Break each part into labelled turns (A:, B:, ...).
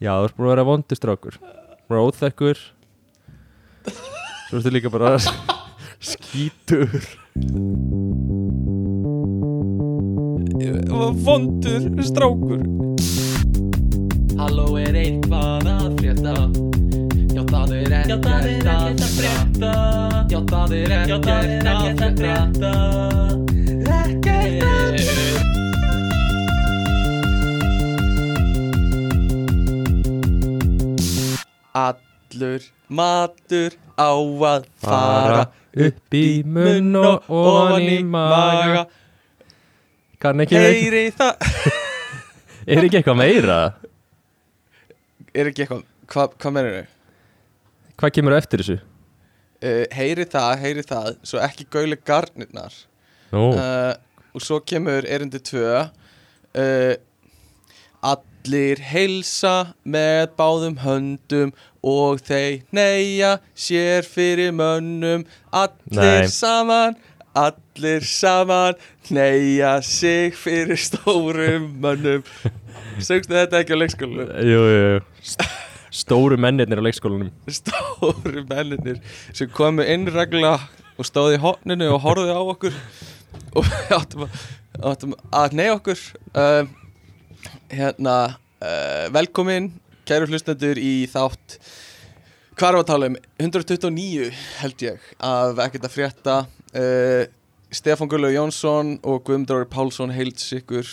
A: Já, þú ert búin að vera vondistrákur Búin að vera óþekkur Svo ertu líka bara skítur
B: Vondur strákur Halló er eitthvað að frétta Já það er ekkert að frétta Já það er ekkert að frétta Ekkert að frétta Allur matur á að fara
A: upp í munn og ofan í maga Kann ekki hey.
B: Heyri það
A: Er ekki eitthvað meira?
B: er ekki eitthvað, hvað hva mennir þau?
A: Hvað kemur á eftir þessu?
B: Uh, heyri það, heyri það, svo ekki gauli garnirnar
A: Nú,
B: uh, Og svo kemur erindi tvö uh, Allir heilsa með báðum höndum Og þeir neyja sér fyrir mönnum Allir
A: Nei.
B: saman, allir saman Neyja sig fyrir stórum mönnum Söngstu þetta ekki á leikskólu?
A: jú, jú, jú St- Stóru mennirnir á leikskólanum
B: stóru menninir sem komu inn regla og stóði í hotninu og horfði á okkur og við áttum að, áttum að neyja okkur um, hérna uh, velkomin kæru hlustendur í þátt hvað er að tala um 129 held ég af ekkert að frétta uh, Stefán Gullu Jónsson og Guðmundur Orri Pálsson heilds ykkur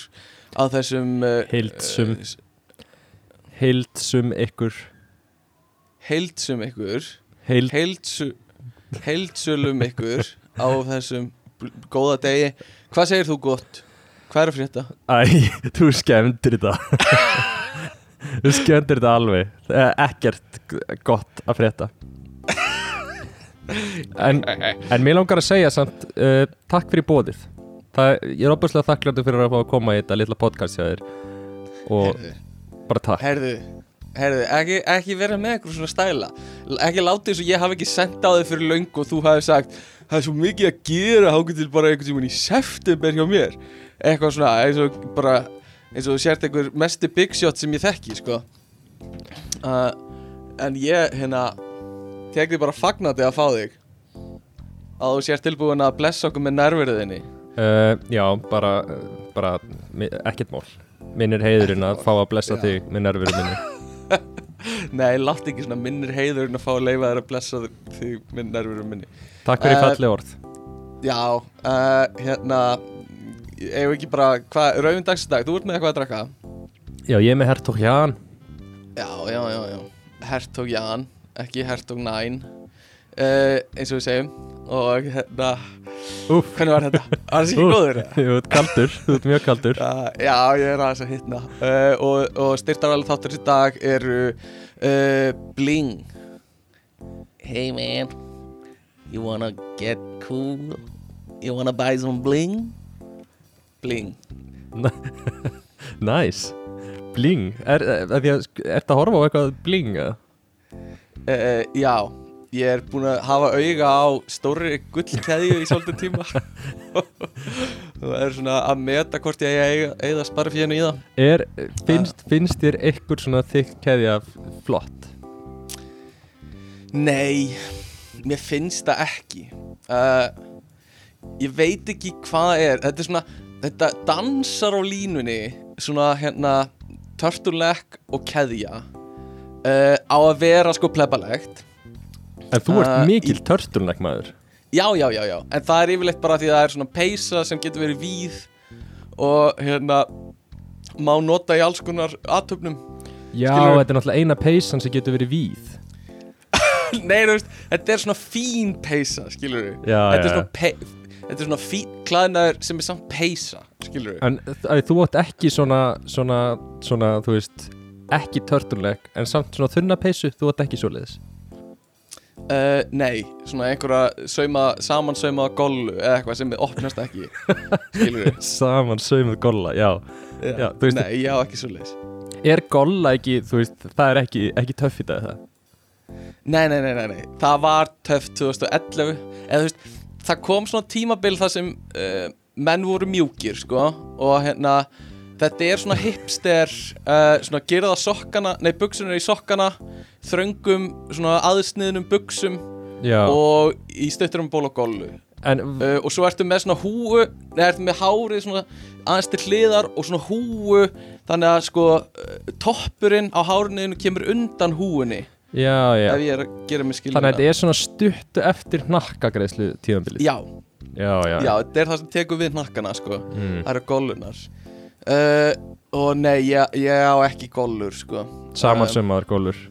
B: að þessum uh,
A: Heildsum.
B: uh,
A: Heildsum ykkur
B: heildsum ykkur
A: Heild
B: heilsu, heilsölum ykkur á þessum bl- góða degi hvað segir þú gott? hvað er að frétta?
A: Æ, þú skemmtir þetta Þú skemmtir þetta alveg Það er ekkert g- gott að frétta En, en mér langar að segja samt uh, Takk fyrir bóðið Það, Ég er opaslega þakklættur fyrir að fá að koma í þetta litla podcast hjá þér Og
B: Heyrðu.
A: bara takk
B: herðu, herðu ekki, ekki vera með eitthvað svona stæla L- ekki láti eins og ég hafi ekki sendt á þig fyrir löngu og þú hafi sagt það er svo mikið að gera þá getur bara einhvern tímann í september hjá mér eitthvað svona eins og bara eins og þú sért einhver mesti big shot sem ég þekki sko uh, en ég hérna tek því bara fagnandi að fá þig að þú sér tilbúin að blessa okkur með nærverðinni
A: uh, Já, bara, bara mi- ekkert mál Minn er heiðurinn að fá að blessa
B: Já.
A: þig með nervurum minni
B: Nei, látt ekki svona minnir heiður en að fá að leifa þér að blessa þig með nærverðum minni
A: Takk fyrir
B: Eh,
A: falleg orð
B: Já, uh, hérna eigum við ekki bara, hvað, rauðin dagsdag þú ert með eitthvað að drakka
A: Já, ég er með Hertog Jan
B: Já, já, já, já, Hertog Jan ekki Hertog Næn uh, eins og við segjum og hérna,
A: Úff
B: hvernig var þetta? Var það ekki
A: Úff.
B: góður?
A: Þú ert kaldur, þú ert mjög kaldur
B: Uh, já, ég er aðeins að hittna uh, og, og styrtarvel þáttur í dag eru uh, Bling Hey man You wanna get cool You wanna buy some bling Bling
A: Nice Bling, er, er, er, er þetta að horfa á eitthvað bling? eða?
B: uh, Já, ég er búin að hafa auga á stóri gullkeðju í svolítið tíma og er svona að meta hvort ég eiga, eiga sparafíðinu í það
A: Er, finnst, finnst þér eitthvað svona þykk keðja f- flott?
B: Nei, mér finnst það ekki uh, Ég veit ekki hvað það er Þetta er svona, þetta dansar á línunni Svona hérna Törtulekk og keðja uh, Á að vera sko plebalegt
A: En þú ert
B: Uh,
A: mikil törtulnæk maður
B: Já, já, já, já En það er yfirleitt bara því að það er svona peysa sem getur verið víð Og hérna Má nota í alls konar aðtöfnum
A: Já,
B: Skilurðu?
A: þetta er náttúrulega eina peysan sem getur verið víð
B: Nei, þú veist, þetta er svona fín peysa, skilur við
A: Já,
B: Þetta er
A: Ah, já.
B: svona, pe þetta er svona fín klæðnaður sem er samt peysa, skilur við
A: En að, þú átt ekki svona, svona, svona, þú veist ekki törtulnæk En samt svona þunna peysu, þú átt ekki svoleiðis
B: uh, Nei, svona einhverja sauma, saman saumaða gollu eða eitthvað sem opnast ekki Skilur við
A: Saman saumuð golla, já Já, þú veist-
B: Nei, ég á ekki svo leis
A: Er golla ekki, þú veist, það er ekki, ekki töff í dag það
B: Nei, nei, nei, nei, nei, það var töff 2011 eða þú veist, eh, það kom svona tímabil þar sem uh, menn voru mjúkir, sko og hérna Þetta er svona hipster uh, svona gerða sokkana, nei buksunum í sokkana þröngum svona aðsniðnum buksum
A: já,
B: og í stötturum ból og gollu
A: en
B: uh, og svo ertu með svona húu nei, ertu með hárið svona aðeins til hliðar og svona húu þannig að sko uh, toppurinn á hárniðinu kemur undan húunni
A: já, já
B: ef ég er að gera mig skilur
A: þannig að þetta er svona stutt eftir nakkagreislu tíðanbili
B: Já,
A: já, já,
B: já, þetta er það sem tekur við nakkana sko
A: Mm.
B: það eru gollunar uh, og nei, ég, ég á ekki gollur sko
A: samansömaðar gólur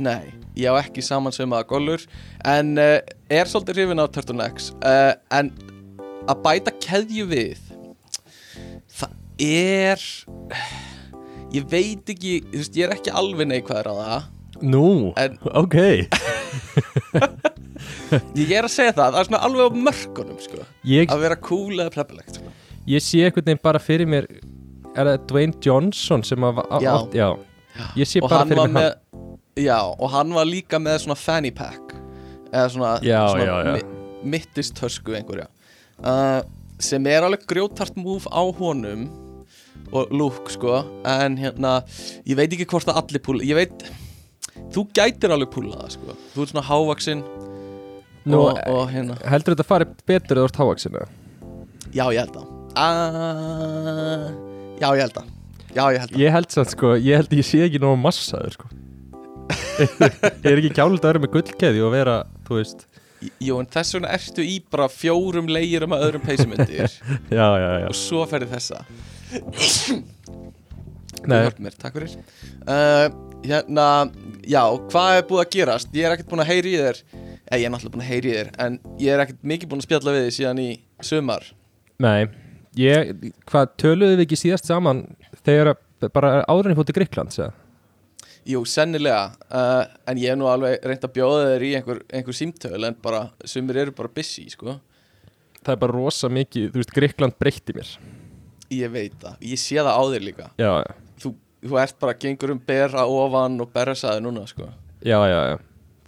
B: Nei, ég á ekki samansaumaða gollur en uh, er svolítið hrifin á Turtlenecks uh, en að bæta keðju við það er ég veit ekki þú veist, ég er ekki alveg neikvæður á það
A: nú,
B: En-
A: ok
B: ég er að segja það, það er svona alveg á mörkunum sko,
A: ég,
B: að vera cool eða preppilegt sko.
A: ég sé einhvern veginn bara fyrir mér er það Dwayne Johnson sem að va-
B: Já.
A: átt- já. ég sé
B: og
A: bara
B: hann
A: fyrir
B: var
A: mér
B: með
A: hann
B: já, og hann var líka með svona fanny pack eða svona,
A: Já,
B: svona
A: já, já.
B: Mi mittist hösku einhverja uh, sem er alveg grjótart múf á honum og lúk sko en hérna, ég veit ekki hvort að allir púla ég veit, þú gætir alveg púla það sko, þú ert svona hávaksinn
A: nú, eh,
B: og, og hérna,
A: heldur þetta að fara betur eða úr távaksinu
B: já ég held að uh, já ég held að já ég held að
A: ég held samt sko, ég held ég sé ekki nóg massaður sko ég er ekki kjálið að vera með gullkeði og vera, þú veist
B: jú en þess vegna ertu í bara fjórum leiðurum að öðrum peysumyndir
A: já, já, já,
B: og svo ferði þessa Þú
A: Nei,
B: hjálpar mér, takk fyrir uh, Hérna, já, hvað er búið að gerast? Ég er ekkert búin að heyri í þér Eða ég er náttúrulega búin að heyri í þér En ég er ekkert mikið búin að spjalla við þig síðan í sumar
A: nei ég, hvað, töluðu við ekki síðast saman þegar að- bara áðurinn fótt í Gríkland segja?
B: Jú, sennilega uh, En ég er nú alveg reynd að bjóða þér í einhver, einhver símtöl En bara, sumir eru bara busy, sko
A: það er bara rosa mikið, þú veist, Gríkland breytti mér
B: Ég veit það, ég sé það á þér líka
A: já, já,
B: Þú, þú ert bara gengur um berra ofan og berra saði núna, sko
A: já, já, já.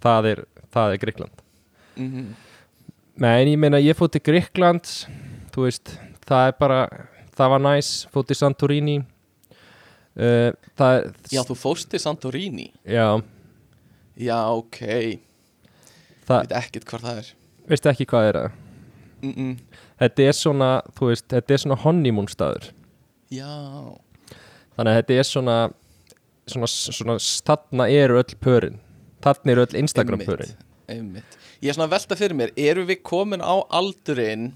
A: það er, það er Gríkland
B: mm
A: Nei, en ég meina, ég fótt til Gríkland, þú veist, það er bara, það var næs, fótt til Santorini, uh, það er,
B: Já, þú fórst til Santorini
A: já,
B: Já, ok, ég
A: það,
B: veit ekkert hvar það er
A: veistu ekki hvað er það?
B: mm -mm.
A: Þetta er svona, þú veist, þetta er svona honeymoon staður,
B: Já
A: þannig að þetta er svona, svona, svona, þarna eru öll pörin, þarna eru öll Instagram pörin.
B: Einmitt, einmitt. Ég er svona að velta fyrir mér, eru við komin á aldurinn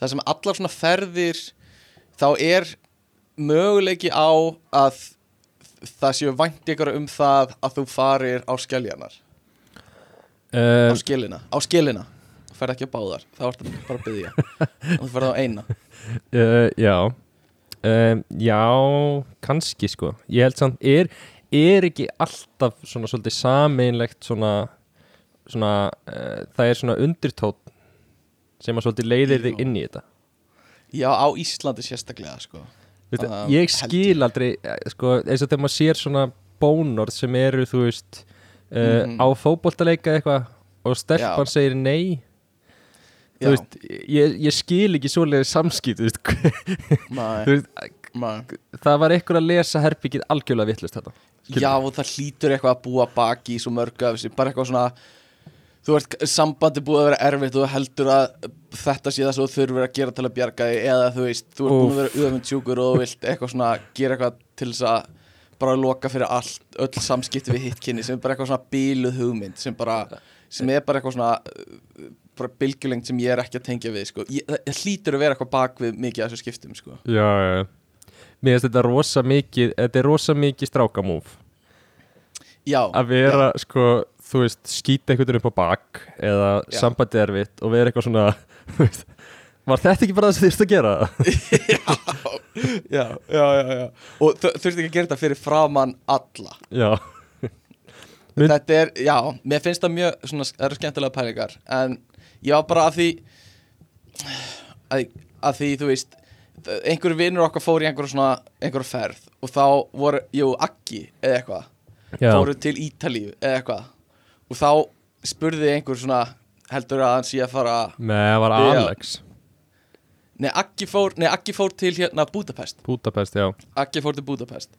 B: þar sem allar svona ferðir þá er möguleiki á að það séu vænt ykkur um það að þú farir á skelljarnar á
A: Uh,
B: skilina, á skilina Þú ferð ekki á báðar, þá ertu bara að byggja og þú ferð á eina
A: uh, já, um, já, kannski sko, ég held samt, er, er ekki alltaf svona svolítið sameinlegt svona, svona uh, það er svona undirtótt sem að svolítið leiðir þig
B: Já.
A: inn í þetta
B: Já, á Íslandi sérstaklega sko
A: Veit,
B: Það
A: ég
B: held
A: skil aldrei, eh, sko, eins og þegar maður sér svona bónor sem eru, þú veist, uh,
B: Mhm.
A: á fótboltaleika eitthvað og stelpan segir nei,
B: Já,
A: þú veist, ég, ég skil ekki svoleiði samskipt, þú veist, þú
B: maður,
A: veist,
B: maður
A: það var einhver að lesa herbyggið algjörlega vittlust þetta. Skilur.
B: Já og það hlýtur eitthvað að búa baki í svo mörgu af þessu, bara eitthvað svona þú ert, sambandi búið að vera erfitt og þú heldur að þetta sé það svo þurfur að gera til að bjarga þig eða þú veist, þú ert búin að vera uðvömynd sjúkur og þú vilt eitthvað svona, gera eitthvað til þess að bara loka fyrir allt, öll samskipti við hittkinni sem er bara eitthvað svona bíluð hugmynd sem bara, sem er bara eitthvað svona uh, bara bylgjulengd sem ég er ekki að tengja við sko, ég, það- það hlýtur að vera eitthvað bak við mikið af þessu skiptum
A: Já,
B: sko
A: já, já. Mér finnst þetta rosa mikið, þetta er rosa mikið strákamúf.
B: Já,
A: Að vera, sko, þú veist, skýta einhvern veginn upp á bak eða
B: Já.
A: sambandi erfitt og vera eitthvað svona, þú veist, var þetta ekki bara það sem þýrst að gera?
B: já, já, já, já. Og þu- þurfti ekki að gera þetta fyrir framann alla
A: já, Mynd-
B: Þetta er, já, mér finnst það mjög svona, það eru skemmtilega pælingar En ég var bara að því að, að því, þú veist þ- einhver vinur okkar fór í einhver svona einhver ferð og þá voru, jú, Aggi eða eitthvað,
A: já,
B: fóru til Ítalíu eða eitthvað og þá spurði einhver svona heldur að hann sé að fara
A: með það var
B: Já.
A: Alex.
B: Nei, Aggi fór, nei, Aggi fór til hérna Budapest
A: Budapest, já
B: Aggi fór til Budapest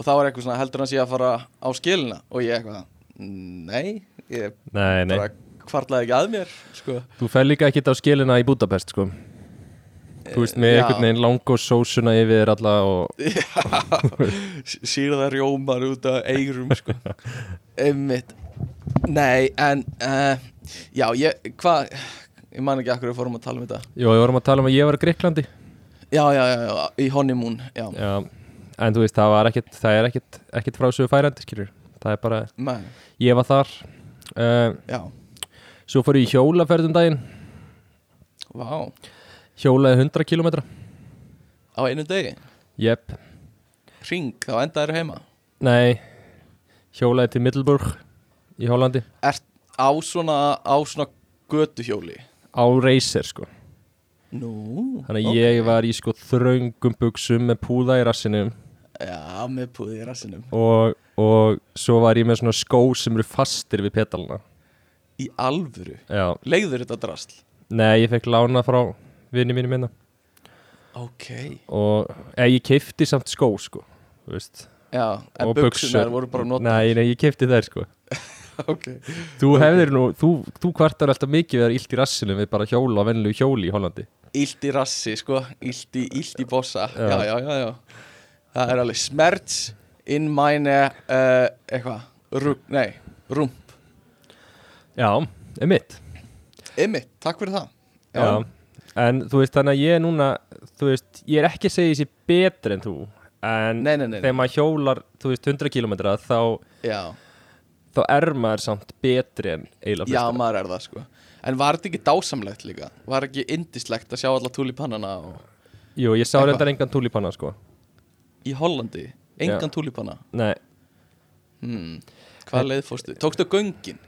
B: Og þá var eitthvað svona, heldur hann sé að fara á skilina Og ég eitthvað, nei Ég
A: Nei, nei,
B: bara kvarlaði ekki að mér sko.
A: þú fer líka ekkit á skilina í Budapest, sko Þú veist, með
B: já.
A: einhvern veginn lang og sósuna yfir þér alla og
B: Sýrða rjómar út af eigrum sko. Einmitt Nei, en uh, Já, ég, hvað Ég man ekki akkur við fórum að tala um þetta
A: Jó, við vorum að tala um að ég var í Greiklandi
B: Já, já, já, já í honeymoon Já,
A: Já, en þú veist, það var ekkit það er ekkit, ekkit frásögu færandi, skilur það er bara,
B: Men,
A: ég var þar uh,
B: já.
A: svo fór ég í hjólaferðum daginn
B: Vá,
A: hjólaði 100 kilometra
B: á einu degi
A: Jep,
B: Ring, þá endaðir heima
A: nei hjólaði til Middelburg í Hollandi,
B: Ert á svona, á svona götuhjóli
A: á reyser sko
B: Nú
A: þannig að
B: ok.
A: ég var í sko þröngum buksum með púða í rassinum
B: Já, með púði í rassinum
A: og, og svo var ég með svona skó sem eru fastir við petalana
B: Í alvöru
A: Já,
B: Legður þetta drasl
A: nei, ég fekk lána frá vinni mínu minna
B: Ok
A: og eða, ég keifti samt skó sko þú veist
B: Já, en
A: Og
B: buksunar
A: buxur.
B: voru bara notað
A: Nei, nei, ég kefti þær sko
B: Ok
A: Þú hefðir nú, þú, þú kvartar alltaf mikið við að það er illt í rassinu við bara hjóla á vennlu hjóli í Hollandi
B: Ílt í rassi, sko Ílt í, ílt í bossa
A: Já.
B: já. já, já, já, Það er alveg smerts In mine uh, Eitthvað Rúk, nei Rúmp
A: Já, emitt
B: Emmi, takk fyrir það
A: Já. En þú veist, þannig að ég núna, þú veist, ég er ekki að segja þessi betri en þú En
B: Nei, nei, nei, nei.
A: þegar maður hjólar, þú veist, 100 km þá,
B: Já,
A: þá er maður samt betri en eiginlega
B: já,
A: flestir.
B: maður er það, sko En var þetta ekki dásamlegt líka? Var ekki indislegt að sjá alla túlipannana og...
A: Jú, ég sá
B: Eitthvað.
A: reyndar engan túlipanna sko
B: Í Hollandi? Engan túlipanna?
A: Nei,
B: Hmm. Hvað leið fórstu? Tókstu göngin?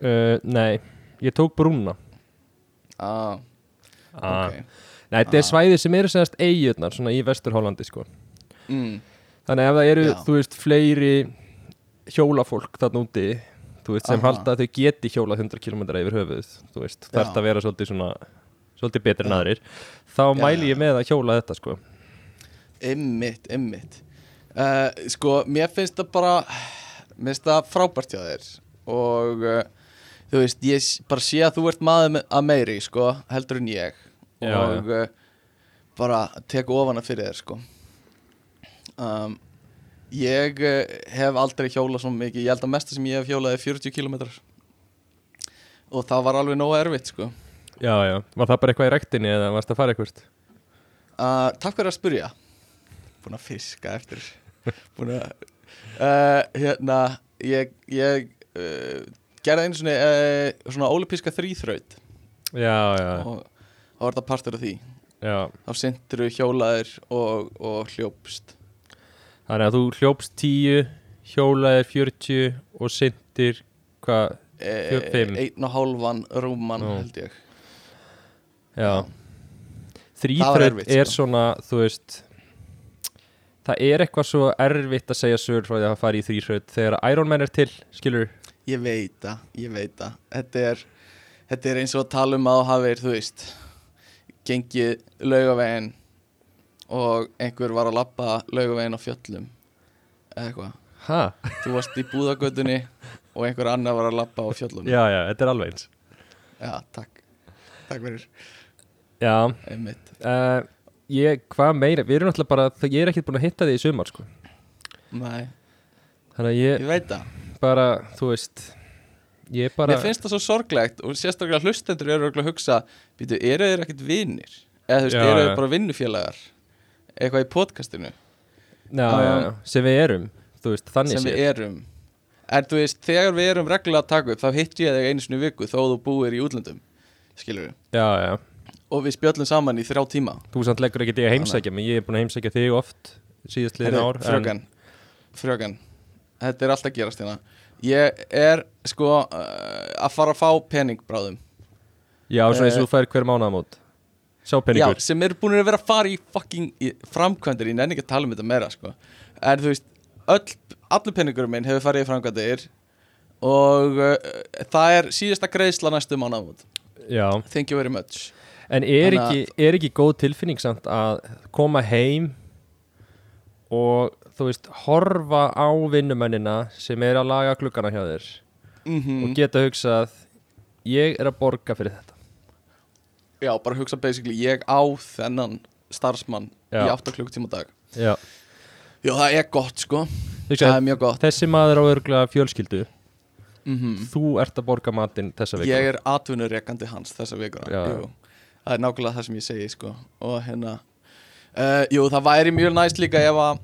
A: uh, nei, ég tók brúna
B: Ah,
A: Ah.
B: ok
A: Nei, þetta er svæði sem eru segast eigurnar, svona í vestur Hollandi sko
B: mm.
A: Þannig ef það eru,
B: Já.
A: þú veist, fleiri hjólafólk þarna úti þú veist, sem
B: Aha.
A: halda að þau geti hjóla 100 km yfir höfuð, þú veist
B: Já.
A: þarf að vera svolítið svona, svolítið betri en aðrir þá
B: Já,
A: mæli
B: já,
A: ég með að hjóla þetta sko
B: Ymmit, ymmit uh, Sko, mér finnst það bara Mér finnst það frábært hjá þér Og uh, þú veist, ég s- bara sé að þú ert maður me- að meiri Sko, heldur en ég
A: Já,
B: Og uh, bara tek ofana fyrir þér, sko um, Ég uh, hef aldrei hjólað svona mikið Ég held að mesta sem ég hef hjólað er 40 kilometrar Og það var alveg nóg erfitt, sko
A: Já, já, var það bara eitthvað í rektinni eða varst að fara eitthvað?
B: Uh, takk fyrir að spyrja Búin að fiska eftir Búin að uh, Hérna Ég, ég uh, gerði einu svona, uh, svona ólipíska þrýþraut
A: Já, já,
B: og þá var þetta partur af því
A: já
B: Þá sindur við hjólaðir og, og hljópst
A: Þannig að þú hljópst 10 hjólaðir 40 og syndir hvað, Fjö-
B: eh,
A: fimm.
B: Einn og hálfan rúman
A: Nú.
B: held ég
A: já
B: Það var
A: Þrýþraut
B: erfitt,
A: er
B: sko.
A: svona, þú veist það er eitthvað svo erfitt að segja sögur frá því að fara í þrýþraut þegar Iron Man er til, skilur
B: Ég veit það, ég veit það Þetta er, þetta er eins og að tala um að þú hafir, þú veist gengið laugavegin og einhver var að lappa laugavegin á fjöllum eða eitthvað,
A: Hæ?
B: þú varst í búðagötunni og einhver annar var að lappa á fjöllum
A: Já, já, þetta er alveg eins
B: Já, takk Takk fyrir,
A: Já,
B: einmitt
A: uh, ég, hvað meira, við erum náttúrulega bara það- ég er ekkert búin að hitta því í sumar, sko
B: Nei,
A: þannig að
B: ég
A: ég
B: veit það
A: bara, þú veist ég bara,
B: Mér finnst það svo sorglegt og sérstaklega hlustendur eru örugglega að hugsa býtu, eru þeir ekkert vinir? Eða þú veist,
A: Já,
B: eru
A: já.
B: þeir bara vinnufélagar? Eitthvað í podcastinu?
A: já, já, já, sem við erum þú veist, þannig
B: sem
A: séð.
B: við erum en þú veist, þegar við erum reglulega að taka upp þá hitt ég þig einu sinni í viku þó þú búir í útlöndum skilur við,
A: já, já,
B: og við spjöllum saman í þrjá tíma
A: þú samt leggur ekki því að heimsækja mig, ég er búin að heimsækja þig oft síðast liðin
B: Heyrðu,
A: ár en-
B: fröken, fröken þetta er alltaf að gerast hérna ég er sko uh, að fara að fá pening bráðum
A: Já, svona eins
B: Eh,
A: og þú fær hver mánaðamót Sá
B: Já,
A: peningur
B: sem eru búin að vera að fara í fucking í framkvæmdir, ég nenni ekki að tala um þetta meira sko. en þú veist, öll allur peningur minn hefur farið í framkvæmdir eh, og uh, það er síðasta greiðsla næstu mánamót
A: Já,
B: thank you very much
A: En er
B: Þannig að-
A: ekki, er ekki góð tilfinning samt að koma heim og þú veist horfa á vinnumennina sem er að laga klukkana hjá þér
B: Mhm.
A: og geta hugsað ég er að borga fyrir þetta
B: Já, bara hugsa basically Ég á þennan starfsmann
A: Já.
B: Í 8 klukkutíma á dag
A: Já,
B: Já, það er gott sko
A: þú veist
B: Það er
A: að
B: mjög gott
A: þessi maður á örgulega fjölskyldu
B: mm
A: þú ert að borga matinn þessa vikuna
B: Ég er atvinnurekandi hans þessa vikuna
A: Já.
B: Jú. Það er nákvæmlega það sem ég segi sko Og hérna uh, Jú, það væri mjög næst líka ef að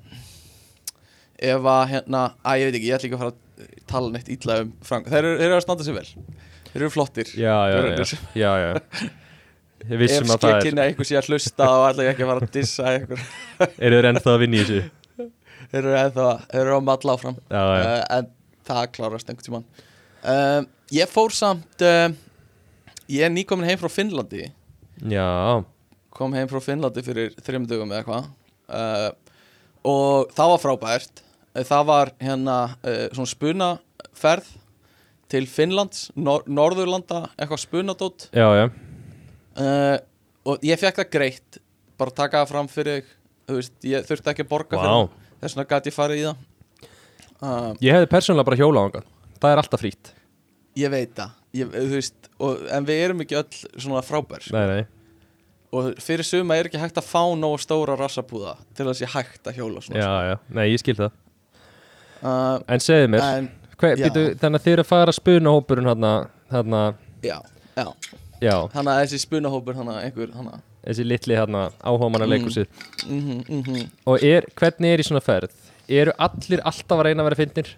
B: Ef að hérna Æ, ég veit ekki, ég ætla ekki að fara að tala neitt ítla um Frank Þeir eru, þeir eru að standa sig vel Þeir eru flottir
A: Já, já, já,
B: Gjörðu svo.
A: já, já. Ég
B: Ef
A: vissum að það er
B: skekkinna einhver sé að hlusta og ætla ég ekki að fara að dissa einhver
A: Er þeir ennþá að vinna í þessu?
B: Þeir eru eða, þeir eru að matla áfram
A: Já, já,
B: uh, en það klárast einhvern tímann uh, ég fór samt uh, ég er nýkomin heim frá Finnlandi
A: já
B: kom heim frá Finnlandi fyrir þrjum dögum eða hvað uh, og það var frábært Eh, það var hérna uh, svona spunaferð til Finnlands, nor Norðurlanda eitthvað spunadót
A: Já, já,
B: uh, og ég fekk það greitt bara taka það fram fyrir þig, þú veist, ég þurfti ekki að borga
A: vá
B: fyrir það þess vegna gæti ég farið í það uh,
A: Ég hefði persónulega bara hjóla á hann Það er alltaf frýtt
B: Ég veit það, ég, eh, þú veist, og, en við erum ekki öll svona frábær sko.
A: Nei, nei,
B: og fyrir suma er ekki hægt að fá nógu stóra rassabúða til að sé hægt að hjóla svona
A: já, já, nei, ég skil það
B: uh,
A: En segðu mér,
B: En,
A: hver,
B: já.
A: býtu, þannig að þið eru að fara að spuna hópurinn hann hann
B: já, já,
A: já,
B: þannig að þessi spunahópur þannig að einhver, þannig að
A: þessi litli hann áhugamanna
B: Mm.
A: leikusið
B: mhm, mhm.
A: Og er, hvernig er í svona ferð? Eru allir alltaf að reyna að vera fyndnir?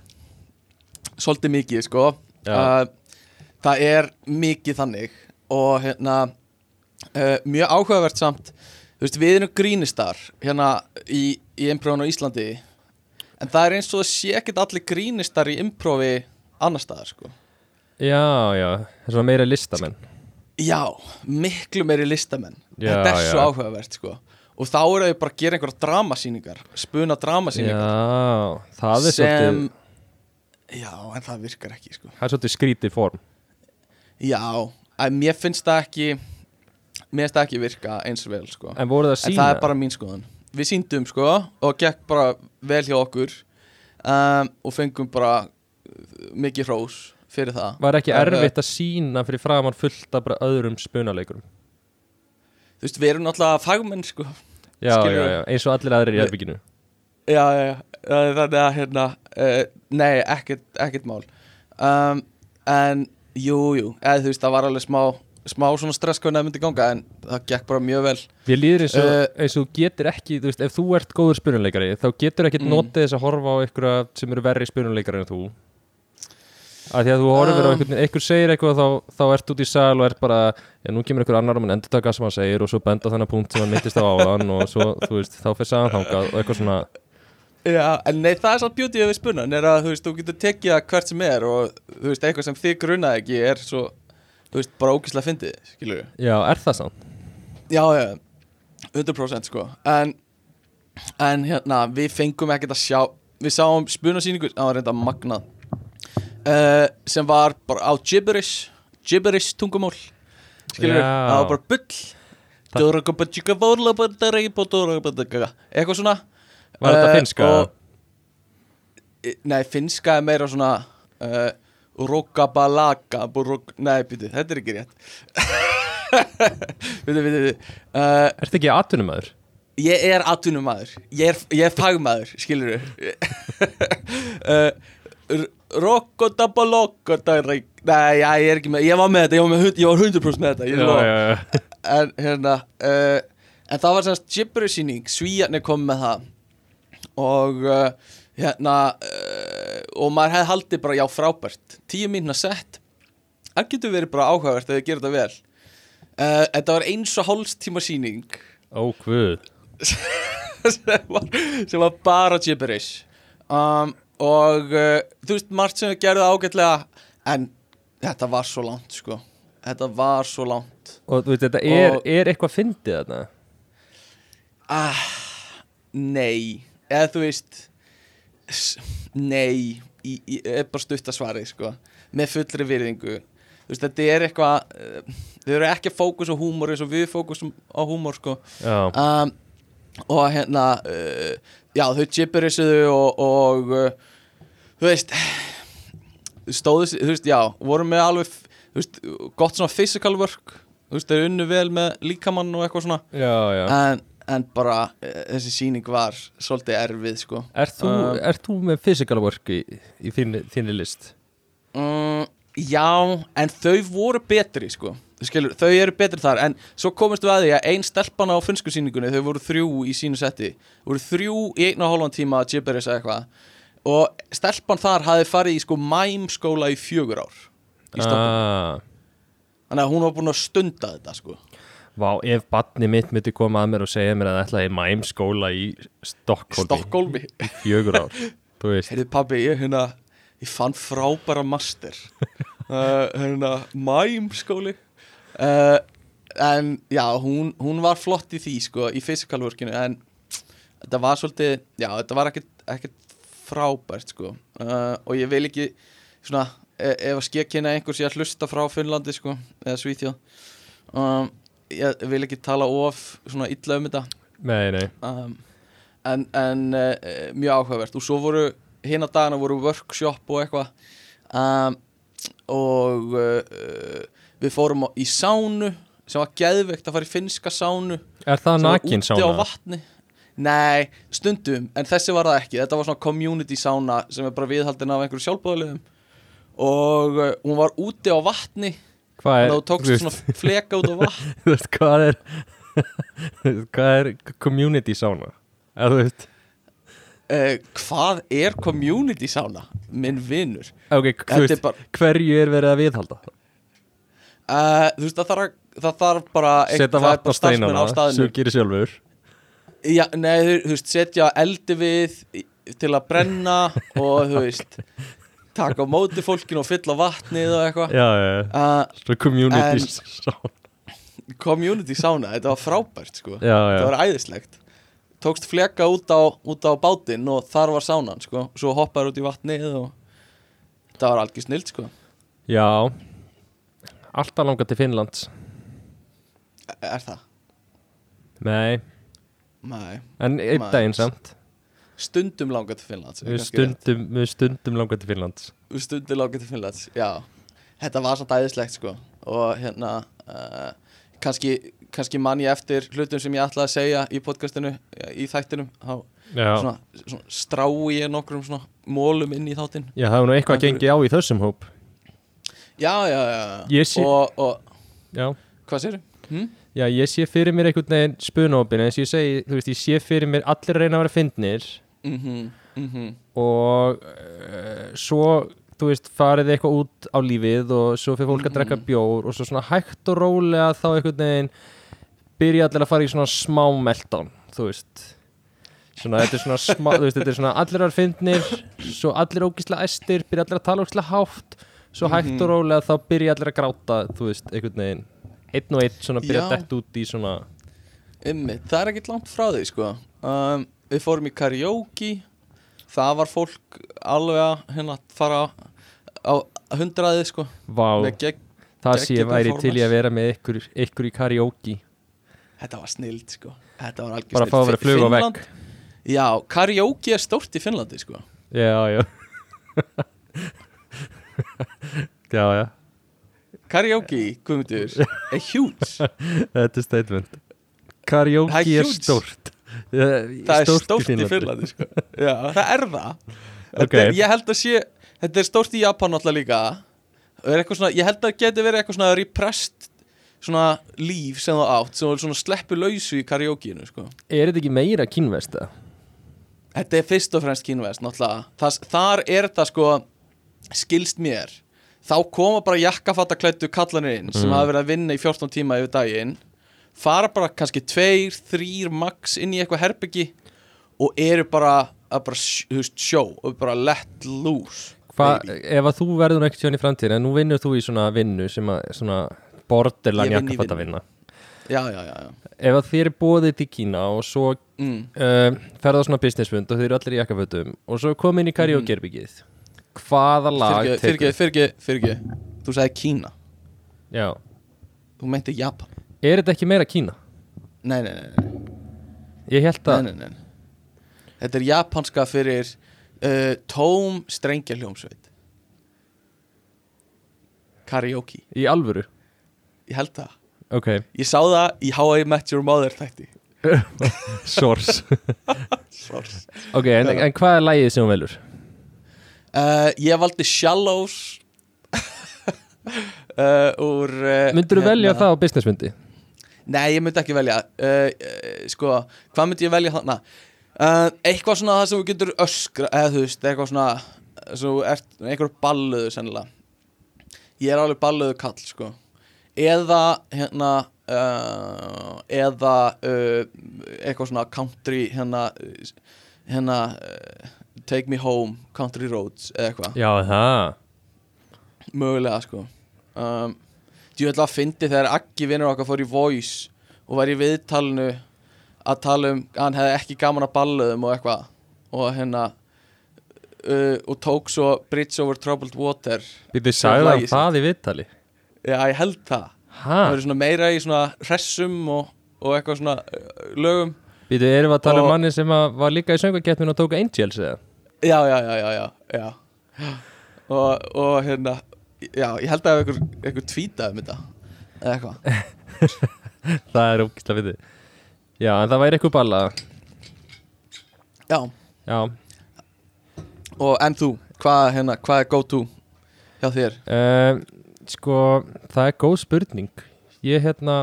B: Svolítið mikið, sko
A: Já.
B: uh, Það er mikið þannig og hérna uh, mjög áhugavert samt þú veist, við erum grínistar hérna í, í imprófinu á Íslandi en það er eins og það sé ekkert allir grínistar í imprófi annar staðar, sko
A: Já, já, það er svona meira listamenn
B: Já, miklu meiri listamenn
A: Já,
B: Þetta er
A: já.
B: svo áhugavert sko Og þá eru þau bara að gera einhverja dramasýningar Spuna dramasýningar
A: Já, það er svolítið
B: sem... Já, en það virkar ekki sko
A: Það er svolítið skrítið form
B: Já, en mér finnst það ekki Mér finnst það ekki virka eins vel sko
A: En voru það að
B: En
A: sína?
B: það er bara mín skoðun Við síndum sko og gekk bara vel hjá okkur um, Og fengum bara uh, mikið hrós fyrir það
A: Var ekki
B: En, uh,
A: erfitt að sína fyrir framann fullt af bara öðrum spunaleikurum?
B: Þú veist, við erum náttúrulega fagmenn sko
A: Já, já,
B: skilurðu?
A: já, eins og allir aðrir í erbygginu
B: já, já, já, já, þannig að hérna, uh, nei, ekkert, ekkert mál um, en jú, jú, eða þú veist, það var alveg smá smá svona stress hvernig það myndi ganga en það gekk bara mjög vel
A: Við líður eins og,
B: Uh,
A: eins og þú getur ekki, þú veist, ef þú ert góður spunaleikari þá getur ekkert
B: Mm.
A: notið þess að horfa á einhverja sem eru verri spunaleikari en þú að því að þú horfir á
B: Um.
A: einhvern einhver segir eitthvað þá, þá ert út í sal og ert bara já, nú kemur einhver annar og mann endur taka sem hann segir og svo benda á þennan punkt sem hann mittist á áðan og svo, þú veist, þá fyrir sagan þangað og eitthvað svona
B: já, en nei, það er svo beauty við spunan er að þú veist, þú getur tekið það hvert sem er og þú veist, eitthvað sem þig grunaði ekki er svo, þú veist, bara ókislega fyndið skilur við,
A: Já, er það sann?
B: já, já 100% sko, en en hérna, við fengum ekkert að sjá við sáum spunasýningu það var reynda magnað uh, sem var bara á gibberish gibberish tungumól skilur,
A: Já.
B: það var bara bull Dórakabatjikabárlabandareipodórakabatjikaga. eitthvað svona
A: Var þetta
B: Eh,
A: finnska?
B: og- Eh, nei, finska er meira svona uh, rokabalaka borok- nei, býtu, þetta er ekki rétt býtu, býtu, býtu uh,
A: Ertu ekki atvinnumæður?
B: Ég er atvinnumæður Ég er, ég er fagmaður, Eh, skilur þú Rokkodabalokkodareik Nei, já, ég er ekki með Ég var með þetta, ég var, með, hund- ég var 100% með þetta ég lofa.
A: já
B: En hérna uh, En það var semst gibberish sýning Svíjarnir kom með það Og uh, hérna uh, Og maður hefði haldið bara já frábært Tíu mínuna sett Það getur verið bara áhugavert ef þið gerir þetta vel uh, En það var eins og hálfstíma sýning
A: Ó, hvud
B: sem, var, sem var bara gibberish um, og uh, þú veist margt sem við gerðum ágætlega en þetta var svo langt sko þetta var svo langt
A: Og þú veist, þetta er,
B: Og-
A: er eitthvað fyndið þarna
B: ah, nei eða þú veist s- nei í, í, er bara stutt að svarið sko með fullri virðingu þú veist þetta er eitthvað uh, þau eru ekki að fókus á húmor eins og við fókusum á húmor sko
A: já,
B: um, og hérna uh, já þau gibberisuðu og, og uh, þú veist stóðu sig- þú veist já voru með alveg þú veist, gott svona physical work þú veist þau unnu vel með líkamann og eitthvað svona
A: já, já.
B: en, en bara uh, þessi síning var svolítið erfið sko
A: Er þú,
B: Um,
A: er þú með physical work í, í þinni, þinni list?
B: Mm, já, en þau voru betri sko Þú Skilur, þau eru betri þar en svo komist við að því að ein stelpana á finnsku síningunni þau voru þrjú í sínu setti voru þrjú í einu og hálfan tíma að gibberish eða eitthvað og stelpan þar hafi farið í sko mæmskóla í fjögur ár í Stockholm.
A: Ah,
B: þannig að hún var búin að stunda þetta sko
A: vá, ef badni mitt myndi koma að mér og segja mér að það ætlaði mæmskóla í Stokkólfi
B: Stokkólmi,
A: í fjögur ár Þú veist,
B: heyrðu pabbi ég, hérna, ég fann frábæra master uh, hérna, mæmskóli uh, en já, hún, hún var flott í því sko, í physical workinu en þetta var svolítið, já, þetta var ekkert, ekkert frábært sko uh, og ég vil ekki svona e ef að skekina einhver sé að hlusta frá Finnlandi sko, eða Svíþjóð um, ég vil ekki tala of svona illa um þetta
A: nei, nei
B: um, en, en uh, mjög áhugavert og svo voru hinn að dagana voru workshop og eitthvað um, og uh, við fórum á- í sánu sem var geðveikt að fara í finnska sánu
A: Er það
B: sem var
A: nakin
B: úti á
A: sána?
B: vatni Nei, stundum, en þessi var það ekki Þetta var svona community sána sem er bara viðhaldin af einhverju sjálfbóðaliðum og uh, hún var úti á vatni
A: Hvað
B: og
A: er,
B: þú tókst
A: veist,
B: svona fleka út á vatn
A: þú veist, hvað er hvað er community sána? Eða þú veist
B: uh, Hvað er community sána, minn vinur?
A: Ok, þú
B: Þetta er
A: veist,
B: bara-
A: hverju er verið að viðhalda?
B: Uh, þú veist, það þarf, það þarf bara
A: Setja
B: það er
A: vatn á
B: bara starfsmenn
A: steinana,
B: á staðnum.
A: sugir sjálfur
B: Já, nei, þú þú veist, setja eldi við í- til að brenna og þú veist taka á móti fólkinu og fylla vatnið og eitthvað
A: Já, já, já,
B: uh,
A: svona community
B: En-
A: sána
B: Community sána, þetta var frábært sko
A: Já, já,
B: þetta var æðislegt tókst fleka út á, út á bátinn og þar var sánan sko svo hoppaður út í vatnið og þetta var algjör snild sko
A: Já Alltaf langar til Finnlands
B: Er það?
A: Nei,
B: Nei,
A: en einn
B: Nei.
A: daginn samt
B: stundum langar til Finnlands
A: Við
B: kannski rétt.
A: stundum, við stundum langar til Finnlands
B: við stundir langið til Finnlands já, þetta var samt æðislegt sko og hérna uh, kannski, kannski man ég eftir hlutum sem ég ætlaði að segja í podcastinu í þættinum, þá
A: Já,
B: svona, svona strái ég nokkrum svona mólum inn í þáttin
A: já það var nú eitthvað að
B: Einhverju-
A: gengi á í þessum hóp
B: já, já, já, já.
A: Ég sé-
B: og, og
A: Já,
B: hvað séru? Hm?
A: já ég sé fyrir mér einhvern veginn spunópin eins og ég segi, þú veist, ég sé fyrir mér allir reyna að vera fyndnir
B: Mm -hmm, mm -hmm.
A: og uh, svo, þú veist, farið þið eitthvað út á lífið og svo fyrir fólk að drekka
B: Mm-hmm.
A: bjór og svo svona hægt og rólega þá einhvern veginn byrja allir að fara í svona smá meltdown, þú veist svona, þetta er svona smá, þú veist, þetta er svona allir að finnir, svo allir ógislega æstir, byrja allir að tala ógislega hátt svo
B: Mm-hmm.
A: hægt og rólega þá byrja allir að gráta þú veist, einhvern veginn einn og einn svona byrja
B: Já.
A: að dett út í svona
B: Einmitt, það er ekkert langt frá því sko um, Við fórum í karaoke Það var fólk alveg að hérna, fara á á hundraðið sko
A: vá,
B: Með gegn
A: það sé ég
B: geggjað
A: væri til í
B: performance.
A: að vera með ykkur, ykkur í karaoke
B: Þetta var snild sko Þetta var algjör
A: bara að fá að vera flug og vekk
B: Já, karaoke er stórt í Finnlandi sko
A: Já, já Já, já,
B: Karaoke, guðmundur, er huge
A: þetta er statement Karaoke
B: Það er
A: er
B: huge.
A: stórt
B: Það er stórt í Finnlandi sko Já, það er það
A: Ok.
B: okay. er, Ég held að sé, þetta er stórt í Japan alltaf líka Það er eitthvað svona, Ég held að það geti verið eitthvað svona repressed svona líf sem það átt sem svona sleppu lausu í karaokeinu sko.
A: Er þetta ekki meira kínvest það?
B: Þetta er fyrst og fremst kínvest náttúrulega Þas, Þar er þetta sko skilst mér Þá koma bara jakkafattaklættu kallanir inn sem
A: Mm.
B: hafa verið að vinna í 14 tíma yfir daginn fara bara kannski tveir, þrýr max inn í eitthvað herbyggi og eru bara að bara sj- þú veist, sjó og bara let loose baby.
A: Ef að þú verður ekkert sjöðan í framtíðin en nú vinnur þú í svona vinnu sem að svona borderline
B: Ég vinn í
A: jakkafatta vinna
B: Já, já, já, já.
A: Ef að þér er bóðið til Kína og svo uh,
B: Mm.
A: ferða á svona businessfund og þeir eru allir í jakkafötum og svo kom inn í karaokeherbyggið Hvaða lag
B: Fyrirgeð, fyrirgeð, fyrirgeð, fyrirgeð Þú sagði Kína
A: Já
B: Þú meinti Japan
A: Er þetta ekki meira Kína?
B: Nei, nei, nei, nei,
A: Ég held að
B: nei, nei, nei. Þetta er japanska fyrir uh, Tóm strengjahljómsveit Karaoke
A: í alvöru
B: Ég held það
A: Ok,
B: Ég sá það í How I Met Your Mother þætti
A: source
B: Svars
A: Ok,
B: Hérna.
A: en, en hvað er lægið sem hún velur?
B: Uh, ég valdi Shallows uh, úr uh,
A: Myndirðu velja það á businessmyndi?
B: Nei, ég myndi ekki velja uh, uh, Sko, hvað myndi ég velja þarna? Uh, eitthvað svona það sem þú getur öskra eða þú veist, eitthvað svona svo ert, einhver balluðu sennilega Ég er alveg balluðu kall, sko Eða, hérna uh, eða uh, eitthvað svona country hérna, uh, hérna uh, Take me home, country roads eða eitthvað
A: Já, það
B: Mögulega sko um, Ég ætla að fyndi þegar Aggi vinnur okkar fór í Voice og var í viðtalinu að tala um að hann hefði ekki gaman að balluðum og eitthvað og hérna uh, og tók svo Bridge over Troubled Water
A: Býttu sagði hann
B: lagið
A: það í viðtali
B: Já, ég held það
A: Hæ?
B: Það verður svona meira í svona hressum og, og eitthvað svona uh, lögum
A: Býttu, erum við að tala um
B: Og-
A: manni sem að var líka í söngakeppninu og tók Angels eða?
B: Já, já, já, já, já, já. Og, og hérna Já, ég held að einhver, einhver tweetaði um þetta eða eitthvað
A: Það er ógislega við þið Já, en það væri eitthvað balla
B: Já,
A: Já,
B: Og en þú, hvað hérna, hvað er go to hjá þér?
A: um, sko, það er góð spurning Ég hérna,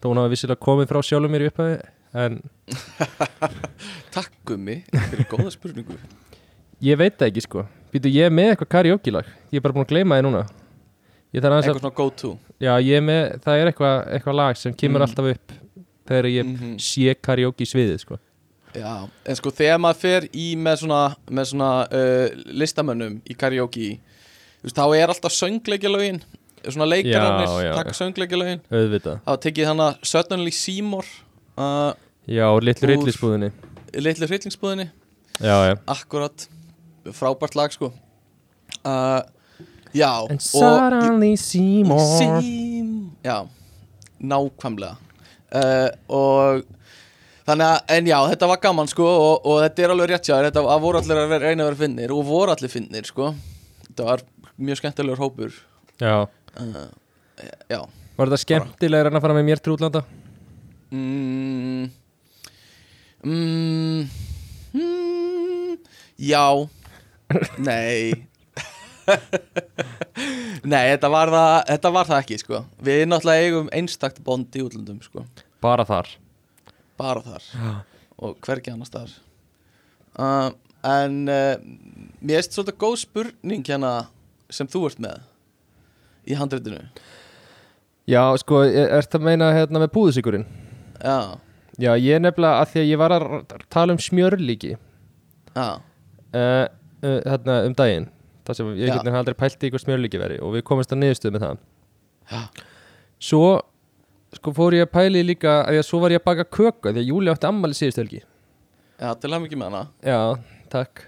A: þó hún hafa vissilega komið frá sjálfum mér í upphafi En
B: Takk gummi fyrir góða spurningu
A: ég veit það ekki sko Býttu, ég er með eitthvað karaoke lag Ég er bara búin að gleyma þið núna Ég þarf aðeins að
B: Eitthvað svona go to
A: Já, ég er með, það er eitthvað, eitthvað lag sem kemur
B: Mm.
A: alltaf upp þegar ég
B: Mhm.
A: sé karaoke sviðið, sko.
B: Já, en sko þegar maður fer í með svona, með svona uh, listamönnum í karaoke þú veist, þá er alltaf söngleikjalögin svona
A: Já, já.
B: leikararnir, takk söngleikjalögin
A: Auðvitað.
B: þá er tekið hana Suddenly Seymour uh,
A: Já, og litlu
B: Úr.
A: rillisbúðinni.
B: litlu hryllingsbúðinni
A: Já, já.
B: akkurat, frábært lag sko uh, Já
A: And
B: og-
A: suddenly Seymour.
B: Sím Já, nákvæmlega uh, Og Þannig að, en já, þetta var gaman sko og, og þetta er alveg rétt hjá þér, þetta að voru allir að vera, reyna að vera finnir og voru allir finnir sko Þetta var mjög skemmtilegur hópur
A: Já.
B: uh, Já
A: Var þetta skemmtilegur en að fara með mér til útlanda?
B: mm, mm, mm, Já Nei Nei, þetta var, það, þetta var það ekki sko Við náttúrulega eigum einstakt bond í útlöndum sko
A: Bara þar.
B: bara þar og hvergi annars þar uh, en uh, mér erst svolítið góð spurning hérna sem þú ert með í handreitinu
A: Já, sko, er þetta að meina hérna með búðsíkurinn?
B: já,
A: Já, ég nefnilega, að því að ég var að r- tala um smjörlíki
B: já,
A: uh, uh, hérna, um daginn. Það sem ég
B: Já.
A: hérna aldrei pælti í hvað smjörlíki veri og við komumst að niðurstöðu með það.
B: já,
A: svo sko fór ég að pæli líka að ég, svo var ég að baka köku af því að Júli átti ammali síðustu helgi
B: já til hann ekki með hana
A: já, takk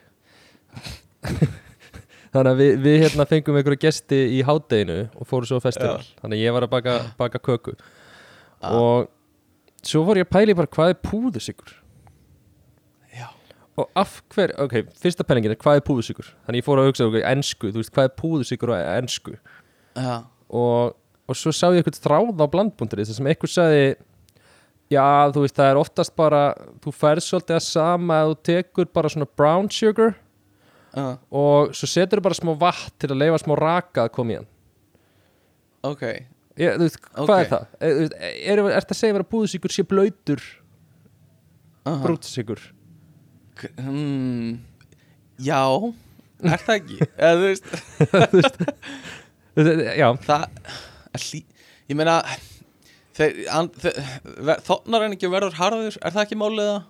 A: þannig að við, við hérna fengum einhverju gesti í hádeginu og fórum svo á festival þannig að ég var að baka, baka köku
B: Já.
A: og svo fór ég að pæli bara hvað er púðusikur
B: já,
A: og af hver, ok, fyrsta pælingin er hvað er púðusikur þannig að ég fór að hugsa okkur ensku, þú veist hvað er púðusikur á ensku
B: já,
A: og, og svo sá ég eitthvað þráð á blandbúndurins sem eitthvað sagði já þú veist það er oftast bara þú færð svolítið að sama að þú tekur bara svona brown sugar
B: já,
A: og svo setur þú bara smá vatn til að leifa smá raka að koma í hann
B: ok
A: ég, þú veist, hvað
B: Ok.
A: er það? Er, er, er, er þetta að segja vera búðsíkur sé blöytur
B: aha.
A: brútsíkur
B: K- hmm, já, er það ekki eða þú veist
A: eh, já,
B: það að hlý, ég meina þeir, an, þeir, þóknar hann ekki að verður harður er það ekki málið það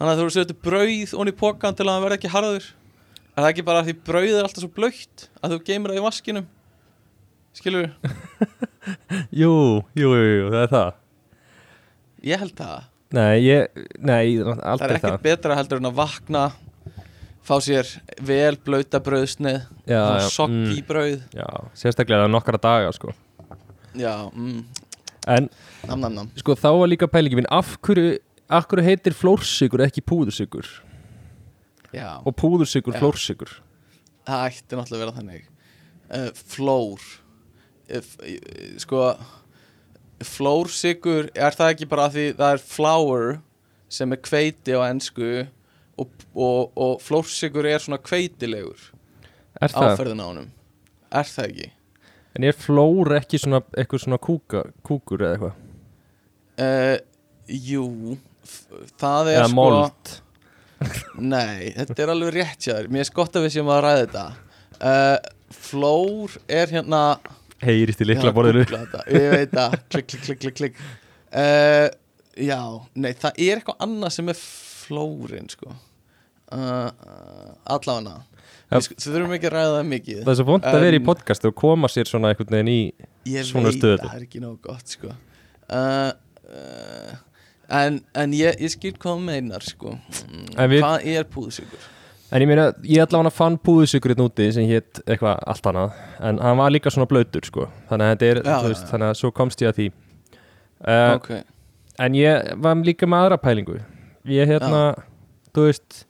B: þannig að þú setur brauð onni í pokan til að hann verði ekki harður er það ekki bara að því brauð er alltaf svo blöytt að þú geymir það í vaskinum skilur,
A: jú, jú, jú, jú það er það
B: ég held það
A: nei, ég, nei,
B: það er
A: aldrei
B: ekkert betra heldur en að vakna fá sér vel blöyta brauðsnið
A: Já, já,
B: sokki
A: mm.
B: brauð
A: já, sérstaklega nokkara daga sko
B: já, mm,
A: en
B: Nam, nam, nam
A: sko þá var líka pælingi minn af hverju, af hverju heitir flórsykur ekki púðursykur
B: Já,
A: og púðursykur
B: Já.
A: flórsykur
B: það ætti náttúrulega að vera þannig uh, Flór uh, f- uh, Sko Flórsykur, er það ekki bara af því það er flour sem er hveiti á ensku og, og, og flórsykur er svona hveitilegur
A: er það?
B: áferðin á honum Er það ekki?
A: en er flór ekki svona eitthvað svona kúka, kúkur eða eitthvað
B: Uh, jú, f- það er
A: eða
B: sko
A: mold
B: Nei, þetta er alveg rétt hjá þér Mér er gott að við séum að ræða þetta uh, Flór er hérna
A: heyrist í
B: Ég var að googla þetta. Ég veit það, klikk, klikk, klikk, klikk, klikk uh, Já, nei, það er eitthvað annað sem er flórin, sko uh, uh, Allavega
A: Ja.
B: Við sko, Svo þurfum ekki að ræða það mikið
A: það er svo vond að vera í
B: En-
A: podcast og koma sér svona einhvern veginn í
B: Ég
A: svona
B: veit
A: stöðu.
B: að það er ekki nóg gott, sko uh, uh, En, en ég, ég skil hvað þú meinar, sko
A: En við-
B: Hvað er púðsugur?
A: en ég meina, ég allavega fann púðusugurinn úti sem hétt eitthvað allt annað en hann var líka svona blöytur sko þannig að þetta er,
B: Já,
A: þú
B: já,
A: veist,
B: já.
A: þannig að svo komst ég að því uh,
B: ok,
A: en ég var líka með aðra pælingu ég hérna, þú veist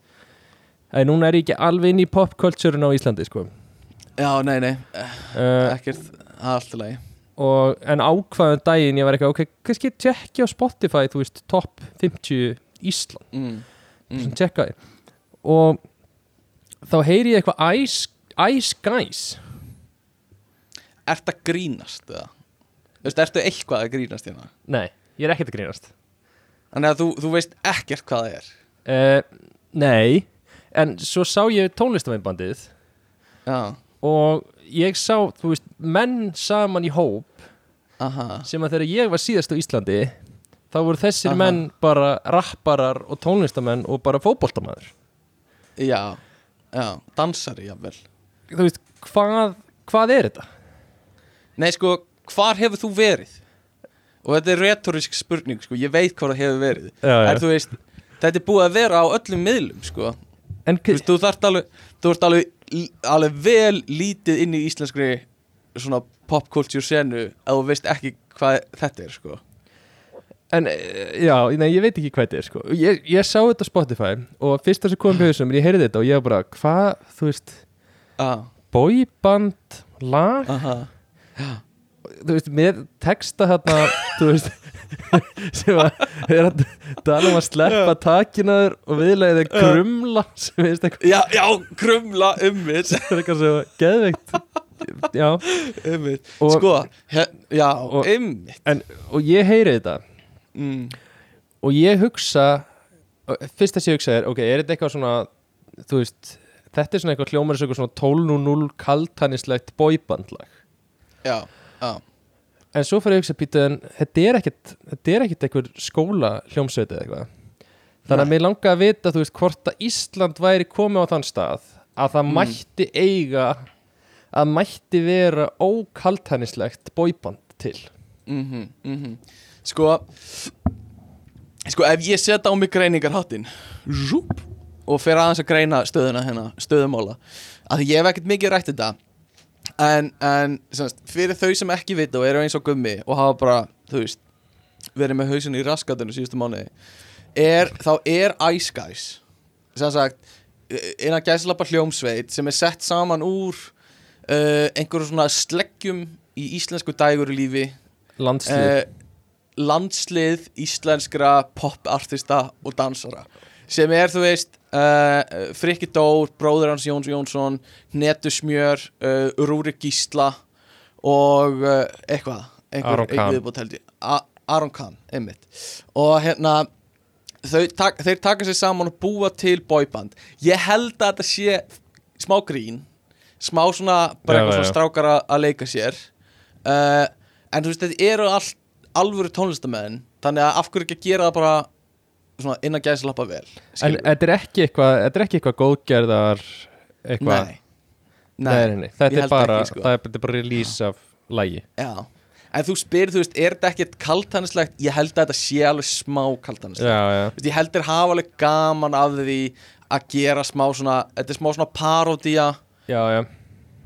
A: en núna er ég ekki alveg inn í popkultúrin á Íslandi sko
B: já, nei, nei eh,
A: uh,
B: Ekkert, það er allt í lagi
A: og, en ákvaðan daginn ég var eitthvað, ok, kannski tjekki á Spotify þú veist, top 50 Ísland
B: mm.
A: mm.
B: Mm.
A: sem tjekkaði og þá heyri ég eitthvað Ice, ice Guys
B: Ertu að grínast eða? Þú veist, ertu eitthvað að grínast hérna?
A: nei, ég er ekkert að grínast
B: Þannig að þú, þú veist ekkert hvað það er
A: uh, nei, en svo sá ég tónlistamennbandið
B: Já,
A: og ég sá, þú veist, menn saman í hóp
B: aha
A: sem að þegar ég var síðast á Íslandi þá voru þessir
B: Aha.
A: menn bara rapparar og tónlistamenn og bara fótboltamaður
B: Já, já, dansari jafnvel
A: þú veist, hvað, hvað er þetta?
B: Nei, sko, hvar hefur þú verið? Og þetta er retorisk spurning, sko, ég veit hvað það hefur verið
A: Já, já.
B: Er þú veist, þetta er búið að vera á öllum miðlum, sko
A: En,
B: Þú
A: k-
B: veist, þú þarft alveg, þú ert alveg, alveg vel lítið inn í íslenskri svona popkultúr senu að þú veist ekki hvað þetta er, sko
A: en e, já, nei, ég veit ekki hvað þetta er sko. ég, ég sá þetta á Spotify og fyrst það sem komum við þessum, ég heyrði þetta og ég var bara hvað, þú veist,
B: Já,
A: boyband lag,
B: aha
A: þú veist, með texta þarna, þú veist sem að er að tala um að sleppa takinaður og viðlega þeir grumla sem veist eitthvað
B: Já, já, um krumla ummið
A: það er eitthvað svo geðveikt já,
B: Einmitt.
A: Og-
B: sko, he, já,
A: og-
B: einmitt
A: en, og ég heyri þetta
B: mm.
A: og ég hugsa fyrst þess að ég hugsa er, ok, er þetta eitthvað svona þú veist, þetta er svona eitthvað hljómar eins og eitthvað svona 12.00 kaltanislegt bóibandlag,
B: já, já,
A: en svo fyrir ég að hugsa pítu en þetta er ekkit, þetta er ekkit eitthvað skóla hljómsveiti eða eitthvað þannig að mér langa að vita, þú veist, hvort að Ísland væri komið á þann stað að það mætti eiga að mætti vera ókaltanislegt bóiband til
B: mhm, mhm sko sko, ef ég setja á mig greiningarháttinn rúp, og fer aðeins að greina stöðuna hérna, stöðumála að ég hef ekkert mikið rætt þetta en, en semst, fyrir þau sem ekki vita og eru eins og gummi og hafa bara, þú veist verið með hausin í raskatunum síðustu mánuði er, þá er Ice Guys sem sagt innan gæslappa hljómsveit sem er sett saman úr uh, einhverjum svona sleggjum í íslensku dægurlífi
A: landslið
B: uh, landslið íslenskra popartista og dansara sem er, þú veist, uh, Frikki Dór, bróður hans Jóns Jónsson, Netu Smjör, uh, Rúrik Gísla og uh, eitthvað, einhver
A: Aron Khan.
B: viðbútt held ég, A- Aron Khan, einmitt. Og hérna, þau, tak, þeir taka sér saman og búa til boyband. Ég held að þetta sé smá grín, smá svona,
A: Já,
B: bara eitthvað
A: já,
B: svona
A: já.
B: strákar að- að leika sér uh, en þú veist, þetta eru all, alvöru tónlistamenn þannig að af hverju ekki að gera það bara svona innan gæðis lappa
A: En
B: vel skilurðu?
A: þetta er ekki eitthvað, þetta er ekki eitthvað góðgerðar eitthvað,
B: nei,
A: nei,
B: nei,
A: nei, nei. þetta
B: ég
A: er
B: held
A: bara,
B: ekki, sko.
A: það er, þetta er bara release af lægi.
B: já en þú spyrir, þú veist, er þetta ekkert kaltanislegt ég held að þetta sé alveg smá kaltanislegt
A: Já, já.
B: Þú veist, ég held þeir hafa alveg gaman af því að gera smá svona þetta er smá svona parodía
A: Já, já.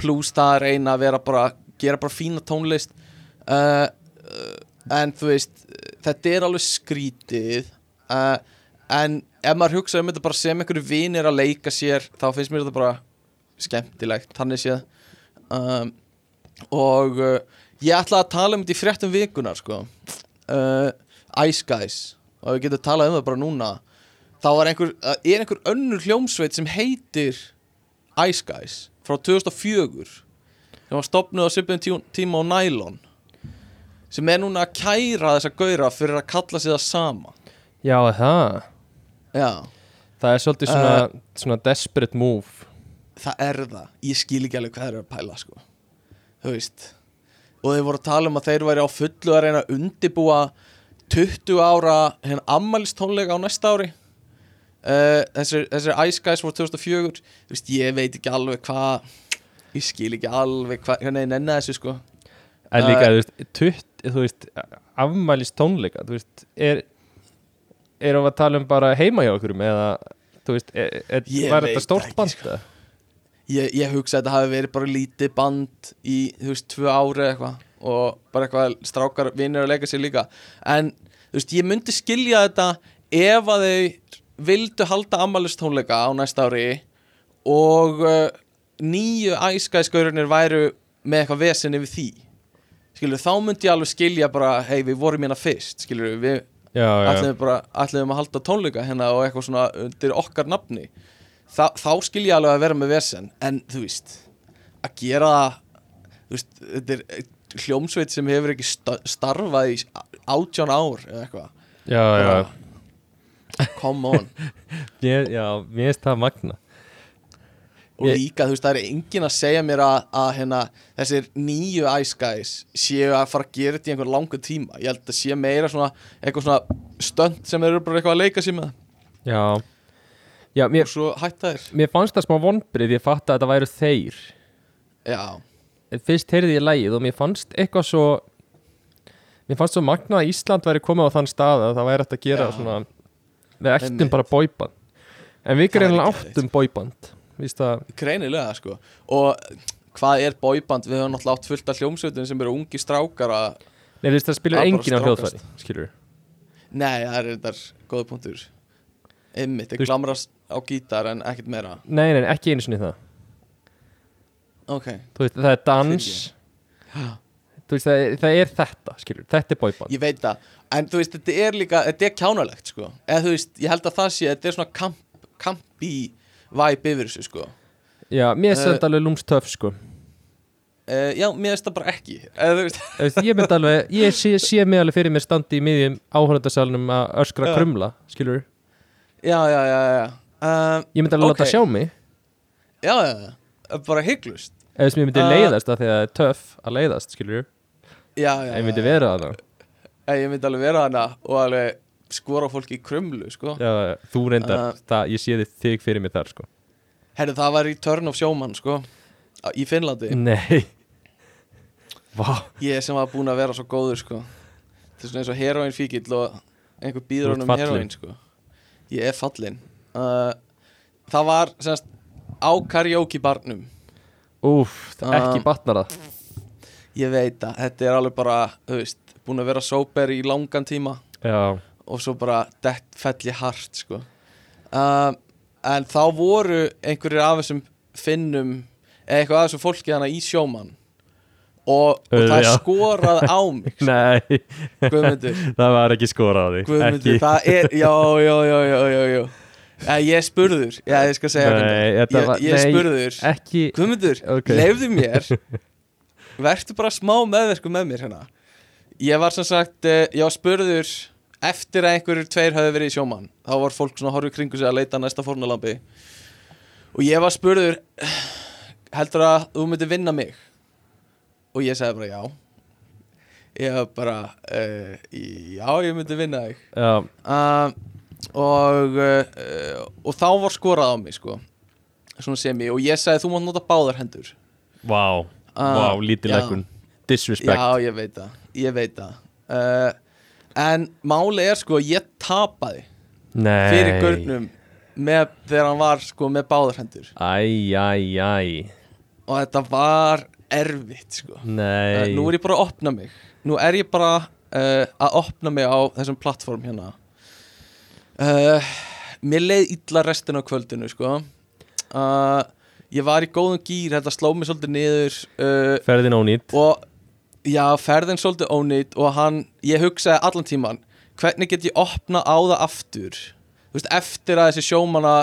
B: pluss það að reyna að vera bara gera bara fína tónlist uh, uh, en þú veist, þetta er alveg skrítið uh, en ef maður hugsa um þetta bara sem einhverju vinir að leika sér þá finnst mér þetta bara skemmtilegt, þannig séð um, og uh, ég ætla að tala um þetta í fréttum vikunar sko uh, Ice Guys og við getum talað um það bara núna þá var einhver, uh, er einhver önnur hljómsveit sem heitir Ice Guys frá 2004 sem var stopnuð á svipuðum tí- tíma á Nylon sem er núna að kæra þessa gauðra fyrir að kalla sig það sama
A: Já, það Uh,
B: Já,
A: Það er svolítið svona, svona desperate move
B: það er það ég skil ekki alveg hvað þeir eru að pæla sko þú veist og þeir voru að tala um að þeir væri á fullu að reyna að undibúa 20 ára henn ammælistónleika á næsta ári uh, þessir, þessir Ice Guys voru 2004 þú veist, ég veit ekki alveg hvað ég skil ekki alveg hvað hvernig þeir nenni þessu sko
A: En
B: Eh.
A: líka, þú veist, tutt, þú veist afmælist tónleika, þú veist er, erum við að tala um bara heima hjá okkur eða, þú veist, er, er,
B: Ég
A: var
B: veit
A: þetta stórt
B: ekki,
A: band?
B: sko.
A: Sko.
B: ég, ég hugsa að þetta hafi verið bara lítið band í, þú veist, tvö ári eða eitthvað og bara eitthvað strákar vinnir að leika sér líka en, þú veist, ég myndi skilja þetta ef að þau vildu halda ammælistónleika á næsta ári og uh, nýju æskæðskaurinnir væru með eitthvað vesen yfir því skilur, þá myndi ég alveg skilja bara hei, við vorum hérna fyrst, skilur, við
A: Já, já,
B: ætlum við bara, ætlum við að halda tónleika hérna og eitthvað svona undir okkar nafni Þa, þá skil ég alveg að vera með vesen en þú veist, að gera það, þú veist, þetta er eh, hljómsveit sem hefur ekki sta- starfað í átján ár eða eitthvað
A: já, já.
B: come on,
A: Mér, já, mér finnst það magna
B: og
A: Ég-
B: líka þú veist, það er enginn að segja mér að, að hérna, þessir nýju Ice Guys séu að fara að gera þetta í einhver langu tíma ég held að sé meira svona, eitthvað svona stönd sem þeir eru bara eitthvað að leika sér með
A: Já, já mér,
B: og svo hætta þér
A: mér fannst það smá vonbrið ég fatt að þetta væru þeir
B: já,
A: En Fyrst heyrði ég lægið og mér fannst eitthvað svo Mér fannst svo magna að Ísland væri komið á þann stað að það væri hægt að gera
B: Já.
A: svona Við ættum
B: Einmitt.
A: bara bóiband En við
B: Það væri
A: greinlega
B: geðveikt.
A: áttum bóiband Víst að,
B: Greinilega sko Og hvað er bóiband? Við höfum náttúrulega átt fullt af hljómsveitum sem eru ungi strákar að
A: nei, víst að spilur
B: Það er bara
A: enginn á
B: strákast.
A: hljóðfæri Skilur
B: Nei, það er þetta góða punktur Einmitt,
A: Þú
B: það
A: veist-
B: glamrast á gítar en ekkert meira
A: Nei, nei, ekki einu sinni það
B: Ok,
A: Þú veist, það er dans
B: Já.
A: Þú veist, það er, það er þetta, skilur Þetta er bóiband
B: ég veit það En þú veist, þetta er líka, þetta er kjánalegt sko Eða þú veist, ég held að það sé, þetta er svona kamp, kampi vibe yfir þessu sko
A: Já, mér finnst
B: Eh.
A: þetta alveg lúmstöf, sko
B: uh, Já, mér finnst það bara ekki Eða þú veist,
A: Þú veist, Ég myndi alveg, ég sé, sé mig alveg fyrir mér standi í miðjum áhörðarsalunum að öskra
B: Já.
A: krumla, skilur
B: já, já, já, já uh,
A: Ég myndi alveg
B: Ok.
A: láta sjá mig
B: Já, já, já, bara hygglust
A: eða sem ég myndi
B: Uh,
A: leiðast af því að það er töff að leiðast, skilur
B: Já, já,
A: en
B: já,
A: ég myndi
B: já.
A: vera að
B: Ég, ég myndi alveg vera hana og alveg skora á fólki í krumlu, sko.
A: það þú reyndar,
B: Uh,
A: það, ég sé þig, þig fyrir mér þar sko.
B: Herri, það var í Turn of Sjómann, sko, á- í
A: Mm.
B: Finnlandi.
A: nei Vá.
B: Ég sem var búin að vera svo góður, sko. Það er svona eins og heroin fíkil og einhver
A: Þú
B: býður
A: ert
B: honum
A: fallinn.
B: heroin, sko. Ég er fallin. Uh, það var, semst, á karaoke barnum.
A: úf, það
B: Uh,
A: Ah. ekki batnar það
B: Ég veit að þetta er alveg bara, þú veist, búin að vera sober í langan tíma.
A: já,
B: og svo bara dett felli hart sko. um, en þá voru einhverjir af þessum finnum eða eitthvað af þessum fólki hana í sjómann og, og
A: Auðvitað,
B: það
A: já.
B: skorað á mig sko,
A: nei,
B: Guðmundur,
A: það var ekki skorað á því
B: Guðmundur
A: ekki,
B: það er, já, já, já, já, já, já. Eh, ég er spurður, já, ég skal segja
A: Nei,
B: hvernig.
A: þetta
B: ég,
A: var-
B: ég er
A: nei.
B: spurður
A: ekki
B: Guðmundur,
A: Ok.
B: leifðu mér Vertu bara smá meðverku með mér hérna Ég var sem sagt, eh, ég var spurður Eftir að einhverjur tveir höfðu verið í sjómann Þá var fólk svona að horfa í kringu sig að leita að næsta fórnalambi Og ég var spurður Heldur að þú myndir vinna mig Og ég sagði bara já Ég var bara uh, Já, ég myndi vinna þig
A: já,
B: uh, og uh, og þá var skorað á mig sko svona sem ég og ég sagði þú mátt nota báðar hendur
A: vá, vá, lítil
B: Ah, já.
A: ekkun disrespect,
B: já ég veit það ég veit það uh, en máli er sko ég tapaði
A: nei
B: fyrir gurnum með, þegar hann var sko með báðar hendur
A: æj, æj, æj
B: og þetta var erfitt sko
A: nei,
B: Eh, Uh, nú er ég bara að opna mig nú er ég bara uh, að opna mig á þessum plattform hérna uh, Mér leið illa restin á kvöldinu sko uh, Ég var í góðum gýr, þetta sló mig svolítið niður uh,
A: ferðin ónýtt
B: og já, ferðin svolítið ónýtt og hann, ég hugsaði allan tíman hvernig get ég opna á það aftur þú veist, eftir að þessi sjómanna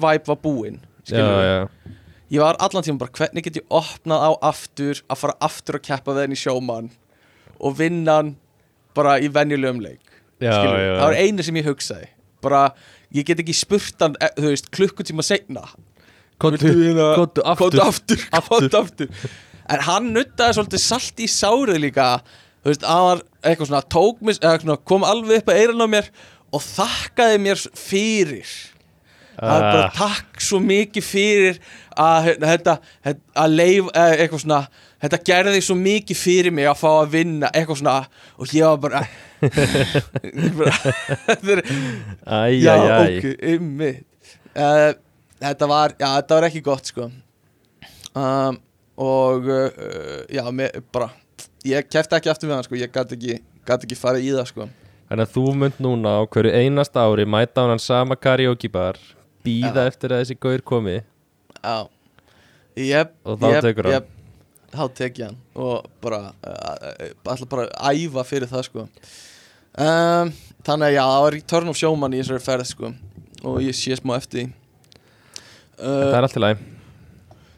B: væp var búinn
A: já,
B: skilurðu.
A: já.
B: ég var allan tíman bara, hvernig get ég opnað á aftur að fara aftur að keppa við henni sjómann og vinna hann bara í venjulegum leik
A: Já,
B: skilurðu.
A: já, já.
B: það var einu sem ég hugsaði bara, ég get ekki spurt hann eh, þú veist, klukkutíma seinna
A: Komdu-
B: Viltu hérna-
A: komdu aftur.
B: komdu aftur, komdu aftur. en hann nuttaði svolítið salt í sárið líka þú veist, hann var eitthvað svona tók mig, eða svona, kom alveg upp að eiran á mér og þakkaði mér fyrir það er bara
A: Ah.
B: takk svo mikið fyrir að hérna, þetta hérna, að leif, eh, eitthvað svona þetta gerði svo mikið fyrir mig að fá að vinna eitthvað svona og ég var bara, Ég bara þetta er
A: Æ,
B: já,
A: æ, æ.
B: ok, ymmið uh, Þetta var, já, þetta var ekki gott sko um, Og, uh, já, mér, bara Ég kefti ekki aftur við hann sko, ég gat ekki, gat ekki farið í það sko
A: Þannig að þú munt núna á hverju einast ári mæta á hann sama karaoke bar býða eftir að þessi gaur komi
B: Já Jep,
A: Og þá
B: jep,
A: tekur hann.
B: jep. Þá tek ég hann og bara, uh, alltaf bara að æfa fyrir það sko um, Þannig að já, það var return of sjómann í þessari ferð sko Og ég sé smá eftir því
A: Það
B: uh,
A: er allt í læg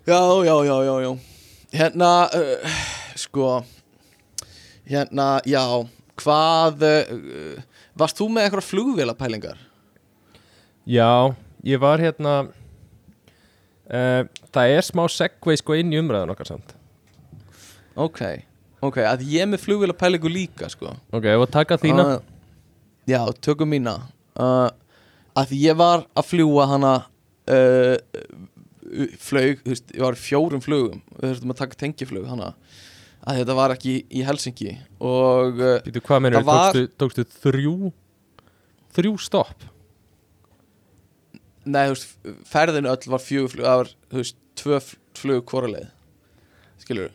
B: Já, já, já, já, já Hérna, uh, sko Hérna, já Hvað uh, Varst þú með eitthvað flugvélapælingar?
A: Já, ég var hérna uh, Það er smá segvei sko inn í umræðan okkar samt
B: Ok, ok, að ég er með flugvélapælingu líka, sko
A: Ok, ef að taka þína
B: Uh, Já, tökum mína uh, Að ég var að fljúa hana uh, Flaug, þú veist, ég var í fjórum flugum Við þurftum að taka tengiflug hana Að þetta var ekki í Helsingi Og uh,
A: Býtu, hvað meður,
B: það var-
A: tókstu, tókstu þrjú þrjú stopp
B: Nei, þú veist, ferðin öll var fjögur flug, það var, þú veist, tvö fl- flug hvora leið Skilur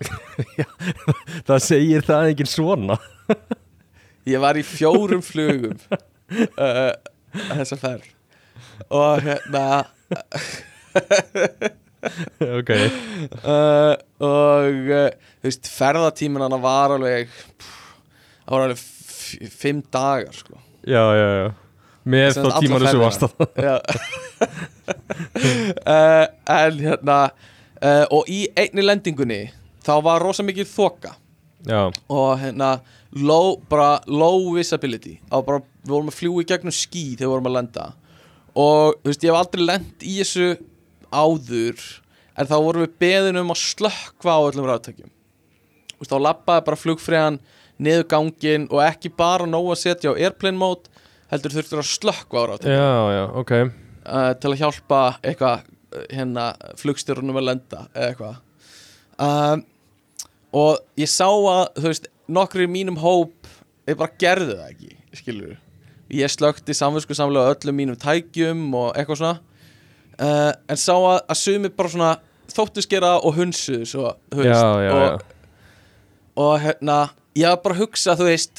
A: Það segir það enginn svona
B: Ég var í fjórum flugum uh, Þessa ferð Og hérna
A: Ok,
B: uh, Og, uh, þú veist, ferðatíminn hana var alveg pff, Það var alveg f- fimm dagar, sko
A: já, já, já Með
B: Sem
A: þá
B: sagt,
A: tímanu
B: alla
A: sem
B: ferðina.
A: varst það
B: Já. uh, En hérna uh, Og í einni lendingunni Þá var rosa mikið þoka
A: Já,
B: og hérna low, bara low visibility og bara, við vorum að fljúa í gegnum ský þegar við vorum að lenda og þú veist, ég hef aldrei lent í þessu áður en þá vorum við beðin um að slökkva á öllum ráttækjum þú veist, þá lappaði bara flugfræðan niður gangin og ekki bara nóg að setja á airplane mode heldur þurftur að slökkva á ráttækjum
A: já, já, ok
B: uh, til að hjálpa eitthvað uh, hérna flugstjórnum að lenda eða eitthvað um, og ég sá að þú veist nokkru í mínum hóp ég bara gerðu það ekki skilur ég slökkti samvinsku samlega öllum mínum tækjum og eitthvað svona uh, en sá að, að sumi bara svona þóttist gera það og hunsuðu svo, þú
A: Já,
B: veist,
A: já,
B: og,
A: já
B: og hérna, ég var bara að hugsa þú veist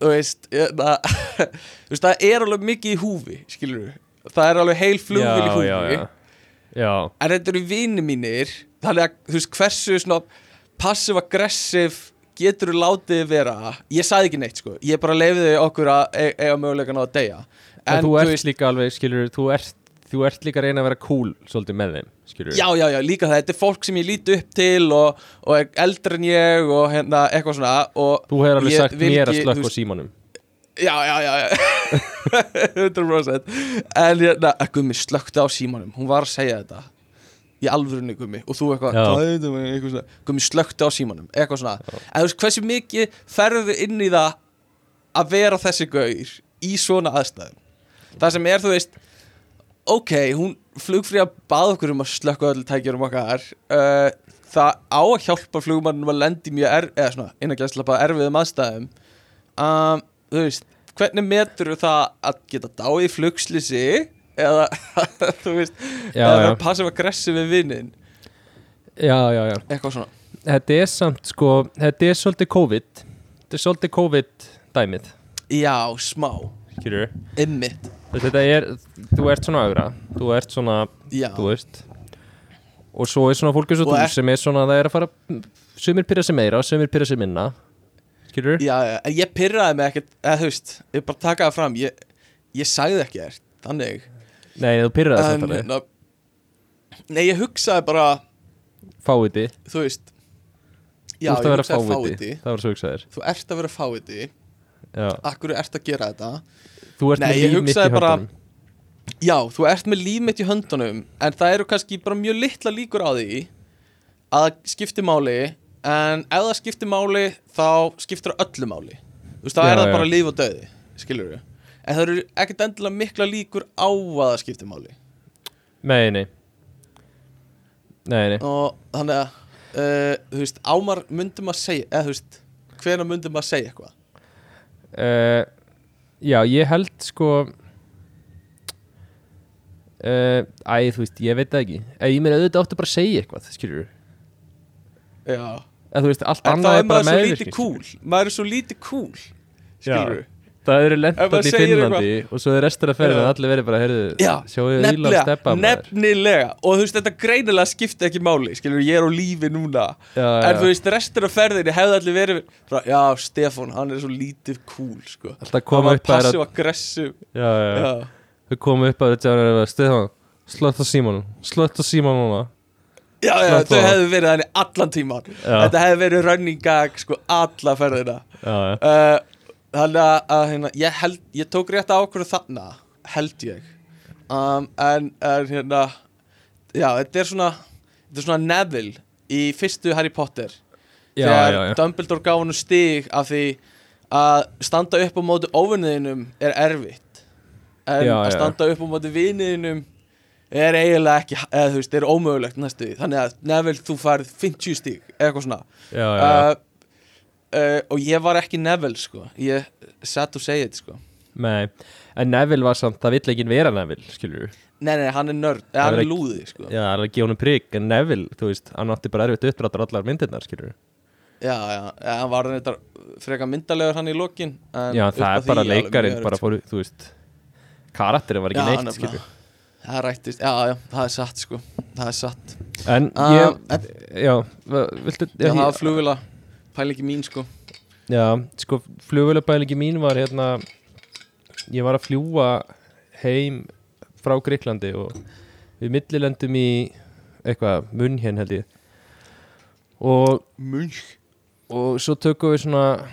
B: þú veist, hérna, þú veist það er alveg mikið í húfi, skilur það er alveg heil flugvél í
A: Já,
B: húfi
A: já, já. Já,
B: en þetta eru vini mínir þannig að þú veist hversu svona passive-aggressive getur þú látið þig vera ég sagði ekki neitt sko, ég bara leifiði okkur að e eiga möguleikan á að deyja
A: en, þú ert líka alveg, skilur, þú ert, þú ert líka að reyna að vera cool svolítið með þeim, skilur
B: Já, já, já, líka það, þetta er fólk sem ég líti upp til og, og er eldri en ég og hérna, eitthvað svona og
A: Þú hefur alveg
B: ég
A: sagt
B: vil
A: mér að
B: ekki, þú
A: slökk á
B: veist-
A: símanum
B: Já, já, já, já 100% En hérna, að Gummi slökkti á símanum Hún var að segja þetta Í alvörunni Gummi Og þú eitthvað,
A: Já.
B: "Hvað er þetta, maður?" eitthvað svona, Gummi slökkti á símanum Eitthvað svona En þú veist hversu mikið ferðu inn í það Að vera þessi gaur Í svona aðstæðum Það sem er, þú veist Ok, hún flugfríða bað okkur um að slökka öll tækjurum okkar uh, Það á að hjálpa flugmannum að lendi mjög er, eða svona, innangjæsla bara erfiðum aðstæðum um, þú veist, hvernig metur það að geta dáið í flugslýsi eða, þú veist
A: Já,
B: eða
A: já.
B: vera passive aggressive við vinnin
A: Já, já, já
B: eitthvað svona
A: Þetta er samt, sko, þetta er svolítið COVID þetta er svolítið COVID dæmið,
B: já, smá,
A: skilur
B: ymmit
A: þetta er, þú ert svona augra þú ert svona,
B: já,
A: þú veist og svo er svona fólk eins og
B: Og
A: þú
B: er-
A: sem er svona, það er að fara sumir pyrra sig meira, sumir pyrra sig minna skilur
B: já, já, en ég pyrraði mig ekkert eða þú veist, ég bara taka það fram ég, ég sagði ekki þér, þannig
A: nei, þú pyrraði
B: En,
A: þetta alveg,
B: hérna, nei, ég hugsaði bara
A: fáiði
B: þú veist
A: þú ert
B: ég
A: að vera
B: hugsaði
A: fáiði, það var svo hugsaðir
B: þú ert að vera fáiði
A: já.
B: akkur ert að gera þetta
A: þú ert
B: Nei,
A: með
B: ég
A: líf mitt í
B: hugsaði bara-
A: höndunum
B: Já, þú ert með líf mitt í höndunum En það eru kannski bara mjög litla líkur á því Að það skipti máli En ef það skipti máli Þá skiptir það öllu máli Þú veist, þá
A: Já,
B: er það
A: já.
B: bara líf og döði Skilur við En það eru ekkert endilega mikla líkur á að það skipti máli
A: nei, nei nei, nei,
B: Og þannig að uh, Þú veist, ámar myndum að segja Eða þú veist, hvenær myndum að segja eitthvað
A: uh, já, ég held sko uh, æ, þú veist, ég veit það ekki Eh, ég meina auðvitað áttu bara að segja eitthvað, skilur
B: Já
A: eða þú veist, allt
B: En þá
A: annað
B: er
A: er bara
B: maður svo lítið
A: meðvirkning
B: kúl Maður er svo lítið kúl Skilur við
A: það eru
B: Ef maður
A: lendan í
B: segir
A: Finnlandi og svo er restur að ferða
B: Já.
A: að allir verið bara, heyrðu,
B: Já,
A: sjáu íla að steppa maður.
B: nefnilega og þú veist þetta greinilega skipti ekki máli skilur ég er á lífi núna
A: Já,
B: en þú
A: já,
B: veist restur af ferðinni hefði allir verið frá, já Stefán hann er svo lítið cool sko
A: alltaf koma upp að
B: passiv aggressiv
A: já, já, já.
B: já.
A: þau koma upp að þetta Stefán, slött á símanum slött á símanum núna.
B: Já, já,
A: Slappa
B: þau
A: af.
B: hefðu verið þannig allan tíman
A: Já.
B: þetta hefði verið running gag sko alla ferðina
A: já, já,
B: uh, þannig að, að hérna, ég, held, ég tók rétt ákvörðu þarna held ég um, en, en hérna já, þetta er svona þetta er svona Neville í fyrstu Harry Potter
A: já,
B: þegar
A: já, já.
B: Dumbledore gaf hann stig af því að standa upp á móti óvinniðinum er erfitt en
A: Já,
B: að
A: já.
B: standa upp á móti vinniðinum er eiginlega ekki, eða þú veist, er ómögulegt næstu því, þannig að Neville þú færð 50 stig, eða eitthvað svona
A: já, já, já.
B: uh, uh, og ég var ekki Neville sko ég satt og segið þetta sko
A: Nei, en Neville var samt, það vill ekki vera Neville, skilur við
B: nei nei hann er nörd, eh,
A: Það er
B: hann er
A: ekki-
B: lúði sko já
A: Já, það er að gefa honum prigg, en Neville, þú veist, hann átti bara erfitt uppdráttar allar myndirnar, skilur við
B: já, eh, hann var þetta freka myndalegur hann í lokin en
A: Já,
B: upp
A: það
B: að
A: er bara
B: því alveg
A: leikarinn,
B: mjög
A: bara
B: erfitt,
A: fóru, þú veist Karakterinn var
B: Já,
A: ekki neitt,
B: nefnilega.
A: skilur við
B: sko. það rættist, já já, það er satt sko það er satt
A: En
B: Ah,
A: ég,
B: en-
A: já, va- viltu
B: já, það var
A: ég-
B: flugvila pælingi mín sko
A: Já, sko, flugvölabælingi mín var hérna Ég var að fljúa heim frá Greiklandi og við millilendum í eitthvað, munn hérna held ég og
B: munch
A: og svo tökum við svona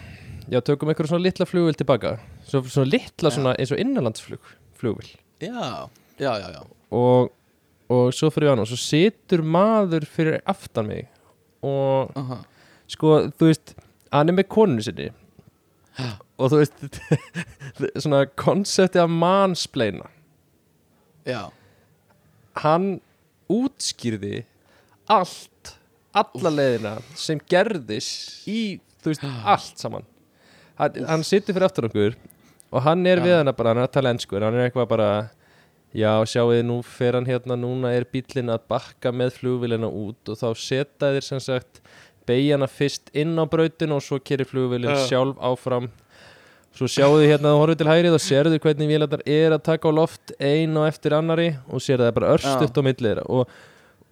A: já, tökum einhverjum svona litla flugvél tilbaka svo, svona litla
B: Já.
A: svona eins og innanlandsflug flugvél
B: já, já, já, já
A: og, og svo fyrir við hann og svo situr maður fyrir aftan mig og
B: Aha.
A: sko, þú veist hann er með konu sinni
B: Já.
A: og þú veist svona konsepti af manspleina
B: já,
A: hann útskýrði allt, alla leiðina sem gerðis í, þú veist, allt saman hann, hann situr fyrir aftur okkur og hann er
B: Já.
A: við hana bara, hann er að tala ennsku hann er eitthvað bara, já sjáuði nú fer hann hérna, núna er bíllinn að bakka með flugvélina út og þá seta þér sem sagt beigjana fyrst inn á brautin og svo kerir flugvélin
B: Já.
A: sjálf áfram Svo sjáðu hérna þú horfið til hægrið og sérðu hvernig vélarnar er að taka á loft ein og eftir annari og sérðu það er bara örstutt á milli þeirra og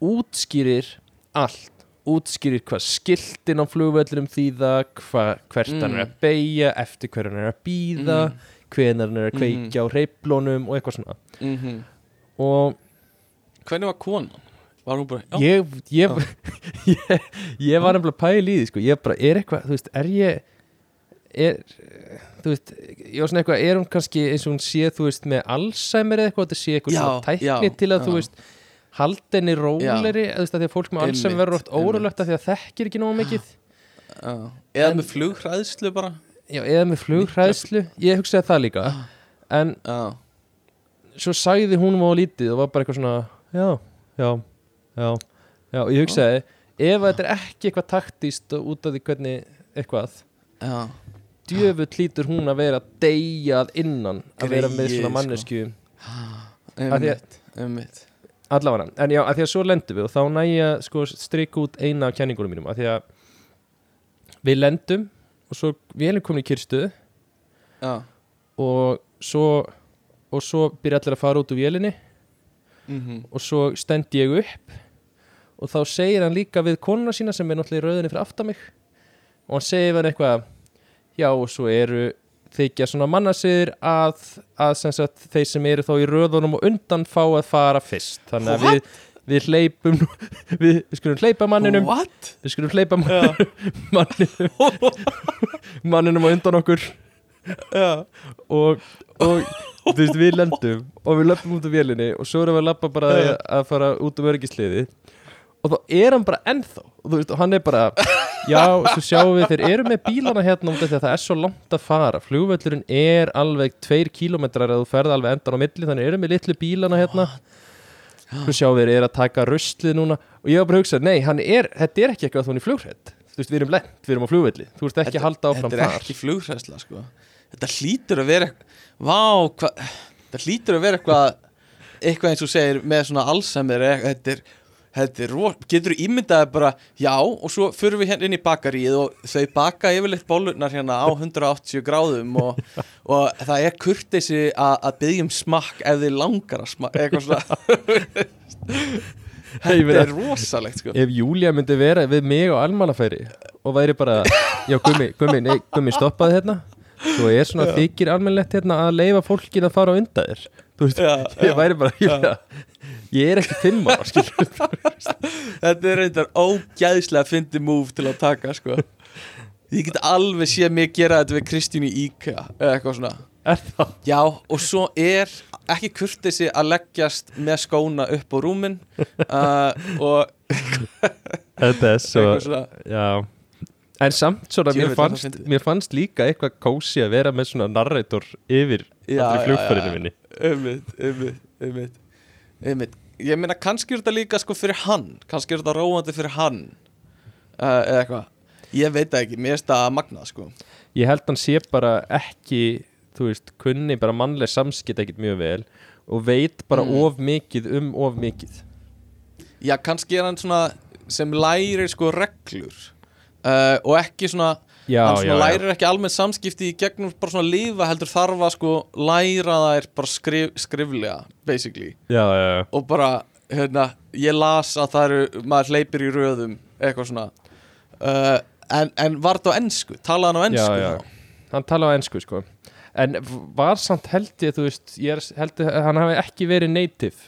A: útskýrir allt útskýrir hvað skiltin á flugvellurum þýða hva, hvert hann er að beigja eftir hver hann er að býða mm. hvenar hann er að kveikja á reyplónum og eitthvað svona
B: mhm
A: og
B: hvernig var konan? var hún bara, já,
A: ég, ég, ég, ég var nefnilega pæl í því sko. ég bara, er eitthvað, þú veist, er ég er, þú veist ég var svona eitthvað, er hún kannski eins og hún sé þú veist, með Alzheimer eða eitthvað þetta sé eitthvað
B: Já,
A: svona
B: já,
A: tækni til að
B: já.
A: þú veist haldinni róleri, þú veist, að því að fólk með
B: Einmitt,
A: Alzheimer verður oft
B: einmitt.
A: órólegt að því að þekkir ekki nóg mikið
B: já. eða
A: En-
B: með flughræðslu bara
A: já, eða með flughræðslu, ég hugsaði það líka
B: Ah.
A: en
B: já,
A: svo sagði hún mjög lítið og var bara eitthvað svona já, já, já, já og ég hugsaði, ef þetta er ekki eitthvað taktíst og út af því hvernig eitthvað,
B: já,
A: djöfull lítur hún að vera deyjað innan að vera með
B: Greyið,
A: svona
B: sko.
A: mannesku
B: Ah,
A: Af því að-
B: ummitt ummitt,
A: allavega, en já, að því að svo lendum við og þá næja sko strikk út eina af kenningunum mínum, að því að við lendum og svo vélum komin í kyrstu
B: já,
A: og svo og svo byrja allir að fara út úr vélinni
B: mhm,
A: og svo stend ég upp og þá segir hann líka við konuna sína sem er náttúrulega í rauðinni fyrir aftan mig og hann segir verið eitthvað já og svo eru þykja svona mannasiðir að, að sem sagt, þeir sem eru þá í röðunum og undan fá að fara fyrst þannig að
B: What?
A: við, við hleypum við, við skulum hleypa manninum
B: What?
A: við skulum hleypa manninum manninum, manninum á undan okkur
B: Já,
A: og, og þú veist, við lendum og við löpum út af vélinni og svo erum við að lappa bara að, að fara út um örgisliði og þá er hann bara ennþá og þú veist, og hann er bara já, svo sjáum við, þeir eru með bílana hérna út af því að það er svo langt að fara flugvöllurinn er alveg tveir kílómetrar að þú ferð alveg endan á milli, þannig eru með litlu bílana hérna svo sjáum við, er að taka ruslið núna og ég var bara að hugsa, nei, hann er, þetta er ekki eitthvað að þú hann í flughrætt þú veist, við erum lent, við erum á flugvelli þú veist ekki að halda áfram
B: þetta er
A: þar
B: ekki flugræsla sko. þetta hlýtur að vera vá, hva... þetta hlýtur að vera eitthvað eitthvað eins og þú segir með svona Alzheimer eða eitthvað, þetta er Þetta er ró, getur þú ímyndaði bara já og svo förum við hérna inn í bakaríið og þau baka yfirleitt bólurnar hérna á 180 gráðum og, og það er kurteisi að, að byggja um smakk ef þið langar að smakka eitthvað svona
A: Ég meina-
B: Þetta er rosalegt sko
A: ef Júlia myndi vera við mig á almannafæri og væri bara, já gummi, gummi, nei, gummi stoppaði hérna svo er svona þykir almennlegt hérna að leifa fólkin að fara á undan þér þú veist,
B: Já, já.
A: ég væri bara Júlia, ég er ekki fimm ára skilur.
B: Þetta er reyndar ógæðslega fyndi múf til að taka sko Ég get alveg séð mig gera þetta við Kristínu Íka eða eitthvað svona
A: er það
B: Já, og svo er ekki kurtesi að leggjast með skóna upp á rúmin uh, og
A: þetta er svo,
B: eitthvað svona
A: já en samt svona,
B: Djöfull,
A: mér
B: er það
A: fannst,
B: fyndið.
A: mér fannst líka eitthvað kósi að vera með svona narrator yfir allri
B: Já, já, já,
A: flugfærinu
B: já.
A: minni
B: Ummitt, ummitt, ummitt Ummitt, ég meina kannski er þetta líka sko fyrir hann Kannski er þetta róandi fyrir hann uh, eða eitthvað Ég veit það ekki, mér finnst það magnað sko
A: ég held hann sé bara ekki þú veist, kunni bara mannleg samskipt ekkit mjög vel og veit bara
B: Mm.
A: of mikið um of mikið
B: Já, kannski er hann svona sem lærir sko reglur uh, og ekki svona
A: já,
B: hann
A: já,
B: svona
A: já.
B: lærir ekki almenn samskipti í gegnum bara svona lífa heldur þarf að sko læra þær bara skrif, skriflega basically
A: Já, já, já.
B: og bara hérna ég las að það eru maður hleypir í röðum eitthvað svona uh, en, en var þetta á ensku? Talaði hann á ensku
A: Já, já.
B: þá?
A: hann talaði á ensku sko en var samt held ég þú veist, ég er, held að hann hafi ekki verið native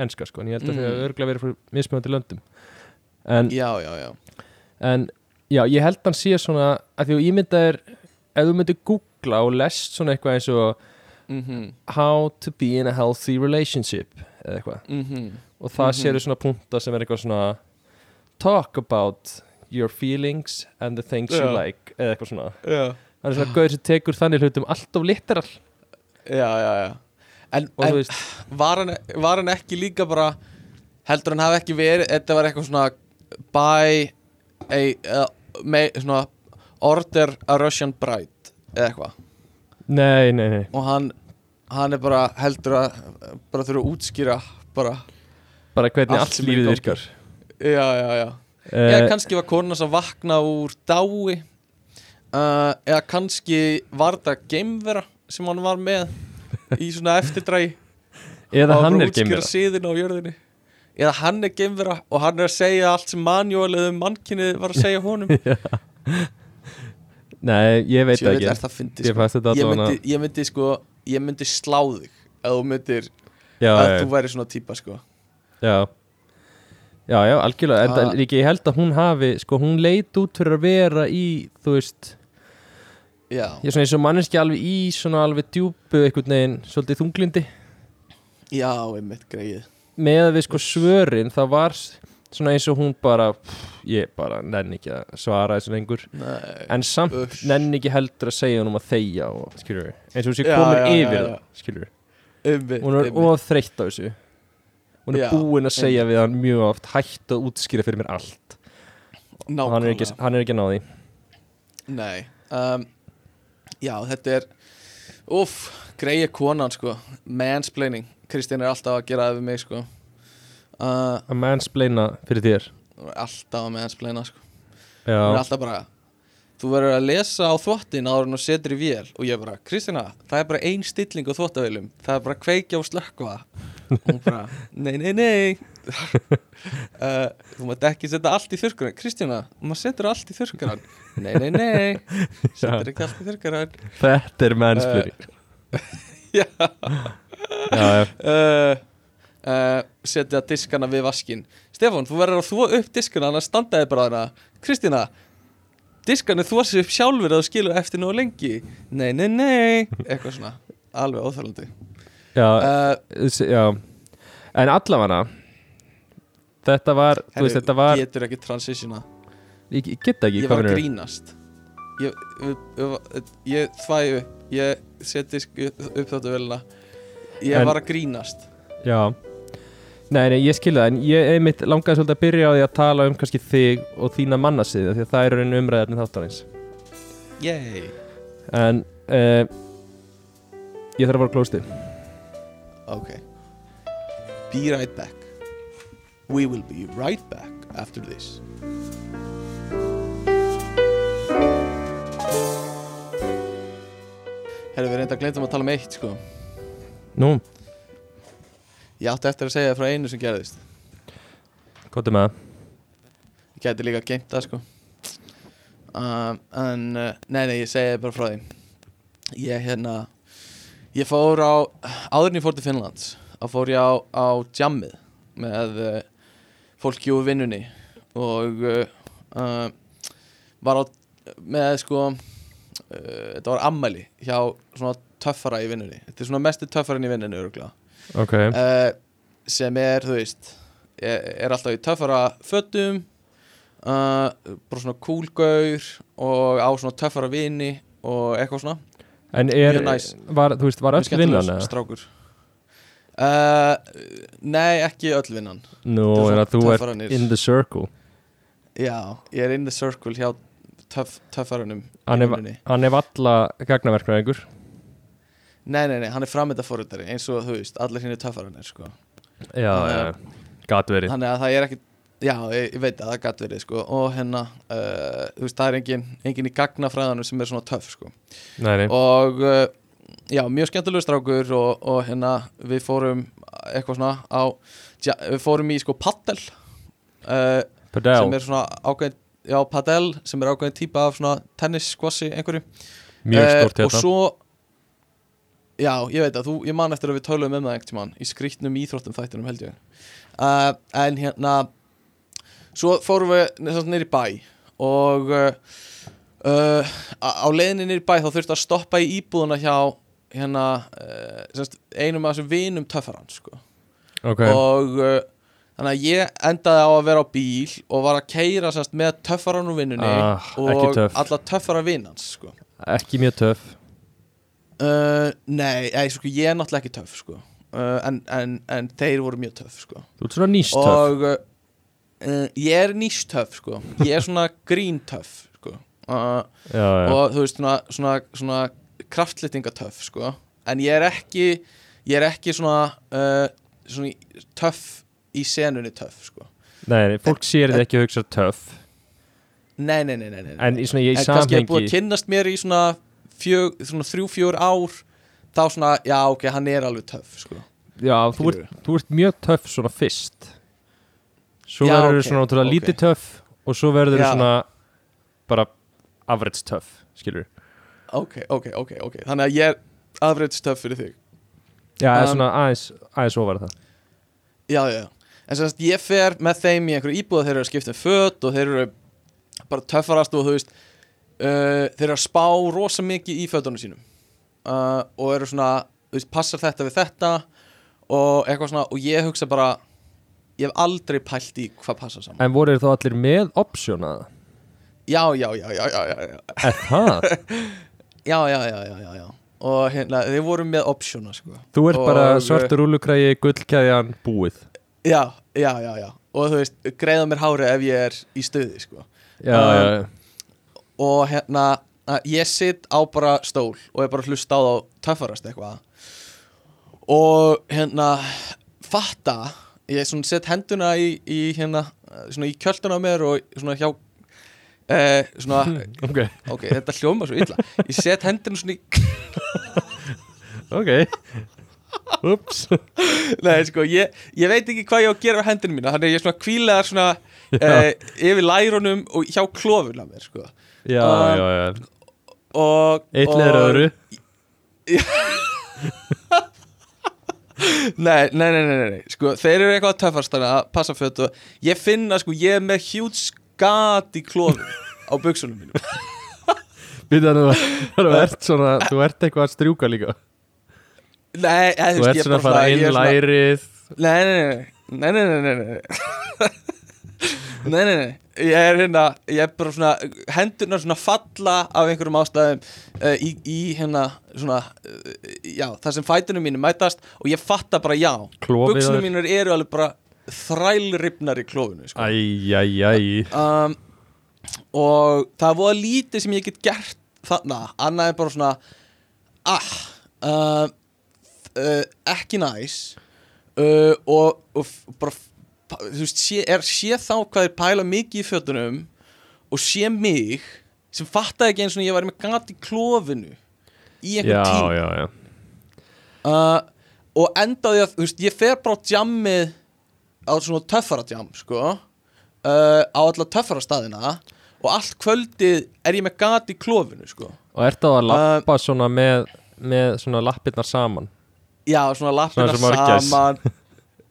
A: enska sko en ég held að
B: Mm.
A: það hafi örgulega verið frá mismunandi löndum en,
B: Já, já, já
A: en já, ég held hann sé svona að því að ég mynda er ef þú myndir googla og lest svona eitthvað eins og
B: mm -hmm,
A: how to be in a healthy relationship eða eitthvað og það mm
B: Mhm.
A: séru svona punta sem er eitthvað svona talk about your feelings and the things you
B: Já.
A: like eða eitthvað svona
B: Já,
A: hann er svona gauður sem tekur þannig hlutum alltof litteral
B: já, já, já. En,
A: og
B: en
A: þú veist,
B: var hann, var hann ekki líka bara heldur hann hafi ekki verið þetta var eitthvað svona by a, uh, may, svona order a Russian bride eða eitthvað
A: nei, nei, nei
B: og hann, hann er bara heldur að bara þurfa að útskýra bara
A: bara hvernig
B: Allt
A: allt,
B: sem er í
A: lífið
B: gangi.
A: virkar
B: já já já eða
A: uh,
B: kannski var konan sem vakna úr dái uh, eða kannski var þetta geimvera sem hann var með í svona eftirdrægi
A: eða
B: Það var
A: hann er
B: bara að útskýra
A: geimur
B: síðina á jörðinni eða hann er geimvera og hann er að segja allt sem manjólið um mannkynið var að segja honum
A: nei, ég veit
B: Ég
A: það
B: veit
A: ekki
B: að það fyndi
A: ég
B: sko.
A: fannst þetta
B: ég,
A: allavega
B: myndi, ég myndi sko ég myndi slá þig ef þú myndir
A: já,
B: að
A: já,
B: þú væri svona típa sko
A: já já, já, algjörlega en
B: Ah.
A: það- líka ég held að hún hafi sko, hún leit út fyrir að vera í þú veist,
B: já,
A: ég er svona eins og manneski alveg í svona alveg djúpu einhvern veginn svolítið þunglindi
B: já, einmitt greið
A: með við sko svörin það var s- svona eins og hún bara pff, ég bara nenni ekki að svara þessu lengur
B: Nei.
A: en samt
B: Uss.
A: nenni ekki heldur að segja hún um að þegja og skilur við eins og hún sé
B: Já,
A: komin
B: já, já,
A: yfir
B: já.
A: það skilur við
B: einmitt,
A: hún er
B: einmitt.
A: of þreytt á þessu hún er
B: Já,
A: búin að segja við hann mjög oft hætt að útskýra fyrir mér allt og hann er ekki,
B: Nákvæmlega.
A: hann er ekki að ná því
B: Nei um, Já, þetta er Úff, greiði konan sko Mansplaining, Kristín er alltaf að gera það við mig sko uh,
A: að mansplaina fyrir þér
B: Alltaf að mansplaina sko
A: já,
B: Hún er alltaf bara þú verður að lesa á þvottin áður en þú setur í vél og ég bara, Kristina, það er bara ein stilling á þvottavélum, það er bara kveikja og slökva og hún bara, nei, nei, nei uh, þú mátt ekki setja allt í þurrkaran Kristina, maður setur allt í þurrkaran nei, nei, nei, setur ekki allt Eh. í þurrkaran
A: Þetta er mennspyrir
B: já
A: Já, já,
B: uh, uh, setja diskana við vaskin Stefán, þú verður að þvo upp diskana annars standaði bara þarna Kristína, diskanu þvo sig upp sjálfur að þú skilur eftir nóg lengi Nei, nei, nei, eitthvað svona alveg óþælandi
A: já,
B: uh,
A: s- já. En allavega Þetta var, þú veist, þetta var
B: Getur ekki transitiona
A: Ég ég get það ekki, hvað
B: Ég var að
A: finnur
B: grínast Ég, ég, ég, ég þvæði upp Ég set disk upp þáttu velina Ég
A: En-
B: var að grínast
A: Já Nei, nei, ég skilja það, en ég einmitt langaði svolítið að byrja á því að tala um kannski þig og þína mannasiði því að það eru einu umræðarnir þáttarins
B: Yay
A: En uh, ég þarf að fara á klósti
B: Okay. Be right back. We will be right back after this. Herru, við reynda að glemta um að tala um eitt, sko.
A: Nú,
B: Ég átti eftir að segja það frá einu sem gerðist.
A: hvað er með það?
B: Ég gæti líka að geimt það, sko. Um, en, uh, nei, nei, ég segi bara frá því. Ég, hérna, ég fór á, áður en ég fór til Finnlands, þá fór ég á, á jammið með uh, fólki úr vinnunni og uh, uh, var á með sko uh, þetta var ammæli hjá svona töffara í vinnunni þetta er svona mestu töffarinn í vinnunni öruglega
A: Ok,
B: uh, sem er, þú veist er, er alltaf í töffara fötum uh, bara svona kúlgaur og á svona töffara vini og eitthvað svona
A: en er,
B: mjög næs.
A: var, þú veist, var öll
B: Mjög skemmtilegur
A: vinnan eða?
B: strákur uh, nei, ekki öll vinnan
A: Nú,
B: Þetta
A: er
B: er
A: að þú
B: svona
A: ert
B: töffaranir.
A: in the circle
B: já, ég er in the circle hjá töff, töffarunum í
A: Hann er,
B: vinnunni.
A: hann er valla gagnaverknaðingur
B: nei, nei, nei, hann er framöndaforutari eins og þú veist, allir hinn er töffarunir sko.
A: Já, já,
B: Eh. Hann er-
A: já gat verið
B: þannig að það er ekki já, ég, ég veit að það gæti verið sko. og hérna, uh, þú veist, það er engin engin í gagnafræðanum sem er svona töff sko.
A: Nei, nei,
B: og uh, já, mjög skemmtilegur strákur og, og hérna, við fórum eitthvað svona á, já, við fórum í sko paddel uh, sem
A: Padel,
B: er svona ákveðin já, padel, sem er ákveðin típa af svona tennis, squashi, einhverju
A: mjög
B: Eh,
A: stort
B: og
A: hérna
B: svo já, ég veit að þú, ég man eftir að við töluðum um það einhvern tímann í skrýtnum íþróttum þættinum held ég uh, en hérna svo fórum við nýri bæ og uh, uh, á á leiðinni nýri bæ þá þurfti að stoppa í íbúðuna hjá hérna uh, semst, einum af þessum vinum töffarann sko
A: Ok,
B: og uh, þannig að ég endaði á að vera á bíl og var að keira semst, með töffarann úr vinnunni
A: Ah, ekki
B: og
A: töff.
B: alla töffara vinnans sko.
A: ekki mjög töff
B: Uh, nei, ei, sko, ég er náttúrulega ekki töff sko. uh, en, en, en þeir voru mjög töff sko.
A: Þú ert svona nýst töff
B: Og uh, uh, ég er nýst töff sko. Ég er svona grín töff sko.
A: Eh.
B: uh,
A: Já, já
B: Og þú veist, svona, svona, svona kraftlitinga töff sko. En ég er ekki Ég er ekki svona, uh, svona í- töff í senunni töff sko.
A: Nei, nei, fólk sér þið ekki að hugsa töff
B: Nei, nei, nei, nei, nei.
A: En í svona ég
B: en
A: í
B: kannski er búið að
A: samhengi
B: kynnast mér í svona, fjög, svona þrjú, fjör ár Þá svona, já ok, hann er alveg töff sko.
A: Já, þú ert, þú ert mjög töff svona fyrst Svo
B: Já,
A: verður
B: ok,
A: þau svona náttúrulega
B: ok.
A: lítið töff Og svo verður þau
B: Já.
A: svona Bara average töff Skilur
B: ok, ok, ok, ok Þannig að ég er average töff fyrir þig
A: Já, um,
B: Um,
A: svona aðeins, aðeins ofar það
B: Já, já, já. en sem sagt ég fer með þeim í einhverju íbúð þeir eru að skipta um föt og þeir eru bara töffarast og þú veist uh, þeir eru að spá rosa mikið í fötunum sínum uh, og eru svona þú veist, passar þetta við þetta og eitthvað svona, og ég hugsa bara ég hef aldrei pælt í hvað passar saman
A: En voru þau þá allir með optionaða?
B: Já, já, já, já, já, já, já
A: Er það?
B: Já, já, já, já, já, já Og hérna, þeir voru með optiona, sko
A: þú ert bara
B: Og-
A: svartur úlukrægi Gullkæðjan búið
B: Já, já, já, já Og þú veist, greiða mér hári ef ég er í stuði, sko
A: Já,
B: Um,
A: já,
B: og hérna að ég sitt á bara stól og ég bara að hlusta á þá töffarast eitthvað og hérna fatta, ég svona sett henduna í, í hérna, svona í kjölduna á mér og svona hjá eh, svona,
A: ok,
B: ok, þetta hljóma svo illa ég set hendinu svona í
A: ok ups,
B: Nei, sko, ég, ég veit ekki hvað ég á að gera á hendinu mína þannig að ég svona kvílaðar svona eh, yfir lærunum og hjá klófun af mér, sko
A: já,
B: Um,
A: já, já
B: og,
A: eitt
B: og-
A: leður öðru
B: Nei, nei, nei, nei, nei, nei, sko, þeir eru eitthvað töffast þannig að passa fött og ég finna, sko, ég er með hjút skat í klófun á buksunum mínum
A: Býta, nú, þú ert svona, þú ert eitthvað að strjúka líka
B: Nei, eða,
A: Þú ert svona að fara inn lærið
B: Nei, nei, nei, nei, nei, nei, nei, nei Nei, nei, nei Ég er hérna, ég er bara svona Hendurnar svona falla af einhverjum ástæðum uh, í, í hérna svona, uh, já, þar sem fætunum mínu mætast og ég fatta bara já
A: Klofið á
B: Buksunum
A: þér.
B: mínur eru alveg bara þrælripnar í klófinu sko.
A: Æj, æj, æj
B: um, og það er voða lítið sem ég get gert þarna, annað er bara svona ah uh, uh, ekki næs uh, og, og f- bara f- pa- þú veist, sé, er, sé þá hvað þeir pæla mikið í fötunum og sé mig sem fattaði ekki eins og ég væri með gat í klófinu í
A: Já,
B: einhvern tíma
A: já, já
B: uh, og endaði að, þú veist, ég fer bara á djammið á svona töffara djam, sko uh, á alla töffara staðina og allt kvöldið er ég með gat í klófinu, sko
A: Og ert þá að lappa svona með, með svona lappirnar saman
B: já, svona lappina
A: Svona sem orgels.
B: saman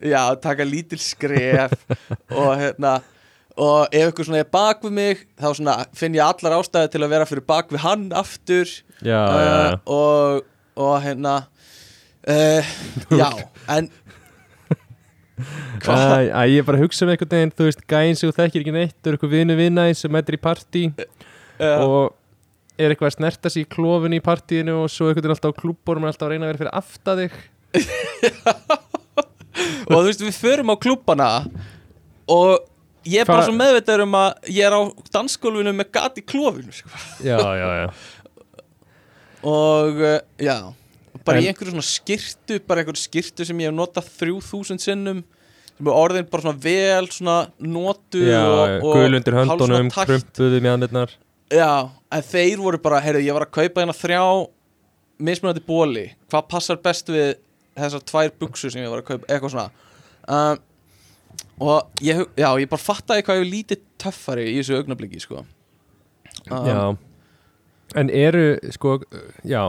B: já, taka lítil skref og hérna og ef ykkur svona er bak við mig þá svona finn ég allar ástæði til að vera fyrir bak við hann aftur
A: Já, já,
B: uh,
A: já
B: og, og hérna uh, já, en Hva?
A: Æ, æ, ég er bara að hugsa um einhvern veginn, þú veist, gæinn sem þú þekkir ekki neitt, þú er eitthvað vinu vinnaði sem mætir í partí
B: uh,
A: og er eitthvað að snerta sig í klófinu í partíinu og svo einhvern veginn alltaf á klúbborum er alltaf að reyna að vera fyrir afta þig
B: og þú veist við förum á klubbana og ég er bara
A: Hva-
B: svo meðvitaður um að ég er á dansgólfinu með gat í klófinu sko.
A: Já, já, já
B: og uh, já bara í
A: En-
B: einhverju svona skirtu bara einhverju skirtu sem ég hef notað 3000 sinnum sem er orðin bara svona vel svona notu
A: Já,
B: og, og
A: gul undir
B: hálf svona
A: höndunum,
B: tætt.
A: krumpuðu mjánirnar
B: já, en þeir voru bara, heyrðu, ég var að kaupa hérna þrjá mismunandi bóli hvað passar best við þessar tvær buksur sem ég var að kaupa, eitthvað svona um, og ég, hug- já, ég bara fattaði hvað ég er lítið töffari í þessu augnabliki, sko um,
A: Já En eru, sko, já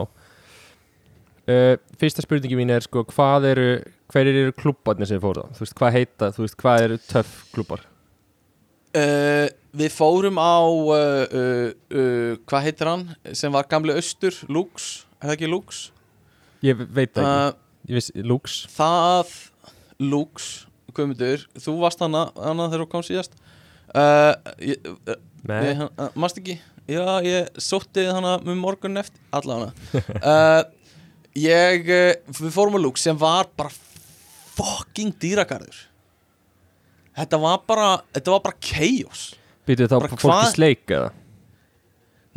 A: uh, Fyrsta spurningi mín er, sko, hvað eru hverjir eru klúbbarnir sem fóru þá? Þú veist, hvað heita, þú veist, hvað eru töff klúbbar?
B: uh, við fórum á uh, uh, uh, hvað heitir hann sem var gamli austur, Lux er það ekki Lux?
A: Ég veit það ekki,
B: Uh,
A: ég veist, Lux
B: það Lux, Guðmundur, þú varst hana, hana þegar þú kom síðast uh, ég, uh,
A: Nei,
B: Nei, mást ekki Já, ég sótti hana með morgun eftir Alla hana uh, Ég, uh, við fórum á Lux sem var bara fucking dýragarður Þetta var bara, þetta var bara chaos
A: býtu þá
B: bara
A: fólk í
B: hvað-
A: sleik eða?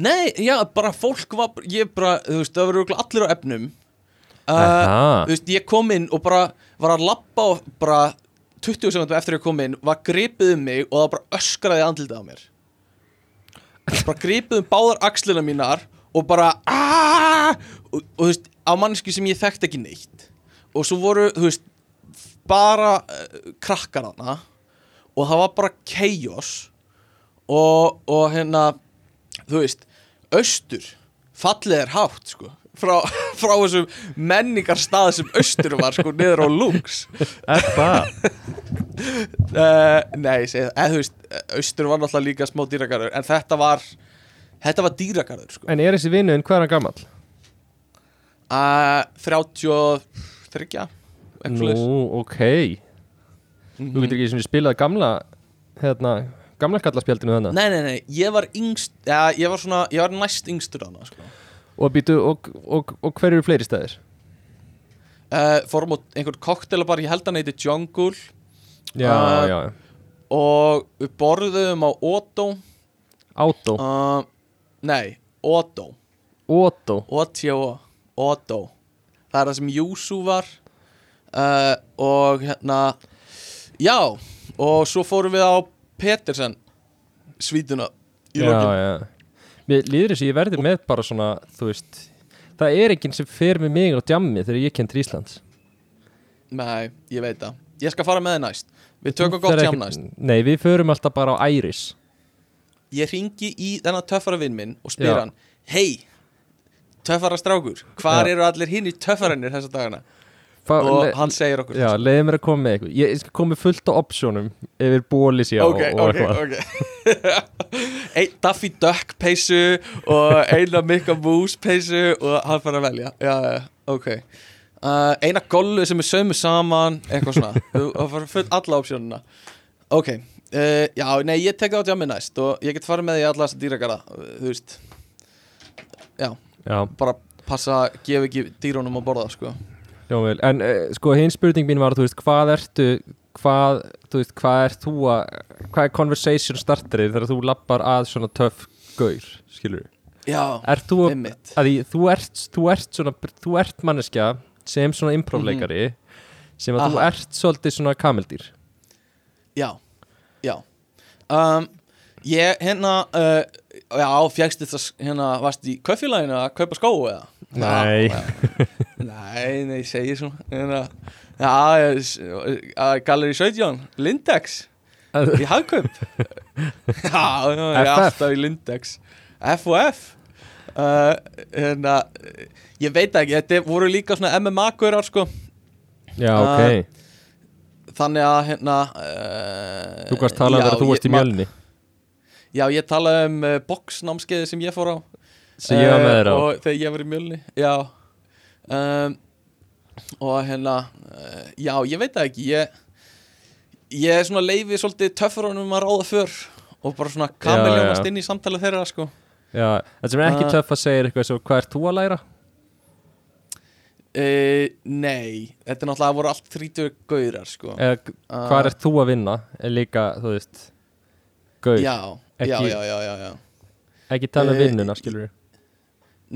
B: Nei, já, bara fólk var, ég bara, þú veist, það voru örugglega allir á efnum uh,
A: Aha,
B: Þú veist, ég kom inn og bara var að labba og bara 20 sekundum eftir að ég kom inn var gripið um mig og það bara öskraði í andlitið á mér bara gripið um báðar axlina mínar og bara "Ah!" og, og þú veist, á mannesku sem ég þekkt ekki neitt og svo voru, þú veist bara uh, krakkar hana og það var bara chaos og, og hérna þú veist, austur fallið er hátt sko frá, frá þessum menningar stað sem austur var sko niður á lúks
A: er það?
B: uh, nei, ég segi það, eða þú veist austur var náttúrulega líka smá dýragarður en þetta var, þetta var dýragarður sko
A: En er þessi vinnuðin, hvað er hann gamall?
B: uh, 33 eitthvað
A: Nú,
B: svoleiðis.
A: ok
B: Mhm.
A: Þú getur ekki svona spilað gamla hérna, gamla kallaspjaldinu þannig
B: nei, nei, nei, ég var yngst ja, ég var svona, ég var næst yngstur hana sko
A: Og býtu, og, og, og hver eru fleiri stæðir?
B: uh, fórum á einhvern koktelabar, ég held hann heiti Jungle
A: Já, já,
B: Ah.
A: já
B: og við borðum á Otto
A: Átó
B: Uh, nei, Otto
A: Otto
B: Otto Otto Það er það sem Júsú var uh, Og hérna Já, og svo fórum við á Petersen Svítuna í lokin
A: já, já. Mér líður þess að ég verði með bara svona, þú veist Það er enginn sem fer með mig á djammi þegar ég kendur Íslands
B: Nei, ég veit það Ég skal fara með þið næst Við tökum gott jam næst
A: Nei, við förum alltaf bara á Æris
B: Ég ringi í þennan töffara vinn minn og spyr
A: Já.
B: hann Hei, töffara strákur Hvar
A: Já.
B: eru allir hinn í töffarannir þessa dagana?
A: Fá-
B: Og
A: le-
B: hann segir okkur
A: Já, leiði mér að koma með eitthvað Ég skal koma með fullt á optionum yfir bólis já
B: ok,
A: og
B: ok, ok Ein, Daffy Duck peysu og eina Mikka Moose peysu og hann fara að velja já, já, ok uh, eina gollu sem er sömu saman eitthvað svona, þú þú fara full alla opsjónuna ok, uh, já, nei, ég tek það á tjámið næst og ég get farið með því í alla þessa dýragarða, uh, þú veist já,
A: Já,
B: bara passa að gefa ekki dýrunum að borða, sko
A: Jómil, en uh, sko hinn spurning mín var, þú veist, hvað ertu hvað, þú veist, hvað ert þú að hvað er conversation starterið þegar þú lappar að svona töff gaur skilur við,
B: já,
A: ert þú að,
B: einmitt
A: að því, þú ert, þú ert svona, þú ert manneskja sem svona improvleikari sem að þú
B: Aha.
A: ert svolítið svona kamildýr
B: Já, já um, Ég hérna uh, Já, fjækst þetta hérna Varst í kaufélaginu að kaupa skó eða?
A: Nei.
B: Já, já. Nei, nei, ég segi svona hérna, Já, ég s- að Gallery 17 Lindex Í hagkaup Já, já, ég er
A: FF.
B: alltaf í Lindex F og F uh, hérna, Ég veit það ekki Þetta voru líka svona MMA-kurar sko
A: Já,
B: Ah,
A: ok,
B: Þannig að hérna uh,
A: þú kannast talað um
B: já,
A: þegar þú
B: ég-
A: varst í
B: ma-
A: mjölni
B: Já, ég talaði um uh, boksnámskeiði sem ég fór á
A: sem ég var með
B: Eh,
A: þér á
B: Og þegar ég var í mjölni, já um, Og hérna, uh, já, ég veit það ekki Ég, ég er svona leifi svolítið töffurunum að ráða för Og bara svona kameljónast
A: já.
B: inn í samtalið þeirra, sko
A: Já, það sem er ekki
B: Ah.
A: töff að segja er eitthvað sem hvað ert þú að læra?
B: uh, Nei, þetta er náttúrulega voru allt 30 gaurar, sko
A: Eða hvað ert þú að vinna? Er líka, þú veist gaur,
B: Já, já,
A: Ekki-
B: já, já, já, já
A: ekki tala um
B: Eh,
A: vinnuna, skilur við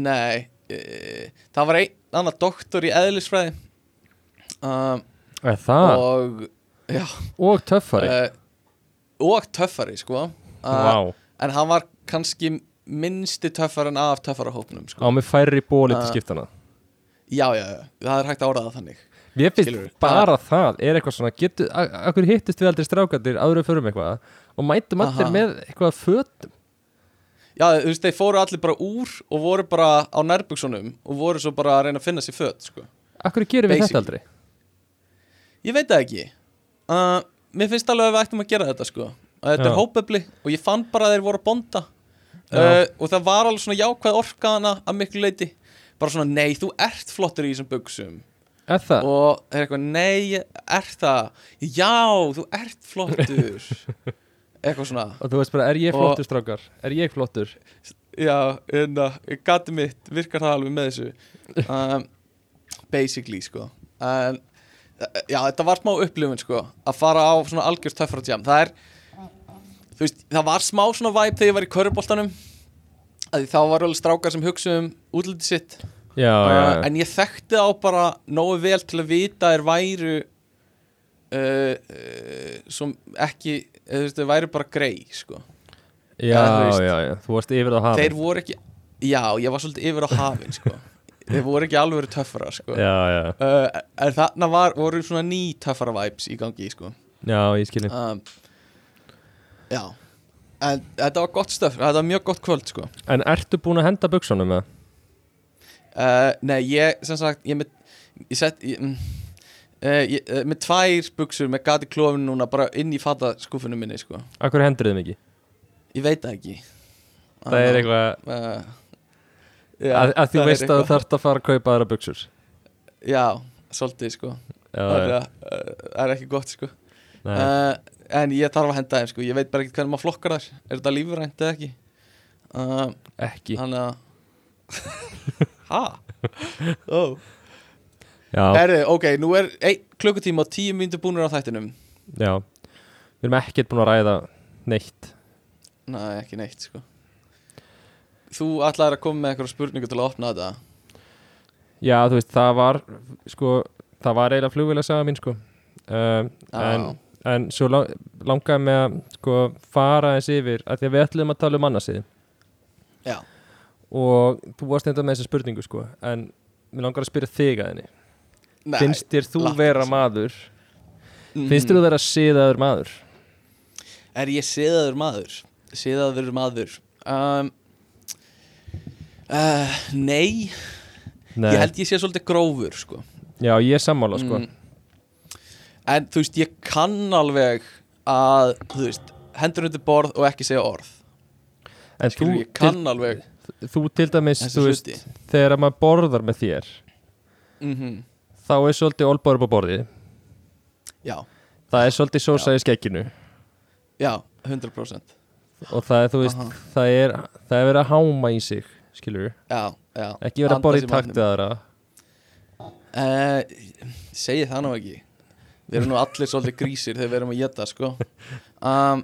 B: Nei, uh, það var einn annar doktor í eðlisfræði um,
A: Er það?
B: Og, já
A: Og, töffari?
B: Eh, og töffari sko uh,
A: Vá,
B: en hann var kannski minnsti töffarinn af töffarahópnum sko.
A: á mig færri bóli til
B: Ah.
A: skiptana
B: já, já, já, það er hægt að orða það þannig
A: Ég
B: Skilurðu?
A: finnst bara það, er eitthvað svona getu, a- Akkur hittist við aldrei strákandir áður að förum eitthvað Og mætum allir
B: Aha.
A: með eitthvað fötum
B: já, þú veist, þeir fóru allir bara úr og voru bara á nærbuksunum og voru svo bara að reyna að finna sér fött sko.
A: Akkur gerum við þetta aldrei
B: Basically. ég veit það ekki uh, mér finnst alveg að við ættum að gera þetta sko. að þetta
A: Já.
B: er hópefli og ég fann bara að þeir voru að bonda
A: Já.
B: uh, og það var alveg svona jákvæð orkaðana að miklu leiti bara svona, nei, þú ert flottur í þessum buksum
A: Er það?
B: og það er eitthvað, nei, ég er það já, þú ert flottur eitthvað svona
A: Og þú veist bara, er ég
B: Og-
A: flottur strákar? Er ég flottur?
B: já, hérna, gati mitt virkar það alveg með þessu um, basically, sko um, já, þetta var smá upplifun, sko að fara á svona algjörst töffara jam það er, þú veist, það var smá svona vibe þegar ég var í köruboltanum að því þá var alveg strákar sem hugsa um útlitið sitt
A: Já,
B: uh,
A: já,
B: en ég þekkti þá bara nógu vel til að vita að þeir væru uh, uh, sem ekki eða þú veist, þeir væru bara grei sko.
A: já,
B: eða þú
A: já,
B: veist.
A: já, já Þú varst yfir það
B: þeir
A: hafið
B: voru ekki já, ég var svolítið yfir á hafin sko. þeir voru ekki alveg töffara sko. uh,
A: Já, já,
B: en þarna var, voru svona ný töffara vibes í gangi sko.
A: já, ég skilin
B: um, já en þetta var gott stöf, þetta var mjög gott kvöld sko.
A: En ertu búin að henda buksunum með?
B: Uh, nei, ég, sem sagt, ég er með, ég sett, ég, mm, uh, ég, uh, með tvær buksur með gati klófinu núna bara inn í fataskúfinu minni, sko.
A: Akkur hendur þeim ekki?
B: Ég veit það ekki.
A: Það er eitthvað
B: Uh,
A: að, að því veist að þú þarft að fara að kaupa aðra buksur Já,
B: Já, svolítið, sko. Það
A: já,
B: er, uh, það er ekki gott, sko.
A: nei.
B: Uh, en ég þarf að henda þeim, sko. Ég veit bara ekki hvernig maður flokkar þær. Er þetta lífrænt eða ekki? Uh,
A: ekki
B: Þannig að... ha? Ó.
A: Já,
B: Herðu, ok, nú er ein, klukkutíma og tíu myndu búnir á þættinum
A: já Við erum ekkert búin að ræða neitt
B: Nei, ekki neitt, sko Þú ætlaðir að koma með eitthvað spurningu til að opna þetta
A: Já, þú veist, það var sko, það var eiginlega flugvélasaga mín sko um,
B: Já.
A: en en svo lang, langaði mig að sko, fara eins yfir að því að við ætlum að tala um annars yfir
B: Já.
A: og þú varst enda með þessa spurningu sko, en mér langar að spyrja þig að henni
B: Nei,
A: finnst þér þú
B: láttu
A: vera
B: þessu.
A: maður
B: mm,
A: finnst þér þú vera siðaður maður
B: Er ég siðaður maður? Siðaður maður um, uh, Nei,
A: Nei,
B: ég held ég sé svolítið grófur sko.
A: já ég er sammála sko.
B: Mm. En þú veist, ég kann alveg að, þú veist, hendur undir borð og ekki segja orð
A: en þú,
B: Skilur, ég kann alveg
A: til, þú til dæmis
B: þessi
A: þú veist,
B: hluti
A: þegar maður borðar með þér
B: mm
A: þá er svolítið olbár upp á borði
B: Já,
A: það er svolítið sósa í skekkinu
B: já, 100%
A: og það er, þú veist,
B: Aha.
A: það er það er verið að háma í sig, skilur
B: Já, já
A: ekki verið að borða í
B: Anda sig
A: takt við aðra
B: Eh, segi það nú ekki Við erum nú allir svolítið grísir þegar við erum að geta sko um,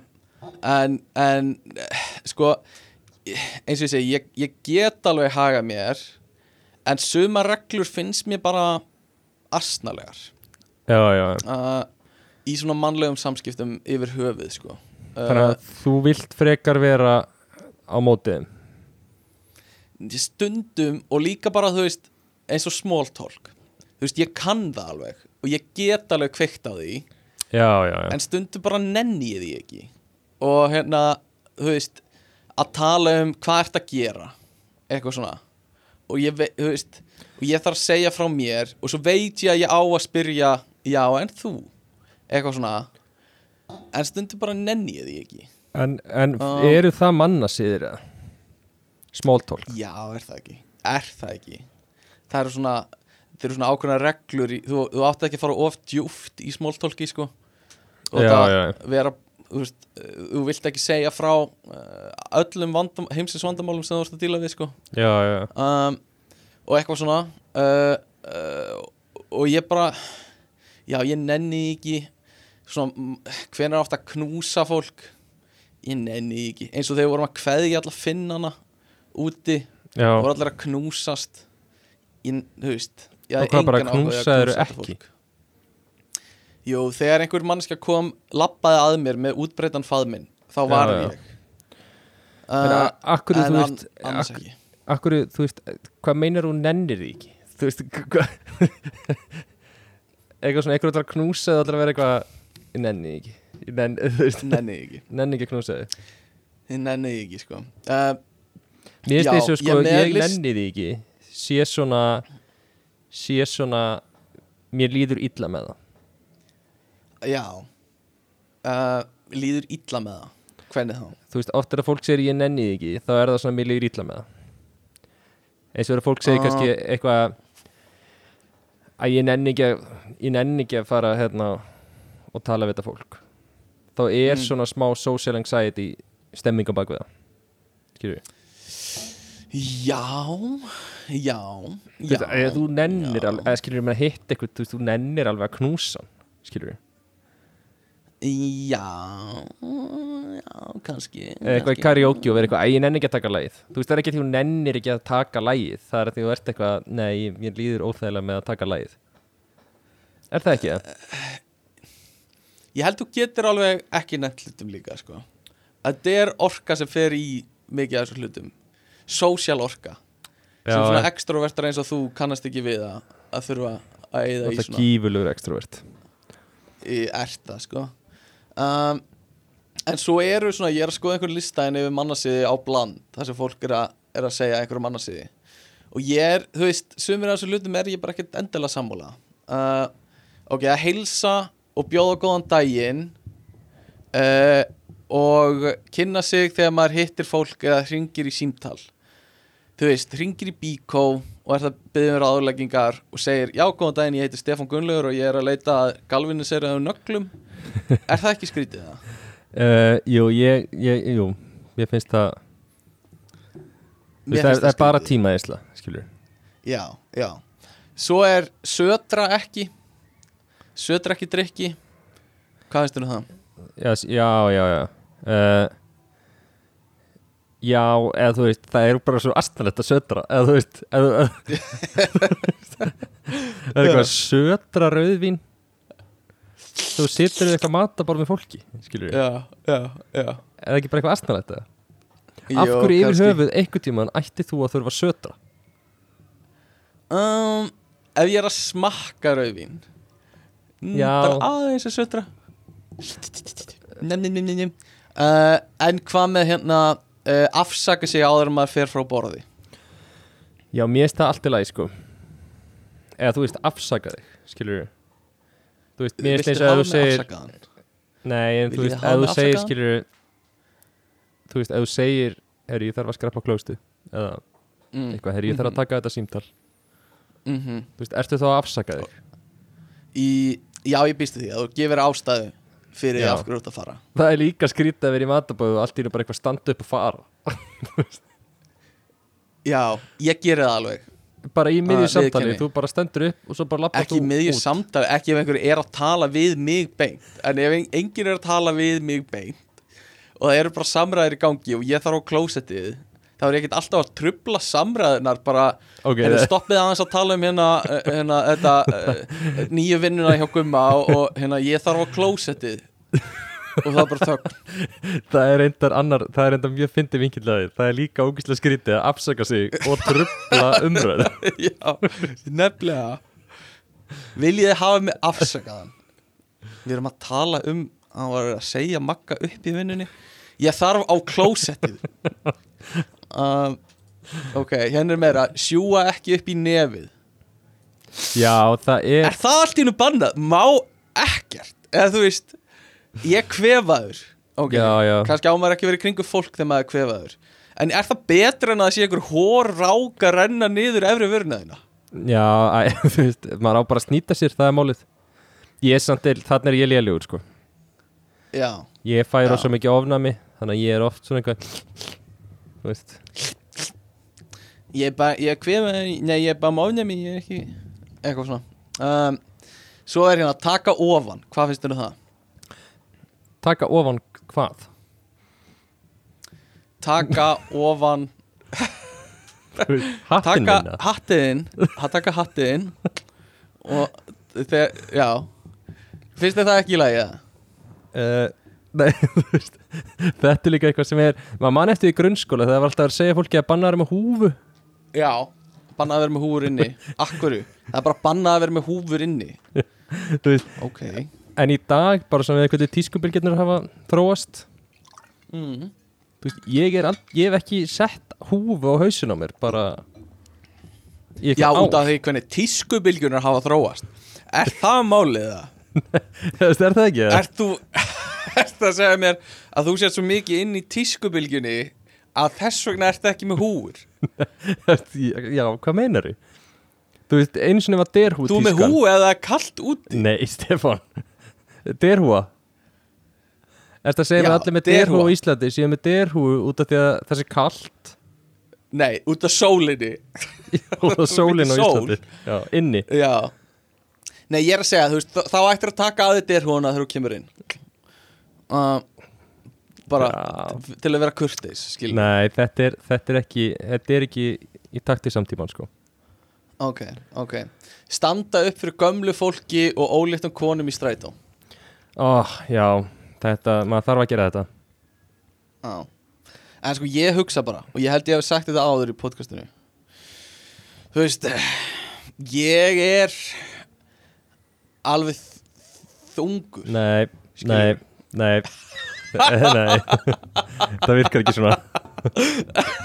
B: En, en eh, sko eins og ég segi, ég, ég get alveg haga mér en suma reglur finnst mér bara asnalegar
A: já, já,
B: uh, í svona mannlegum samskiptum yfir höfuð sko
A: þannig
B: uh,
A: að þú vilt frekar vera á mótið þeim.
B: stundum og líka bara þú veist eins og small talk þú veist, ég kann það alveg og ég get alveg kveikt á því
A: já, já, já,
B: en stundum bara nenni ég því ekki og hérna, þú veist að tala um hvað ert að gera eitthvað svona og ég, ve- þú veist, og ég þarf að segja frá mér og svo veit ég að ég á að spyrja já, en þú eitthvað svona en stundum bara nenni ég því ekki
A: en, en
B: Ah.
A: eru það manna síður eða? smóltólk
B: já, er það ekki, er það ekki það eru svona það eru svona ákveðna reglur í, þú, þú átti ekki að fara of djúft í smóltólki sko og
A: Já,
B: það
A: já, já.
B: vera þú, veist, eh, þú vilt ekki segja frá eh, öllum vandam, heimsins vandamálum sem þú ert að díla við sko
A: já, já,
B: um, og eitthvað svona uh, uh, og ég bara já, ég nenni því ekki svona, hvernig er ofta að knúsa fólk ég nenni því ekki eins og þegar við vorum að kveðja alla finnana úti
A: já
B: voru allir að knúsast ég, þú veist ég hafði
A: Og hvað, bara
B: engan áhuga á að
A: knúsaðirðu
B: knúsa þetta
A: ekki?
B: fólk. Jú, þegar einhver mannskja kom lappaði að mér með útbreytan faðminn þá
A: Já,
B: var
A: já.
B: ég
A: en
B: uh,
A: akkur
B: en
A: þú
B: an-
A: veist
B: annars
A: ak-
B: ekki
A: akkur þú veist, hvað meinar hún nennir því ekki þú veist, hvað eitthvað svona, eitthvað ætlar að knúsa það ætlar að vera eitthvað, ég nenni því ekki Ég nenni, þú veist,
B: nenni því ekki,
A: nenni ekki að knúsa þið
B: Ég nenni því ekki sko. uh,
A: Mér finnst
B: Já,
A: þessu sko,
B: ég
A: ég,
B: með list-
A: nenni því ekki sé svona sé svona mér líður illa með það
B: já uh, líður illa með það hvernig þá?
A: þú veist, oft er að fólk segir ég nenni því ekki þá er það svona mér líður illa með það eins og er að fólk segir
B: Ah.
A: kannski eitthvað að ég nenni ekki að ég nenni ekki að fara hérna og tala við þetta fólk þá er
B: Mm.
A: svona smá social anxiety stemming á bak við það skilju,
B: já, já,
A: þú,
B: já
A: veist, að þú nennir alveg, eða skilju, maður hitt eitthvað þú, veist, þú nennir alveg að knúsa hann, skilju
B: Já, já, kannski
A: Eða eitthvað í
B: kannski.
A: karaoke og verið eitthvað, æ, ég nenni ekki að taka lagið þú veist það er ekki því hún nennir ekki að taka lagið það er að því þú ert eitthvað, nei, ég líður óþægilega með að taka lagið er það ekki það?
B: Ég held þú getur alveg ekki nefnt hlutum líka sko. Þetta er orka sem fer í mikið af þessum hlutum Social orka
A: Já,
B: sem svona
A: já.
B: extrovertar eins og þú kannast ekki við að, að þurfa að
A: það
B: eyða í
A: er
B: svona
A: gífurlegur extrovert
B: í erta sko. um, En svo eru svona ég er að skoða einhvern listæðin yfir mannasiði á bland þar sem fólk er að, er að segja einhverjum mannasiði og ég er, þú veist, sumir af þessum hlutum er ég bara ekkert endilega sammála uh, ok, að heilsa og bjóða góðan daginn uh, og kynna sig þegar maður hittir fólk eða hringir í símtal þú veist, hringir í bíkó og er það byggðum ráðleggingar og segir, já, góðan daginn, ég heiti Stefán Gunnlaugur og ég er að leita að galvinni sér eða nöglum er það ekki skrítið það?
A: uh, Jú, ég, ég, jú ég finnst það þú veist, það, er- það er bara tíma eðisla skilur,
B: já, já. svo er södra ekki södra ekki drikki hvað veist þú um það?
A: já, s- já, já já uh, Já, eða þú veist, það er bara svo astanlegt að södra, eða þú veist eða, eða, það er eitthvað södra rauðvín þú situr við eitthvað matabor með fólki skilur við,
B: já, já, já
A: er það ekki bara eitthvað astnalætt eða? Af hverju yfir höfuð einhvern tíman ætti þú að þurfa að sötra?
B: um, Ef ég er að smakka rauðvín mm,
A: Já.
B: Bara aðeins að sötra Nem, nem, nem, nem, nem uh, En hvað með hérna uh, Afsaka sig áður en maður fer frá borði
A: Já, mér finnst það allt í lagi sko eða þú veist afsaka þig skilur við þú veist, mér finnst eins og ef þú segir
B: afsakaðan?
A: Nei, en þú
B: Viljið
A: veist,
B: þið hafa
A: ef þú
B: mig
A: segir
B: afsakaðan?
A: skilur þú veist, ef þú segir herri, ég þarf að skrappa klóstu eða
B: Mm,
A: eitthvað, herri, ég þarf að taka þetta símtal
B: mm
A: þú veist, ertu þá að afsaka þig?
B: í, Já, ég býstu því að þú gefur ástæðu Fyrir
A: Já.
B: af hverju þú ert að fara
A: Það er líka skrítið að vera í matabóðu og allt í nú bara eitthvað standa upp og fara
B: Já, ég gerir það alveg
A: bara í miðju
B: Ah,
A: samtali,
B: viðurkenni.
A: þú bara stendur upp og svo bara lappar
B: ekki
A: þú út
B: miðjur samtali, ekki ef einhver er að tala við mig beint, en ef en- enginn er að tala við mig beint og það eru bara samræðir í gangi og ég þarf á klósettið þá er ég ekkert alltaf að trubla samræðinar bara,
A: Ok,
B: en
A: það-
B: stoppið aðeins að tala um hérna, eh, hérna þetta, eh, nýju vinnuna hjá Gumma og, og hérna ég þarf á klósettið og það er bara þögn
A: það er reyndar annar, það er reyndar mjög fyndið vinkilaði það er líka ógíslega skrítið að afsaka sig og trubla umröð
B: Já, nefnilega Viljið þið hafa mig afsakaðan Við erum að tala um Hann var að segja Magga upp í vinnunni Ég þarf á klósettið um, Ok, hérna er meira Sjúa ekki upp í nefið
A: já, það er
B: Er það allt í nú bannað? Má ekkert Eða þú veist Ég er kvefaður Ok,
A: Já, já.
B: kannski á maður ekki verið í kringum fólk þegar maður er kvefaður En er það betra en að það sé einhver hór ráka renna niður efri vörnaðina?
A: já, æ, þú veist, maður á bara að snýta sér það er málið ég er samt, þannig er ég lélugur sko
B: Já
A: ég fæ
B: Já.
A: rosa mikið ofnami þannig að ég er oft svona eitthvað þú veist,
B: Ég er bara, ég er kvefið, nei ég er bara máfnemi, ég er ekki, eitthvað svona um, Svo er hérna, taka ofan, hvað finnst þér um það?
A: taka ofan hvað?
B: Taka ofan,
A: Þú veist, hattin
B: taka
A: minna
B: hattiðinn, ha- taka hattiðinn Og þegar, já, finnst þér það ekki í lagi eða?
A: uh, Nei, þú veist Þetta er líka eitthvað sem er maður mann eftir í grunnskóla þegar það var alltaf að segja fólki að banna þeir með húfu
B: Já, bannað að vera með húfur inni, akkurru, það er bara bannað að vera með húfur inni
A: Þú veist,
B: Ok
A: en í dag, bara svona við eitthvað tískumbylgjörnur hafa þróast
B: mm.
A: þú veist, ég, er all, ég hef ekki sett húfu á hausin á mér bara í
B: Já,
A: eitthvað
B: út
A: ár.
B: af því hvernig tískubilgjunar hafa þróast Er það málið það?
A: Þú veist, er það ekki? Er...
B: Ert þú Ert að segja mér að þú sér svo mikið inn í tískubilgjunni að þess vegna ert ekki með húur
A: Já, hvað meinar þú? Þú veist, einu sinni var derhú
B: Þú er með húu eða það er kallt út
A: Nei, Stefan Derhúa Ertu að segja
B: Já,
A: að allir með derhúa
B: derhúfa.
A: á Íslandi séu með derhúu út af því að það sé kallt
B: Nei, út af sólinni
A: og það er sólin á
B: Sól.
A: Íslandi Já, inni
B: Já Nei, ég er að segja, þú veist, þá- þá ættir að taka að þetta er húna þegar þú kemur inn uh, Bara
A: Já.
B: til að vera kurteis, skil
A: Nei, þetta er, þetta er ekki þetta er ekki í takti samtíman sko
B: Ok, ok Standa upp fyrir gömlu fólki og óléttum konum í strætó
A: Ó, já, þetta, maður þarf að gera þetta
B: Já En sko ég hugsa bara Og ég held ég hef sagt þetta áður í podcastinu Þú veist eh, Ég er Alveg þ- þungur
A: Nei, nei,
B: Skilur.
A: nei Nei, það virkar ekki svona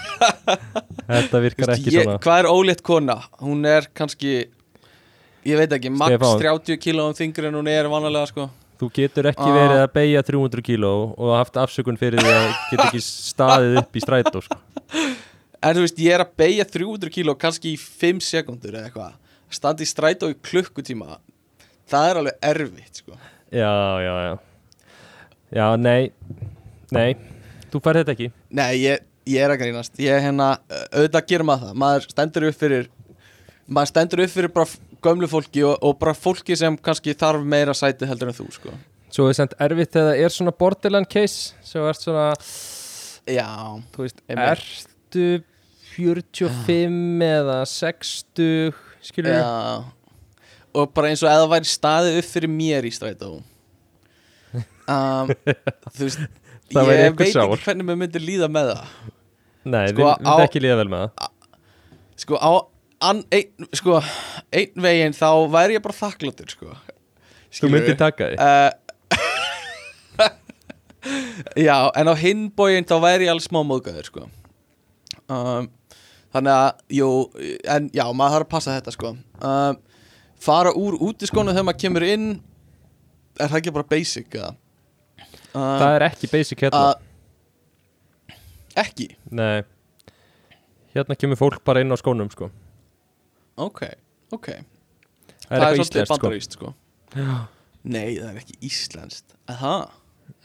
A: Þetta
B: Þú
A: virkar
B: veist,
A: ekki
B: ég,
A: svona
B: Hvað er ólétt kona? Hún er kannski Ég veit ekki, max
A: Stefán.
B: 30 kílóum þingri en hún er vanalega sko
A: Þú getur ekki
B: Ah.
A: verið að beigja 300 kíló og haft afsökun fyrir því að geta ekki staðið upp í strætó sko.
B: En þú veist, ég er að beigja 300 kíló kannski í 5 sekundur eða eitthvað Standi í strætó í klukkutíma Það er alveg erfitt sko
A: Já, já, já Já, nei Nei, þú fær þetta ekki
B: Nei, ég, ég er að grínast Ég hérna, auðvitað gerir maður það Maður stendur upp fyrir Maður stendur upp fyrir bara f- gömlu fólki og, og bara fólki sem kannski þarf meira sæti heldur en þú, sko
A: Svo er semt erfitt þegar það er svona borderland case Svo ert svona,
B: Já,
A: þú veist,
B: Einmitt.
A: ertu 45 eða 60 skilur við
B: já Og bara eins og eða væri staðið upp fyrir mér í strætó um, þú veist
A: Það væri
B: ég
A: einhver
B: veit
A: sár.
B: ekki hvernig mér myndi líða með það
A: Nei,
B: Sko,
A: við myndum
B: á-
A: ekki líða vel með það
B: sko á an, ein, sko, einn veginn þá væri ég bara þakkláttur sko.
A: Þú myndir taka því
B: uh, já, en á hinn bóginn þá væri ég alls smá móðgæður sko. um, þannig að jú, en já, maður þarf að passa þetta sko. um, fara úr útiskonu þegar maður kemur inn er það ekki bara basic eða? um,
A: Það er hérna. ekki basic hérna
B: að ekki
A: Nei Hérna kemur fólk bara inn á skónum sko
B: ok, ok
A: Það er eitthvað íslenskt sko
B: bandaríst sko nei, það er ekki íslenskt aha,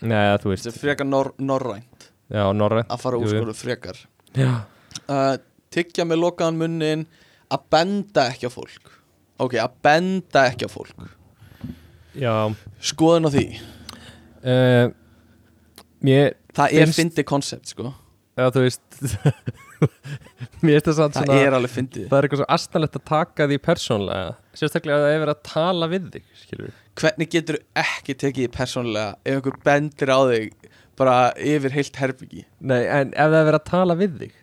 A: Nei, ja, þú veist
B: þetta er frekar nor norrænt
A: Já, Norræn
B: að fara úr
A: Jú, jú.
B: skólu frekar
A: Já
B: uh, tyggja með lokaðan munnin að benda ekki á fólk ok, að benda ekki á fólk
A: Já
B: skoðun á því
A: uh, Mér
B: það er
A: Finnst-
B: fyndið koncept sko
A: Já, þú veist Mér finnst það samt
B: það
A: svona
B: er alveg fyndið
A: Það er eitthvað svo astanlegt að taka því persónlega Sérstaklega að það er verið að tala við þig Skilur
B: hvernig getur ekki tekið því persónlega ef einhver bendir á þig bara yfir heilt herbyggi
A: Nei, en ef það er verið að tala við þig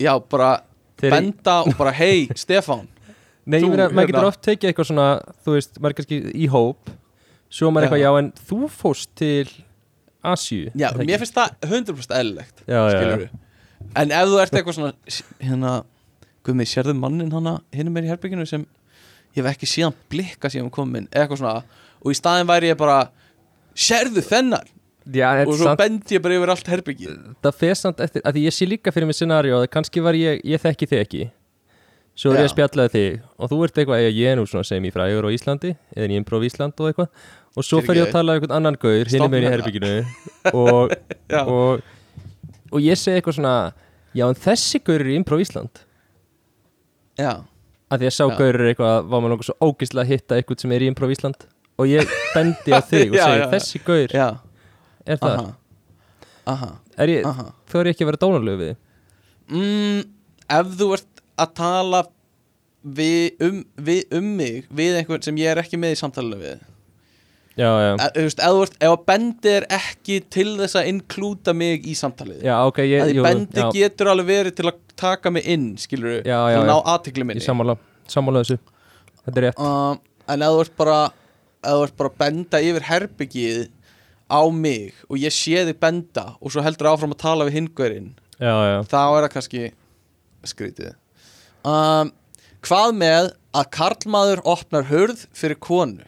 B: já, bara
A: Þeir-
B: benda og bara hei, Stefan
A: Nei,
B: Þú,
A: ég meina, maður getur
B: hérna.
A: oft tekið eitthvað svona Þú veist, maður er kannski í hóp Svo maður
B: Já.
A: eitthvað, já, en þú fóst til Asju
B: já, mér finnst það 100% eðlilegt
A: Já, já,
B: skilurðu. en ef þú ert eitthvað svona s- hérna, guðmi, sérðu mannin hana hinnum er í herbygginu sem ég hef ekki síðan blikka síðan komin eitthvað svona, og í staðin væri ég bara sérðu þennan
A: já en
B: og svo
A: samt,
B: bendi ég bara yfir allt herbyggið
A: það fer samt eftir að Því ég sé líka fyrir mig scenaríu að kannski var ég, ég þekki þig ekki Svo er ég
B: Já.
A: að spjallaði þig Og þú ert eitthvað, "Ég- ég er nú svona sem í frægur á Íslandi Eða í improv Ísland og eitthvað Og svo fer ég að
B: Fyrirgefðu.
A: tala um einhvern annan gaur Hinni
B: Stopp
A: meginn í
B: með
A: herbygginu og,
B: Já.
A: og, og ég segi eitthvað svona Já, en þessi gaur er í improv Ísland
B: já,
A: að því að sá
B: Já.
A: gaurur eitthvað var maður langar svo ógislega að hitta eitthvað sem er í Improv Ísland og ég bendi á þig og
B: Já,
A: segi
B: já, já.
A: þessi gaur
B: já,
A: er það,
B: aha aha,
A: er ég,
B: aha
A: þá er ég ekki að vera dónalögu við þig?
B: mm, ef þú ert að tala við um, við, um mig við einhvern sem ég er ekki með í samtalið við
A: já, já,
B: E- þú veist, ef, þú ert, ef að bendi er ekki til þess að inklúta mig í samtalið
A: já, ok ég,
B: að því
A: jú,
B: bendi
A: já,
B: getur alveg verið til að taka mig inn skilur
A: Já, já,
B: til að
A: já.
B: ná aðtikli
A: ég
B: minni
A: sammála sammála þessu, þetta er rétt
B: um, en ef þú ert bara ef þú ert bara að benda yfir herbyggið á mig og ég sé þig benda og svo heldur áfram að tala við hingurinn
A: já, já,
B: þá er það kannski skrítið um, hvað með að karlmaður opnar hurð fyrir konu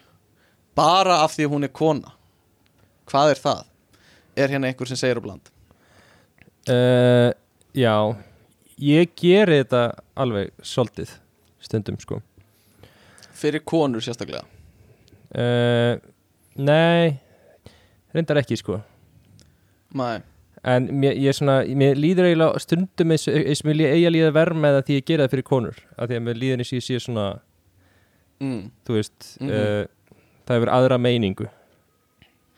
B: bara af því hún er kona hvað er það? er hérna einhver sem segir á bland
A: uh, já ég geri þetta alveg svolítið stundum sko
B: fyrir konur sérstaklega
A: uh, nei reyndar ekki sko
B: Nei.
A: en mér, ég svona, mér líður eiginlega stundum eins, eins og mér eiga líða verð með að því ég gera það fyrir konur af því að mér líður eins og ég sé svona
B: Mm.
A: þú veist,
B: Mhm.
A: uh, það hefur aðra meiningu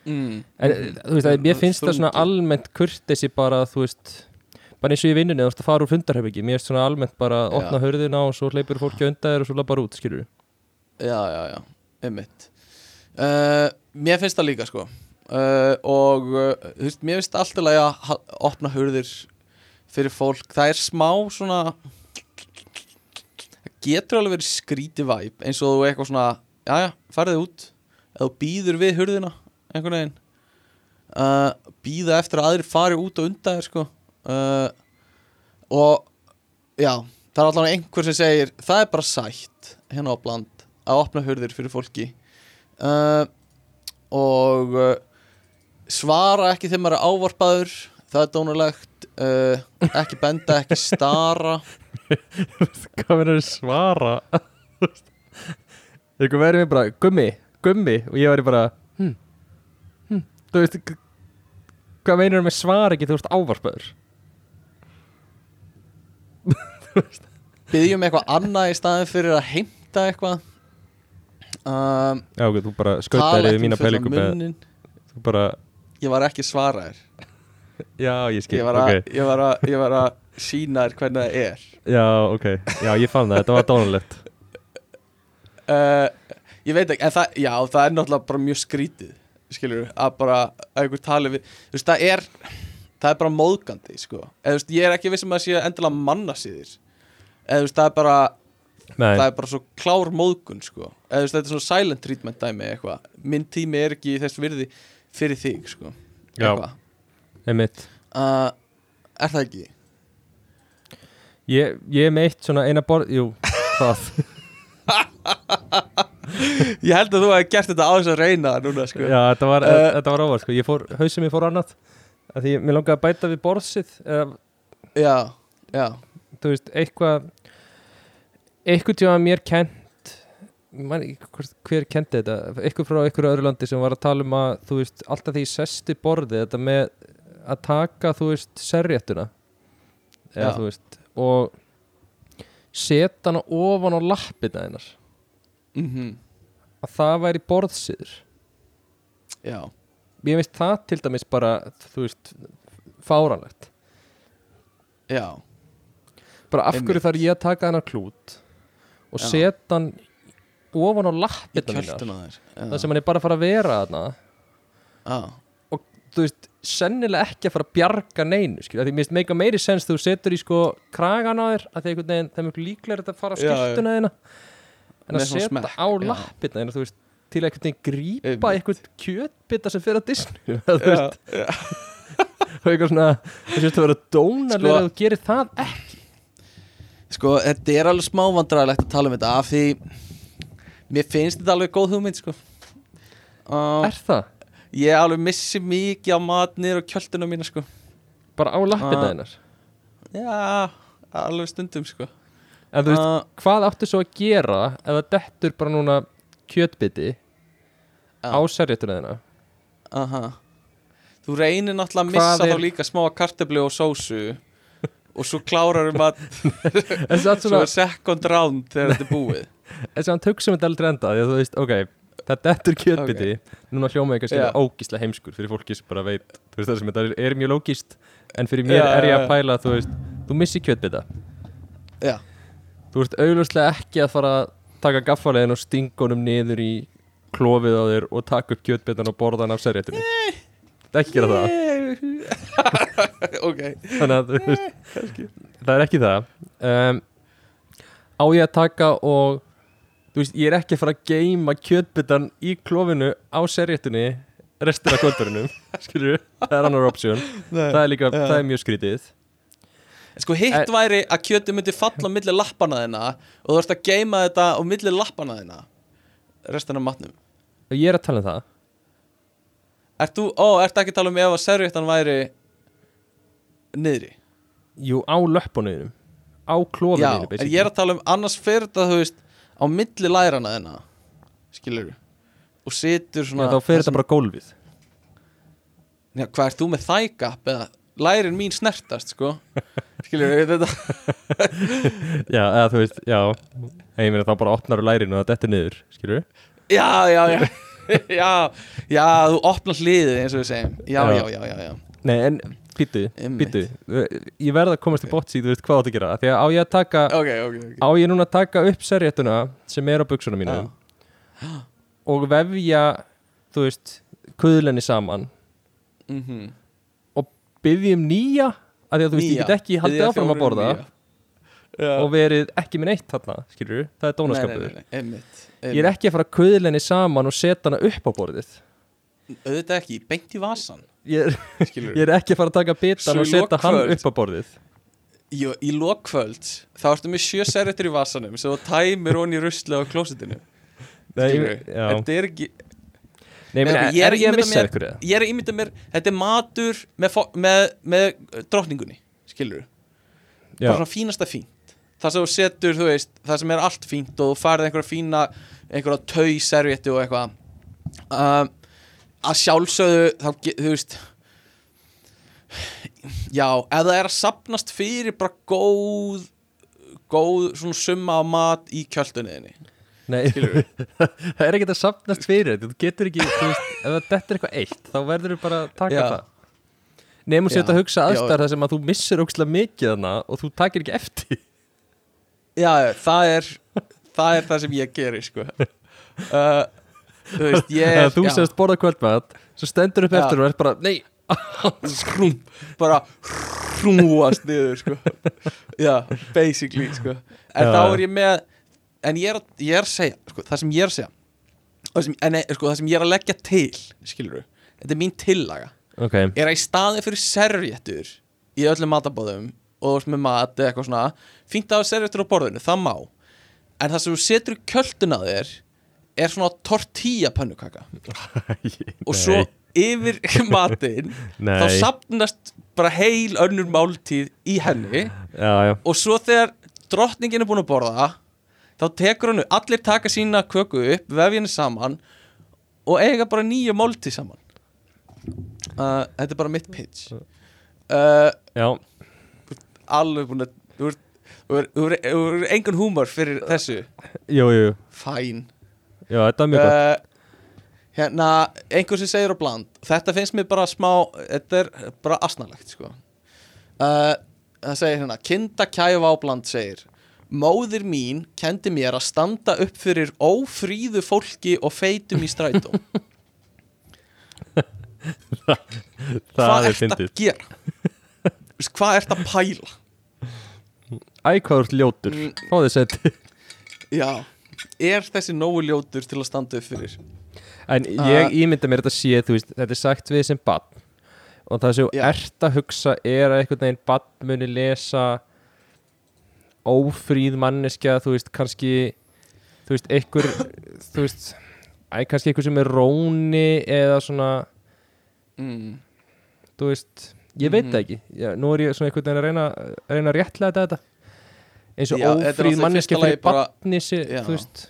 B: Mm.
A: en eh, þú veist, að mér finnst það svona
B: Þungi.
A: almennt kurtesi bara, þú veist bara eins og í vinnunni, þú veist að fara úr fundarhefningi mér finnst svona almennt bara að opna hörðina og svo hleypur fólki undan þér og svo lappar út, skilur við
B: já, já, já, einmitt uh, Mér finnst það líka sko uh, og uh, þú veist, mér finnst alltaf að ha- opna hurðir fyrir fólk, það er smá svona það getur alveg verið skríti væp eins og þú eitthvað svona, já já, farið út eða þú býður við hurðina einhvern veginn uh, býða eftir að aðrir fari út og undan þér sko uh, og já, það er allavega einhver sem segir það er bara sætt hérna á bland að opna hurðir fyrir fólki uh, og uh, svara ekki þegar maður er ávarpaður það er dónulegt uh, ekki benda, ekki stara
A: hvað verður að svara eitthvað verður mér bara gummi, gummi og ég verður bara hm, hm, þú veist g- hvað meinar með svara ekki, þú veist ávarpaður
B: byggjum um eitthvað annað í staðin fyrir að heimta eitthvað um,
A: já, ok, þú bara
B: tala
A: skautar
B: ekki um
A: yfir mína
B: með fullan
A: pælingum eða
B: munnin.
A: þú bara,
B: ég var ekki að svara þér
A: já, ég skil
B: ég var að,
A: ok.
B: okay. var að, ég var að sína þér hvernig það er
A: Já, ok, já ég fann það, þetta var dónalegt
B: Eh, uh, ég veit ekki, en það, já, það er náttúrulega bara mjög skrítið skilur að bara að ykkur tali við þú veist, það er það er bara móðgandi, sko eða þú veist, ég er ekki vissum að það sé endilega manna síðir eða þú veist, það er bara
A: Nei,
B: það er bara svo klár móðgun, sko eða þú veist, þetta er svona silent treatment dæmi eða eitthvað minn tími er ekki í þess virði fyrir þig, sko
A: Já.
B: Eitthvað.
A: einmitt
B: uh, er það ekki?
A: Ég, ég er með eitt svona eina borð Jú, það
B: Ég held að þú hefði gert þetta á þess að reyna núna, sko
A: Já, þetta var,
B: Eh,
A: þetta var óvart sko. Ég fór, hausum ég fór annað af Því ég, mér langaði að bæta við borðsið eða,
B: já, já.
A: Þú veist, eitthvað Eitthvað tíma mér kent ég man ekki hvort- Hver kendi þetta Eitthvað frá einhverju öðru landi sem var að tala um að Þú veist, alltaf því ég sesti borðið Þetta með að taka, þú veist, serréttuna Eða,
B: Já.
A: þú veist Og seta hana ofan á lappina hennar
B: Mm
A: Að það væri borðsiður
B: já
A: Ég veist það til dæmis bara, þú veist, fáranlegt.
B: já,
A: Bara af hverju
B: Einmitt.
A: þarf ég að taka hennar klút og
B: Já.
A: setja hann ofan á
B: í
A: lappirna mínar.
B: kjöltuna þér
A: Það sem hann er bara að fara að vera þarna.
B: já,
A: Og þú veist, sennilega ekki að fara að bjarga neinu, skilja. Því mér veist meika meiri sens þegar þú setur í sko kragan á þér að því einhvern veginn, það er mjög líklega að fara að
B: Já, já.
A: skiltuna þína. En að
B: Með svona
A: setja á
B: smekk, já.
A: lappirna þína, þú veist, til að einhvern veginn grípa
B: Einmitt.
A: einhvern kjötbita sem fyrir að disnu, þú veist.
B: já, já.
A: og eitthvað svona þú sést að vera dónarlega
B: Sko-
A: að þú gerir það ekki
B: Sko, þetta er alveg smá vandræðilegt að tala um þetta af því mér finnst þetta alveg góð hugmynd, sko. Uh,
A: er það
B: ég alveg missi mikið á matnir og kjöldunum mína, sko.
A: bara á lappina
B: Ah.
A: hennar
B: Já, alveg stundum, sko.
A: en þú veist
B: Uh,
A: hvað áttu svo að gera ef það dettur bara núna kjötbiti
B: Já.
A: á serjötuna þeirna
B: aha. Þú reynir náttúrulega að
A: Hvað
B: missa
A: er-
B: þá líka smá kartöflu og sósu og svo klárar um að
A: en samt
B: svo
A: svona
B: er second round þegar þetta er búið.
A: en samt hugsa um þetta aldrei enda því að þú veist ok það dettur kjötbiti núna hljóma ég kannski
B: Já.
A: yeah. ógísla heimskur fyrir fólki sem bara veit þú veist það sem þetta er, er mjög lógist en fyrir mér
B: Já,
A: er ég
B: já, já.
A: að pæla þú veist þú missi kjötbita
B: Já,
A: þú ert augljóslega ekki að fara að taka gaffalegin og stinga honum niður í klófið á þér og taka upp kjötbetan og borða hann af serréttunni
B: Eh.
A: ekki gera það
B: ok.
A: þannig að þú
B: Eh.
A: veist, það er ekki það um, á ég að taka og þú veist, ég er ekki að fara að geima kjötbetan í klófinu á serréttunni restur af kvöldurinnum skilur, það er annar option það er líka, það er mjög skrítið
B: Sko hitt væri að kjötið myndi falla á milli lappana þina og þú ert að geima þetta á milli lappana þina restan af matnum
A: og ég er að tala um það
B: Ert þú, ó, ert ekki að tala um ef að servéttan væri niðri
A: jú, á löppunum á klófinu
B: Já, en ég er að tala um annars fyrir þetta þú veist á milli lærana þina skilur og situr um svona
A: Já, þá fer þetta bara á gólfið
B: Já, hvað ert þú með þægap eða lærin mín snertast sko skilur þetta
A: Já, eða þú veist, já Ég meina þá bara opnar úr lærinu og það dettur niður, skilur við?
B: Já, já, já Já, já, þú opnar hliðið eins og við segjum Já,
A: Já.
B: já, já, já, já,
A: Nei, en pítu,
B: Einmitt.
A: pítu Ég verð að komast til botts í, þú veist, hvað átt að gera Því að á ég að taka,
B: Ok, ok, ok
A: á ég núna að taka upp serjetuna sem er á buksuna mínu
B: Já.
A: og vefja, þú veist, kuðlenni saman
B: mm
A: og biðjum nýja af því að þú veist, ég get ekki haldið áfram
B: um
A: að borða og verið ekki með neitt þarna, skilur við? Það er dónaskapur
B: einmitt,
A: Ég er ekki að fara kuðlenni saman og setja hana upp á borðið
B: auðvitað ekki, beint í vasan
A: Ég er
B: skilur
A: Ég er ekki að fara að taka bitan
B: Svo
A: og
B: í
A: setja hann
B: lokkvöld.
A: upp á borðið
B: Jú, í lokkvöld þá ertu með sjö serretur í vasanum sem þú tæmir honni í rusli á klósitinu
A: Nei,
B: Skilurðu?
A: já.
B: þetta er ekki
A: Nei, meni,
B: Nei, ok,
A: er,
B: ég er
A: er ég
B: ímynda
A: að missa
B: mér-
A: ykkur eða?
B: ég er að ímynda mér, þetta er matur með, fo- með, með drottningunni skilur,
A: Já,
B: bara svona fínasta fínt það sem þú setur, þú veist, það sem er allt fínt og þú farið einhverja fína einhverja tau servétti og eitthvað um, að sjálfsögðu þá, ge- þú veist já, ef það er að sapnast fyrir bara góð góð svona summa á mat í kjöldunniðinni
A: nei, það er ekkert að safnast fyrir þetta, Þú getur ekki, þú veist, ef það dettur eitthvað eitt Þá verður þú bara að taka
B: Já.
A: það Nefnum
B: Já.
A: sér þetta að hugsa
B: Já.
A: aðstæðar þar sem að þú missir ókslega mikið hana og þú takir ekki eftir
B: já, já, það er það er það sem ég gerir, sko uh, þú veist, ég
A: Þegar
B: er
A: þú
B: já,
A: sérst borða kvöldmat svo stendur upp
B: Já.
A: eftir og er bara, nei
B: skrúm, bara hrúast niður sko. já, basically sko. en
A: Já,
B: þá
A: já.
B: er ég með en ég er, að- ég er að segja, sko, það sem ég er að segja og sem, en, nei, sko, það sem ég er að leggja til skilur þetta er mín tillaga
A: ok,
B: er að í staði fyrir servjettur í öllum matabóðum og þú ert með mat eða eitthvað svona fínt að hafa servjettur á borðinu, það má en það sem þú setur í kjöldun að þér er svona tortilla pannukaka og svo yfir matinn
A: nei,
B: þá sapnast bara heil önnur máltíð í henni
A: já, já,
B: og svo þegar drottningin er búin að borða þá tekur hann, allir taka sína köku upp, vefja henni saman og eiga bara nýju máltíð saman uh, Þetta er bara mitt pitch uh,
A: já
B: Alveg búin að Þú ert- þú ert- þú ert- þú ert engan húmor fyrir þessu
A: jú, jú,
B: Fæn
A: já, þetta er mjög gott
B: uh, Hérna, einhver sem segir á bland Þetta finnst mér bara smá Þetta er bara asnalegt sko. uh, Það segir hérna Kinda kæfa á bland segir Móðir mín kendi mér að standa upp fyrir ófríðu fólki og feitum í strætó
A: það
B: Hvað
A: Eh, er
B: ert að
A: fyndið,
B: gera? Þú veist, Hvað ert að pæla?
A: æ, hvað þú ert ljótur
B: Mm.
A: fá þið seti
B: Já, er þessi nógu ljótur til að standa upp fyrir?
A: En
B: Ah.
A: ég ímynda mér þetta sé, þú veist, þetta er sagt við sem bann og það sem þú
B: Já.
A: ert að hugsa er að einhvern veginn bann muni lesa ófríð manneskja, þú veist, kannski þú veist, einhver þú veist, æ, kannski einhver sem er róni eða svona
B: Mm.
A: þú veist, ég veit
B: Mhm.
A: það ekki Já, nú er ég svona einhvern veginn að reyna að reyna að réttlega þetta eins og
B: Já, þetta er náttúrulega
A: ófríð manneskja
B: í fyrsta
A: fyrir
B: lagi bara-
A: banni sé,
B: Já.
A: þú veist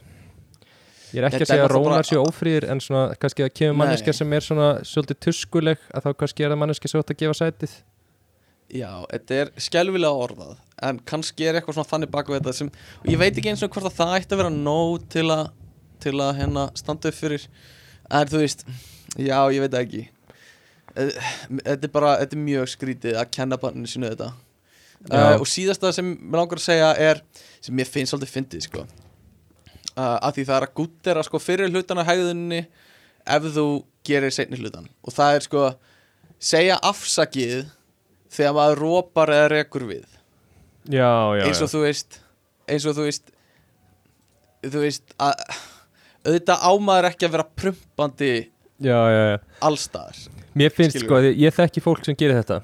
A: ég er ekki
B: Þetta
A: að segja
B: er
A: að
B: náttúrulega
A: rónar
B: bara-
A: séu ófríðir en svona kannski að kemur
B: Nei.
A: manneskja sem er svona svolítið tuskuleg að þá kannski er það manneskja sem átt að gefa sætið
B: Já, þetta er skelvilega orðað en kannski er eitthvað svona þannig bak við þetta sem, og ég veit ekki eins og hvort að það ætti að vera nóg til að, til að hérna standa upp fyrir en þú veist, já, ég veit það ekki Eh, Þetta er bara, þetta er mjög skrítið að kenna barninu sínu þetta
A: Já.
B: uh, og síðasta sem mér langar að segja er sem mér finnst svolítið fyndið sko uh, að því það er að gúttera sko fyrir hlutana hægðunni ef þú gerir seinni hlutan og það er sko segja afsakið þegar maður rópar eða rekur við
A: já, já,
B: eins og þú veist eins og þú veist þú veist að auðvitað ámaður ekki að vera prumpandi
A: já, já, já.
B: allstaðar
A: mér finnst
B: Skilur.
A: sko, að ég, ég þekki fólk sem gerir þetta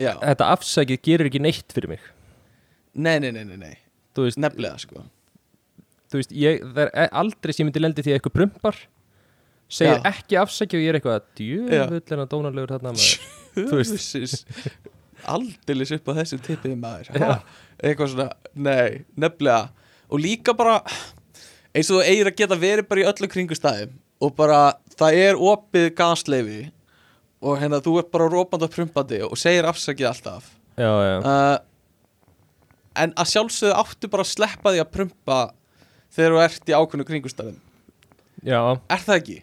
B: já,
A: þetta afsækið gerir ekki neitt fyrir mig
B: nei, nei, nei, nei, nei
A: þú veist,
B: nefnilega sko
A: þú veist ég, það er e- aldrei sem ég myndi lendi því að eitthvað brumpar segir
B: Já.
A: ekki afsækið og ég er eitthvað að djöfull er hann dónalegur þarna maður Þú veist.
B: Höfusis Aldilis upp á þessu tippiði maður
A: Já.
B: ha? Eitthvað svona, nei, nefnilega Og líka bara eins og þú eigir að geta verið bara í öllum kringustæðum Og bara, það er opið gasleifi Og hérna, þú ert bara rópandi og prumpandi Og segir afsakið alltaf
A: já, já,
B: uh, En að sjálfsögðu áttu bara að sleppa því að prumpa Þegar þú ert í ákveðnu kringustæðum
A: já
B: Er það ekki?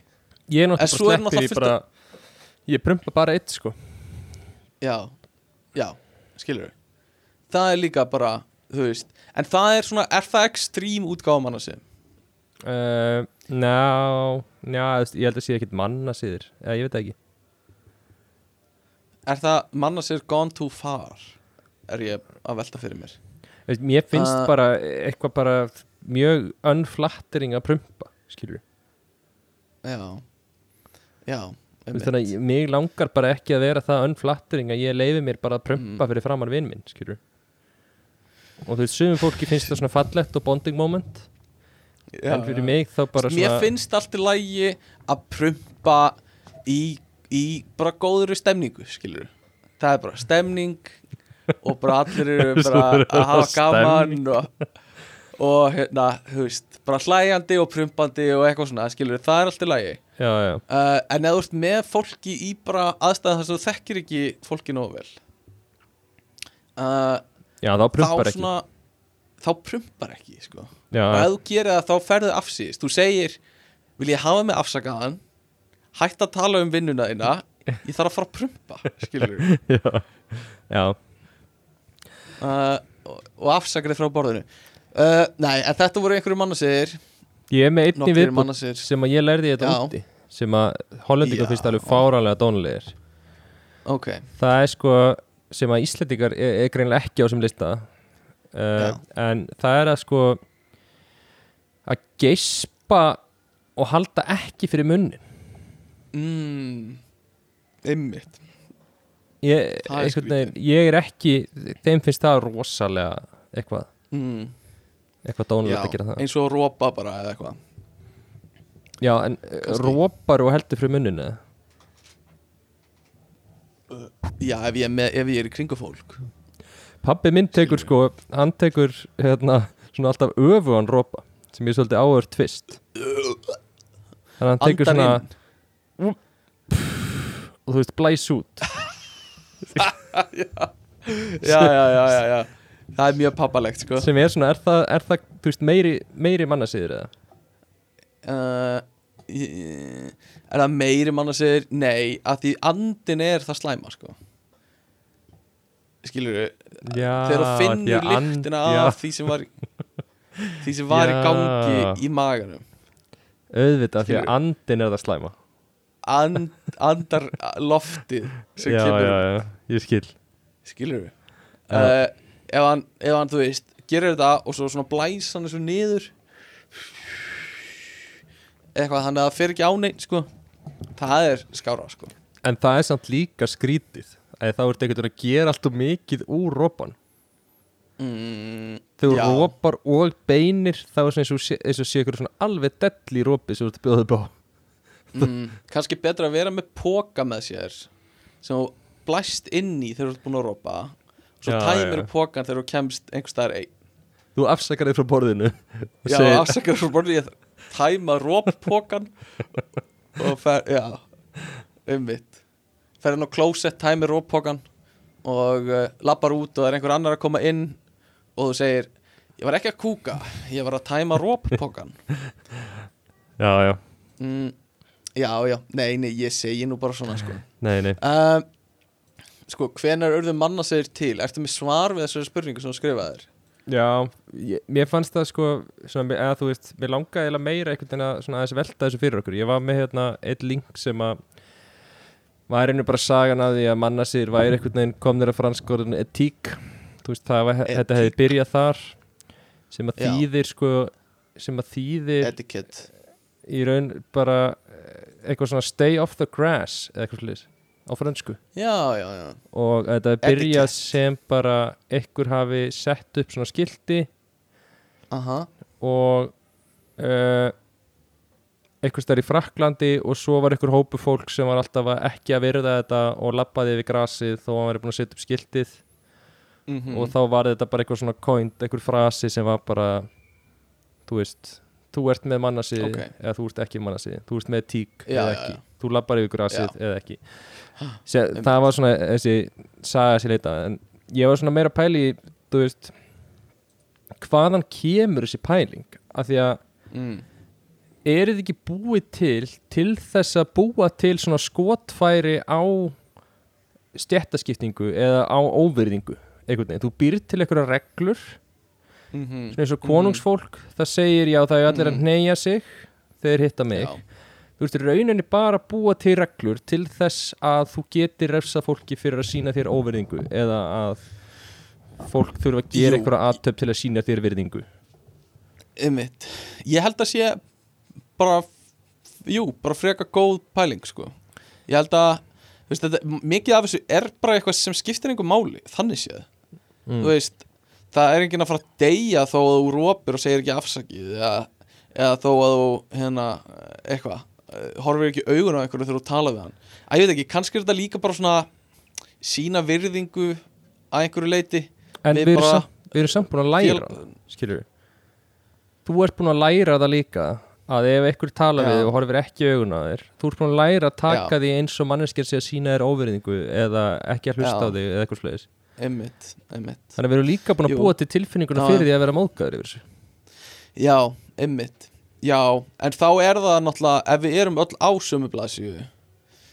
A: Ég er
B: En svo
A: náttúrulega bara
B: er
A: sleppir
B: náttúrulega
A: ég bara Ég prumpa bara eitt sko
B: Já, já, skilur Það er líka bara, þú veist En það er svona, er það ekstrím útgáfum hann að segja?
A: uh, Ná, njá, þú veist, ég held að sé ekkit manna síður Eða ég veit það ekki
B: Er það, manna sér gone too far Er ég að velta fyrir mér
A: Þú veist, Mér finnst
B: Ah.
A: bara eitthvað bara mjög unflattering að prumpa Skilur
B: Já, já
A: við
B: einmitt.
A: Þannig að ég- mig langar bara ekki að vera það unflattering að ég leifi mér bara að
B: Mm.
A: prumpa fyrir framann vinn minn Skilur Og þú veist, sumum fólki finnst það svona fallegt og bonding moment
B: já,
A: En fyrir
B: já. Sko,
A: mig þá bara
B: Mér
A: svona
B: finnst allt í lagi að prumpa í, í bara góðri stemningu, skilur Það er bara stemning og bara allir eru
A: Svo
B: bara
A: er
B: að
A: það
B: hafa gaman og, og hérna, þú veist, bara hlæjandi og prumpandi og eitthvað svona, skilur það er allt í lagi
A: Já, já,
B: uh, En eða þú ert með fólki í bara aðstæðan þar sem þú þekkir ekki fólki nógu vel uh,
A: já, þá
B: Þá
A: prumpar ekki
B: svona, þá prumpar ekki, sko
A: Já, já,
B: og ef þú gerir það þá ferðu afsýðist þú segir, vil ég hafa mig afsakaðan hætt að tala um vinnuna þína ég þarf að fara að prumpa skilur
A: já
B: uh, og, og afsakaði frá borðinu uh, nei, en þetta voru einhverju mannasegir
A: Ég er með einni
B: nokkrir
A: viðbútt
B: mannasegir
A: sem að ég lærði þetta
B: Já.
A: úti sem að hollendingar
B: Já.
A: finnst alveg fáranlega dónulegir
B: ok,
A: það er sko sem að Íslandingar er, er greinilega ekki á sem lista uh, en það er að sko að geispa og halda ekki fyrir munnin
B: mm, einmitt
A: ég,
B: Það er
A: einhvern veginn, ég er ekki þeim finnst það rosalega eitthvað,
B: mm,
A: eitthvað dónulegt
B: já,
A: að gera það
B: eins og rópa bara eða eitthvað
A: já, en
B: Kannski.
A: rópar og heldur fyrir munninu
B: já, ef ég er, með, ef ég er í kringu fólk
A: pabbi minn tekur sko, hann tekur hérna, svona alltaf öfugan rópa sem ég svolítið áhör tvist þannig að hann tekur
B: Andan
A: svona
B: inn.
A: og þú veist, blæs út
B: já, já, já, já, já það er mjög pappalegt sko
A: sem er svona, er það, er það þú veist, meiri, meiri mannasýður eða
B: uh, ég- er það meiri manna segir nei, að því andin er það slæma sko skilur við,
A: já,
B: þegar þú finnur lyktina af því sem var því sem var í
A: Já.
B: gangi í maganum
A: auðvitað, því
B: Skilurðu?
A: að andin er það slæma
B: And, andar loftið sem
A: já,
B: kemur,
A: já, já, ég skil
B: skilur við
A: Já.
B: uh, ef, hann, ef hann, þú veist, gerir þetta og svo svona blæs hann þessu niður eitthvað, þannig að það fer ekki á neitt sko, það er skára sko
A: en það er samt líka skrítið að þá ertu einhvern veginn að gera alltaf mikið úr rópan
B: mm,
A: þegar
B: já.
A: þú rópar og beinir þá er svona eins og sé, eins og sé ykkur svona alveg dell í rópi sem þú ert að bjóða upp á
B: mm, kannski betra að vera með póka með sér sem þú blæst inn í þegar þú ert búin að ropa svo
A: Já, já.
B: tæmir þú pókan þegar þú kemst einhver staðar einn
A: þú afsakar þig frá borðinu og
B: já,
A: segir,
B: afsakar frá borðið ég tæma roppókan og fer, já umvitt, fer hann á klósett tæmir roppókan og uh, lappar út og það er einhver annar að koma inn og þú segir ég var ekki að kúka, ég var að tæma roppókan
A: já, já,
B: mm, já, já, nei, nei, ég segi nú bara svona sko
A: nei, nei
B: Um, sko, hvenær urðu manna segir til? Ertu með svar við þessari spurningu sem þú skrifaðir?
A: Já, ég, mér fannst það sko svona, eða þú veist, mér langaði eiginlega meira einhvern veginn að svona aðeins velta þessu fyrir okkur ég var með hérna eitt link sem að var einu bara sagan af því að manna sér væri einhvern veginn komnir að franskorðinu etík þú veist, það var, þetta hefði byrjað þar sem að
B: Já.
A: þýðir sko sem að þýðir
B: Etiquette
A: í raun bara eh, eitthvað svona stay off the grass eða eitthvað slúðis á fransku
B: Já, já, já
A: og þetta byrjað
B: Etiquette.
A: sem bara einhver hafi sett upp svona skilti
B: Aha,
A: og uh, einhvers þar í Fraklandi og svo var einhver hópu fólk sem var alltaf að ekki að virða þetta og lappaði yfir grasið þó að hann verið búin að setja upp skiltið
B: mm
A: og þá var þetta bara einhver svona coined, einhver frasi sem var bara þú veist, þú ert með mannasiði
B: Ok.
A: eða þú ert ekki með mannasiði, þú ert með tík
B: Já,
A: eða
B: já,
A: ekki,
B: já.
A: þú lappar yfir grasið eða ekki Sér,
B: einmitt.
A: það var svona þessi saga sér leita en ég var svona meira að pæli í, þú veist hvaðan kemur þessi pæling af því að
B: mm.
A: er þetta ekki búið til til þess að búa til svona skotfæri á stjættaskiptingu eða á óverðingu einhvern veginn, þú býr til einhverja reglur svona
B: Mm -hmm.
A: eins og konungsfólk það segir já það er allir að
B: Mhm.
A: neyja sig þeir hitta mig
B: Já,
A: þú veist, í rauninni bara að búa til reglur til þess að þú getur refsa fólki fyrir að sína þér óverðingu eða að fólk þurfa að gera
B: Jú.
A: einhverja aðtöp til að sína þér virðingu
B: einmitt Ég held að sé bara Jú, bara freka góð pæling, sko Ég held að þú veist, þetta, Mikið af þessu er bara eitthvað sem skiptir einhver máli Þannig séð
A: Mm.
B: Þú veist, það er enginn að fara að deyja þó að þú rópir og segir ekki afsakið eða, eða þó að þú hérna, eitthvað eh, horfir ekki í augun á einhverju þegar þú tala við hann að ég veit ekki, kannski er þetta líka bara svona sína virðingu að einhverju leiti
A: En
B: Við
A: við, erum
B: bara-
A: samt, við erum samt búin að læra
B: Fél-
A: það, skilur við Þú ert búin að læra það líka að ef einhver tala
B: Já.
A: við þig og horfir ekki í augun að þér þú ert búin að læra að taka
B: Já.
A: því eins og manneskir sé að sína þér óverðingu eða ekki að hlusta
B: Já.
A: á þig eða eitthvað slegis
B: einmitt, einmitt
A: Þannig að við erum líka búin að
B: Jú.
A: búa til tilfinninguna
B: Já.
A: fyrir því að vera móðgæður yfir þessu
B: já, einmitt, já en þá er það náttúrulega, ef við erum öll á sömu blaðsíðu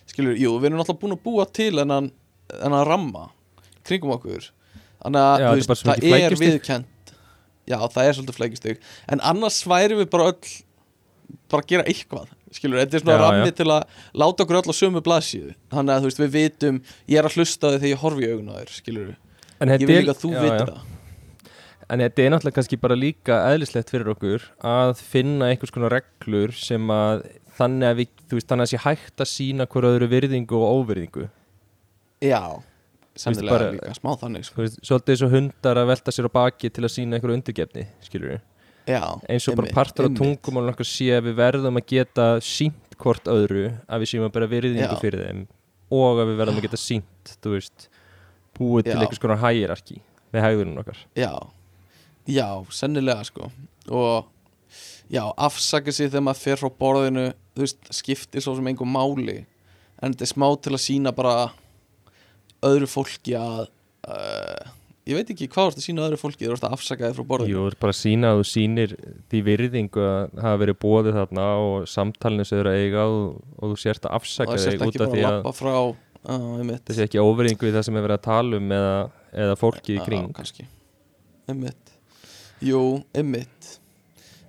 B: skilur, jú, við erum náttúrulega búin að búa til hennan, hennan ramma kringum okkur þannig að
A: Já,
B: þú
A: þetta er bara svo
B: það
A: mikið
B: er
A: flækjustig.
B: viðkjönd já, það er svolítið flækistig en annars væri við bara öll bara gera eitthvað skilur, þetta er svona
A: Já,
B: rammi
A: já.
B: til að láta okkur öll á sömu blaðsíðu þannig að þú veist, við vitum, ég er að hlusta á þig þegar ég horfi í augun á þér, skilur
A: En
B: ég
A: þetta
B: vil
A: er-
B: líka að þú
A: já, já.
B: vitir það
A: En þetta er náttúrulega kannski bara líka eðlislegt fyrir okkur að finna einhvers konar reglur sem að þannig að við, þú veist, þannig að sé hægt að sína hverju öðru virðingu og óvirðingu
B: já,
A: veist,
B: samtilega
A: bara-
B: líka, smá þannig sko.
A: Þú veist, svolítið eins og hundar að velta sér á baki til að sína einhverju undirgefni, skilur við
B: já,
A: eins og bara
B: einmitt,
A: partur á
B: einmitt.
A: tungumálun okkar sé að við verðum að geta sínt hvort öðru að við séum að bara virðingu
B: Já.
A: fyrir þeim og að við verðum að geta sínt, þú veist búið til
B: Já.
A: einhvers konar hægirarki með hægurinn okkar
B: Já, já, sennilega sko og já, afsaka sig þegar maður fer frá borðinu þú veist, skiptir svo sem einhver máli en þetta er smá til að sína bara öðru fólki að uh, ég veit ekki hvað þú ert að sína öðru fólki þú ert að afsaka þig frá borðinu
A: Jú, þú ert bara að sína að þú sýnir því virðingu að hafa verið bóðið þarna og samtalinu sem þú eru að eiga og, og þú sért að
B: og
A: afsaka
B: það
A: þig
B: sért
A: út af
B: ekki bara
A: því
B: að
A: að
B: lappa frá uh, einmitt,
A: það sé ekki óveringu við það sem er verið að tala um eða, eða fólki í
B: Já,
A: kring
B: kannski einmitt Jú, einmitt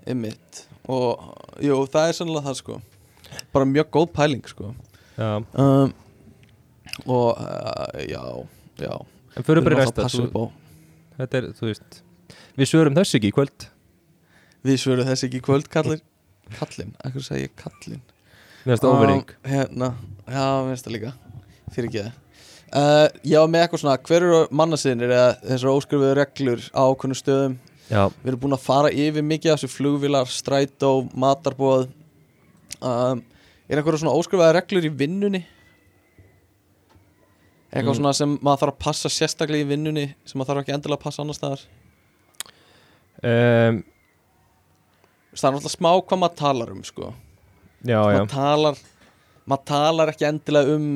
B: einmitt og jú, það er sennilega það sko bara mjög góð pæling sko
A: Já.
B: um, og uh, já, já
A: En förum bara í
B: Þurfum
A: næsta
B: alltaf að passa
A: þú,
B: upp á-
A: Þetta er, þú veist Við svörum þessu ekki í kvöld
B: við svörum þessi ekki í kvöld kallir kallin, ekkur segi ég kallin
A: Mér finnst það óvering
B: um, hérna, já, minnst það líka fyrir ekki það Uh, já, með eitthvað svona, hver eru mannasinnir eða þessar óskrifuðu reglur á okkunnum stöðum
A: Já,
B: Við erum búin að fara yfir mikið af þessu flugvilar, strætó, matarbóð um, Er eitthvað svona óskrifaða reglur í vinnunni? Eitthvað
A: Mm.
B: svona sem maður þarf að passa sérstaklega í vinnunni sem maður þarf ekki endilega að passa annars staðar
A: um,
B: Það er náttúrulega smá hvað maður talar um sko.
A: já, já,
B: maður, talar, maður talar ekki endilega um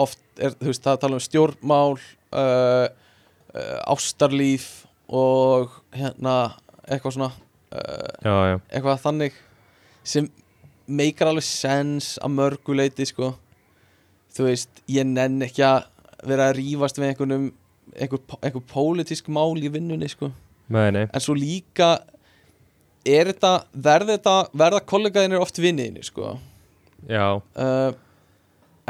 B: oft, er, þú veist, það er að tala um stjórnmál uh, uh, ástarlíf og hérna eitthvað svona uh,
A: já, já
B: eitthvað þannig sem meikar alveg sens að mörguleiti sko þú veist, ég nenn ekki að vera að rífast með einhvern um einhver, einhver pólitísk mál í vinnunni sko
A: Nei, nei,
B: en svo líka er þetta, verða þetta verða kollegaðinir oft vinniðinni sko
A: já,
B: uh,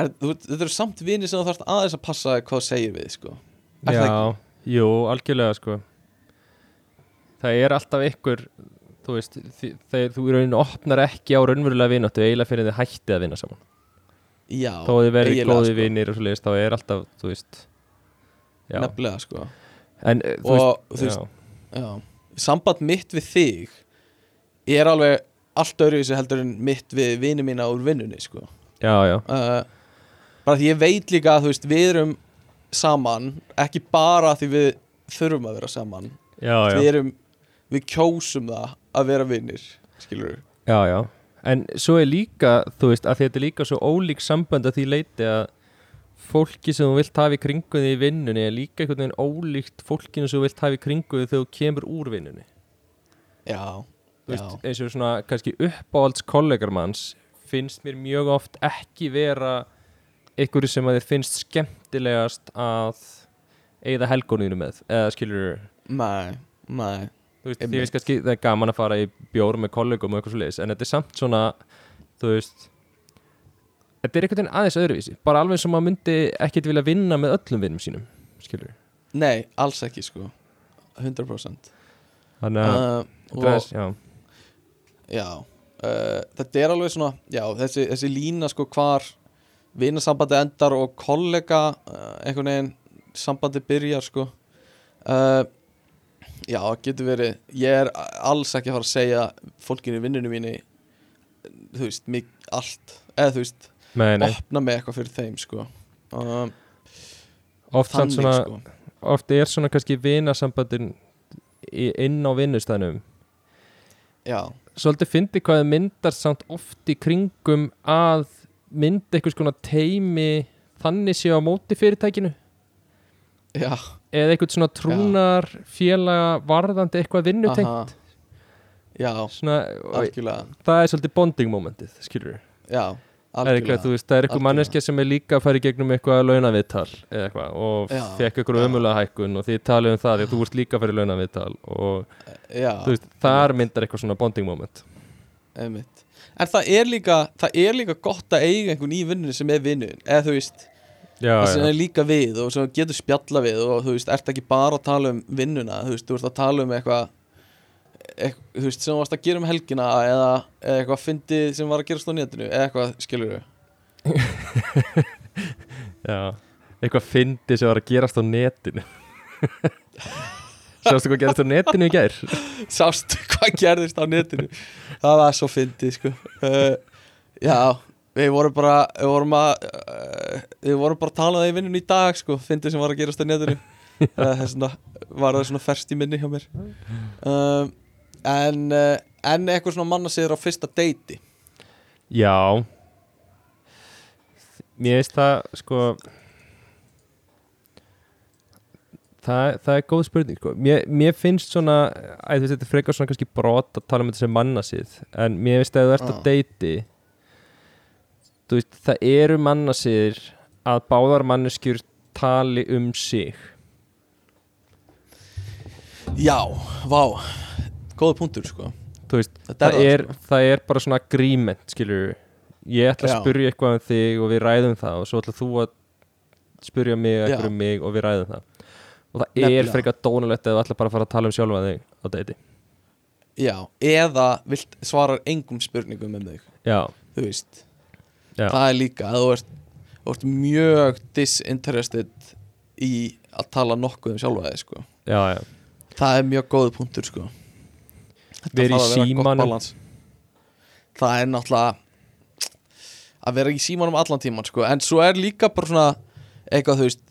B: en þú, þetta eru samt vinni sem þú þarfst aðeins að passa hvað þú segir við sko Er það
A: já Jú, algjörlega sko Það er alltaf ykkur Þú veist, þi- þegar þú í rauninu opnar ekki á raunverulega vináttu eiginlega fyrir þið hættið að vinna saman
B: já,
A: Þó að þið verið
B: eiginlega,
A: góði
B: sko.
A: vinir og svoleiðis, þá er alltaf, þú veist Já,
B: nefnilega sko
A: en eh, þú
B: og þú veist,
A: veist,
B: Já. samband mitt við þig er alveg allt öðruvísi heldur en mitt við vini mína úr vinnunni sko.
A: já, já, já,
B: uh, bara því ég veit líka að þú veist, við erum saman ekki bara því við þurfum að vera saman
A: já,
B: við
A: já,
B: erum, við kjósum það að vera vinnir skilur
A: já, já En svo er líka, þú veist, að þetta er líka svo ólík sambönd að því leiti að fólki sem þú vilt hafa í kringuði í vinnunni er líka einhvern veginn ólíkt fólkinu sem þú vilt hafa í kringuði þegar þú kemur úr vinnunni
B: já,
A: Þú
B: já,
A: veist, eins og svona kannski uppáhalds kollegarmanns finnst mér mjög oft ekki vera einhverju sem að þér finnst skemmtilegast að eigða helgóninu með eða skilur
B: mæ, mæ
A: þú veist,
B: Einmitt.
A: ég veist kannski það er gaman að fara í bjór með kollegum og eitthvað svoleiðis en þetta er samt svona, þú veist þetta er einhvern veginn aðeins öðruvísi bara alveg sem maður myndi ekkit vilja vinna með öllum vinnum sínum, skilur
B: nei, alls ekki sko 100%
A: þannig að
B: uh,
A: þetta er aðeins, já,
B: Já, uh, þetta er alveg svona já, þessi, þessi lína sko hvar vinasambandi endar og kollega uh, einhvern veginn sambandi byrjar sko uh, Já, getur verið ég er alls ekki að fara að segja fólkinu í vinnunum mínu þú veist, mig, allt eða þú veist,
A: nei, nei,
B: opna mig eitthvað fyrir þeim sko um,
A: oft samt
B: þannig
A: svona
B: sko
A: oft er svona kannski vinasambandin í- inn á vinnustæðnum
B: Já,
A: svolítið fyndi hvað það myndar samt oft í kringum að mynda einhvers konar teimi þannig séu á móti fyrirtækinu
B: já,
A: eða einhvern svona trúnar félaga varðandi eitthvað vinnutengt
B: já,
A: svona, og
B: algjörlega
A: það er svolítið bonding momentið skilur
B: Já,
A: það er eitthvað, þú veist, það er eitthvað
B: Algjörlega.
A: manneskja sem er líka að fara í gegnum eitthvað launaviðtal eða eitthvað og
B: Já,
A: fekk eitthvað
B: já.
A: ömulega hækkun og þið talið um það því að þú ert líka að fara í launaviðtal og
B: Já
A: þú veist, þar myndar eitthvað svona bonding moment
B: einmitt. en það er líka, það er líka gott að eiga einhvern í vinnunni sem er vinnun eða þú veist,
A: já,
B: það sem
A: já,
B: er líka við og sem getur spjalla við og þú veist, ert ekki bara að tala um vinnuna, þú veist, þú ert að tala um eitthvað eitthvað, þú veist, sem þú varst að gera um helgina eða eða eitthvað fyndið sem var að gerast á netinu eða eitthvað, skilur
A: já eitthvað fyndi sem var að gerast á netinu sjástu hvað gerast á netinu í gær
B: sástu hvað gerðist á netinu það var svo fyndið sko uh, já, við vorum bara við vorum að uh, við vorum bara að tala um það í vinnunni í dag sko fyndið sem var að gerast á netinu uh, þessna, var það svona ferst í minni hjá mér um, en uh, en eitthvað svona manna séður á fyrsta deiti
A: já mér veist það sko það, það er góð spurning sko. mér, mér finnst svona æ, þú veist, þetta er frekar svona kannski brot að tala um þetta sem mannasið en mér veist að ef þú ert
B: Ah.
A: að deiti þú veist það eru mannasiðir að báðar manneskjur tali um sig
B: já, vá, góða punktur sko
A: þú veist,
B: Þetta er
A: það
B: það, sko.
A: er, það er bara svona agreement, skilur ég ætla
B: Já.
A: að spyrja eitthvað um þig og við ræðum það og svo ætla þú að spyrja mig eitthvað
B: Já.
A: um mig og við ræðum það og það er
B: Nefnilega.
A: frekar dónulegt eða þú ætla bara að fara að tala um sjálfa þig á deiti
B: já, eða vilt svarar engum spurningum um þig
A: já,
B: þú veist
A: já,
B: það er líka að þú ert, þú ert mjög disinterested í að tala nokkuð um sjálfa þig sko.
A: já, já
B: það er mjög góð punktur sko. Þetta
A: Vera í
B: þarf að vera gott
A: símanum.
B: balance. það er náttúrulega að vera í símanum allan tíman sko. en svo er líka bara svona eitthvað þú veist,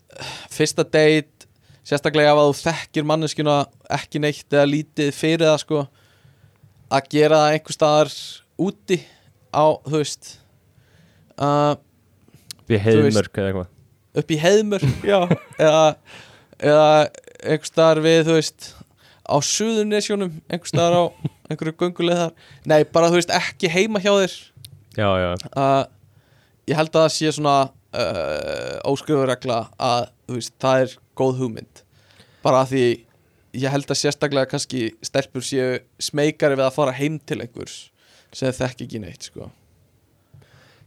B: fyrsta date sérstaklega ef að þú þekkir manneskjuna ekki neitt eða lítið fyrir það sko, að gera það einhver staðar úti á, þú veist að
A: við heiðmörk eða eitthvað
B: upp í heðmörk já, eða, eða einhvers staðar við, þú veist á suðurnesjónum, einhvers staðar á einhverju gönguleið þar, nei bara þú veist ekki heima hjá þér
A: já, já,
B: uh, ég held að það sé svona uh, óskrifurregla að þú veist, það er góð hugmynd bara af því ég held að sérstaklega kannski stelpur séu smeikari við að fara heim til einhvers sem þeir þekki ekki neitt sko.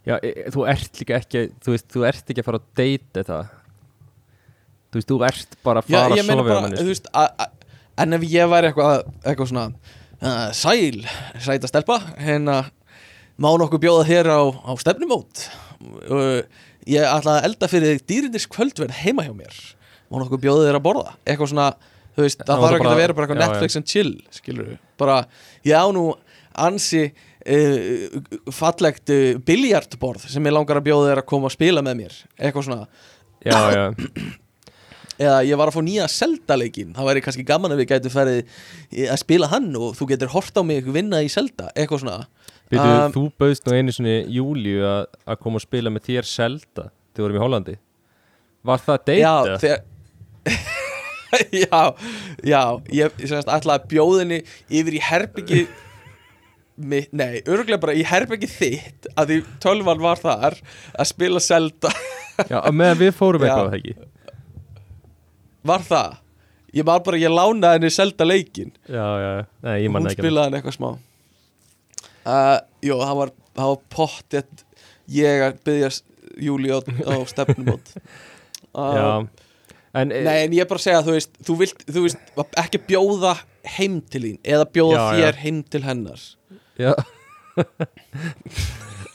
A: já e, e, þú ert líka ekki þú veist, þú ert ekki að fara að deiti það þú veist, þú ert bara að
B: Já,
A: fara
B: ég
A: að
B: meina
A: sofa hjá
B: bara,
A: manni, sko.
B: þú veist a- a- En ef ég væri eitthvað eitthvað svona uh, Sæl, sæta stelpa hérna, má nokkuð bjóða þér á, á stefnumót uh, Ég ætla að elda fyrir þig dýrindis kvöldverð heima hjá mér Má nokkuð bjóða þér að borða Eitthvað svona, þú veist,
A: Já,
B: það þarf
A: það
B: ekki
A: bara-
B: að vera bara eitthvað
A: já,
B: Netflix and chill, skilur Bara, já nú, ansi uh, fallegt uh, biljartborð sem ég langar að bjóða þér að koma að spila með mér Eitthvað svona
A: já, já,
B: eða ég var að fá nýja seldaleikin þá væri kannski gaman að við gætu ferið í- að spila hann og þú getur hort á mig vinna í selda, eitthvað svona
A: Býtu,
B: Um,
A: þú bauðst nú einu sinni Júliu að að koma og spila með þér Selda þegar við vorum í Hollandi Var það
B: já,
A: deyta?
B: þegar já, já ég ég sem sagt ætlaði að bjóða henni yfir í herbyggi mitt, nei, örgulega bara í herbyggi þitt að því tölvan var þar að spila selda,
A: Já, já meðan við fórum
B: Já.
A: eitthvað ekki
B: var það ég var bara, ég lánaði henni seldaleikin
A: Já, já, nei, ég
B: hún
A: manna ekki
B: spilaði hann eitthvað smá uh, Jó, það var, það var pottið ég að byggja Júli á, á stefnumót
A: það.
B: uh,
A: Já, en e,
B: Nei, en ég er bara að segja þú veist, þú, vilt, þú veist, ekki bjóða heim til þín eða bjóða
A: Já, já.
B: þér heim til hennar
A: já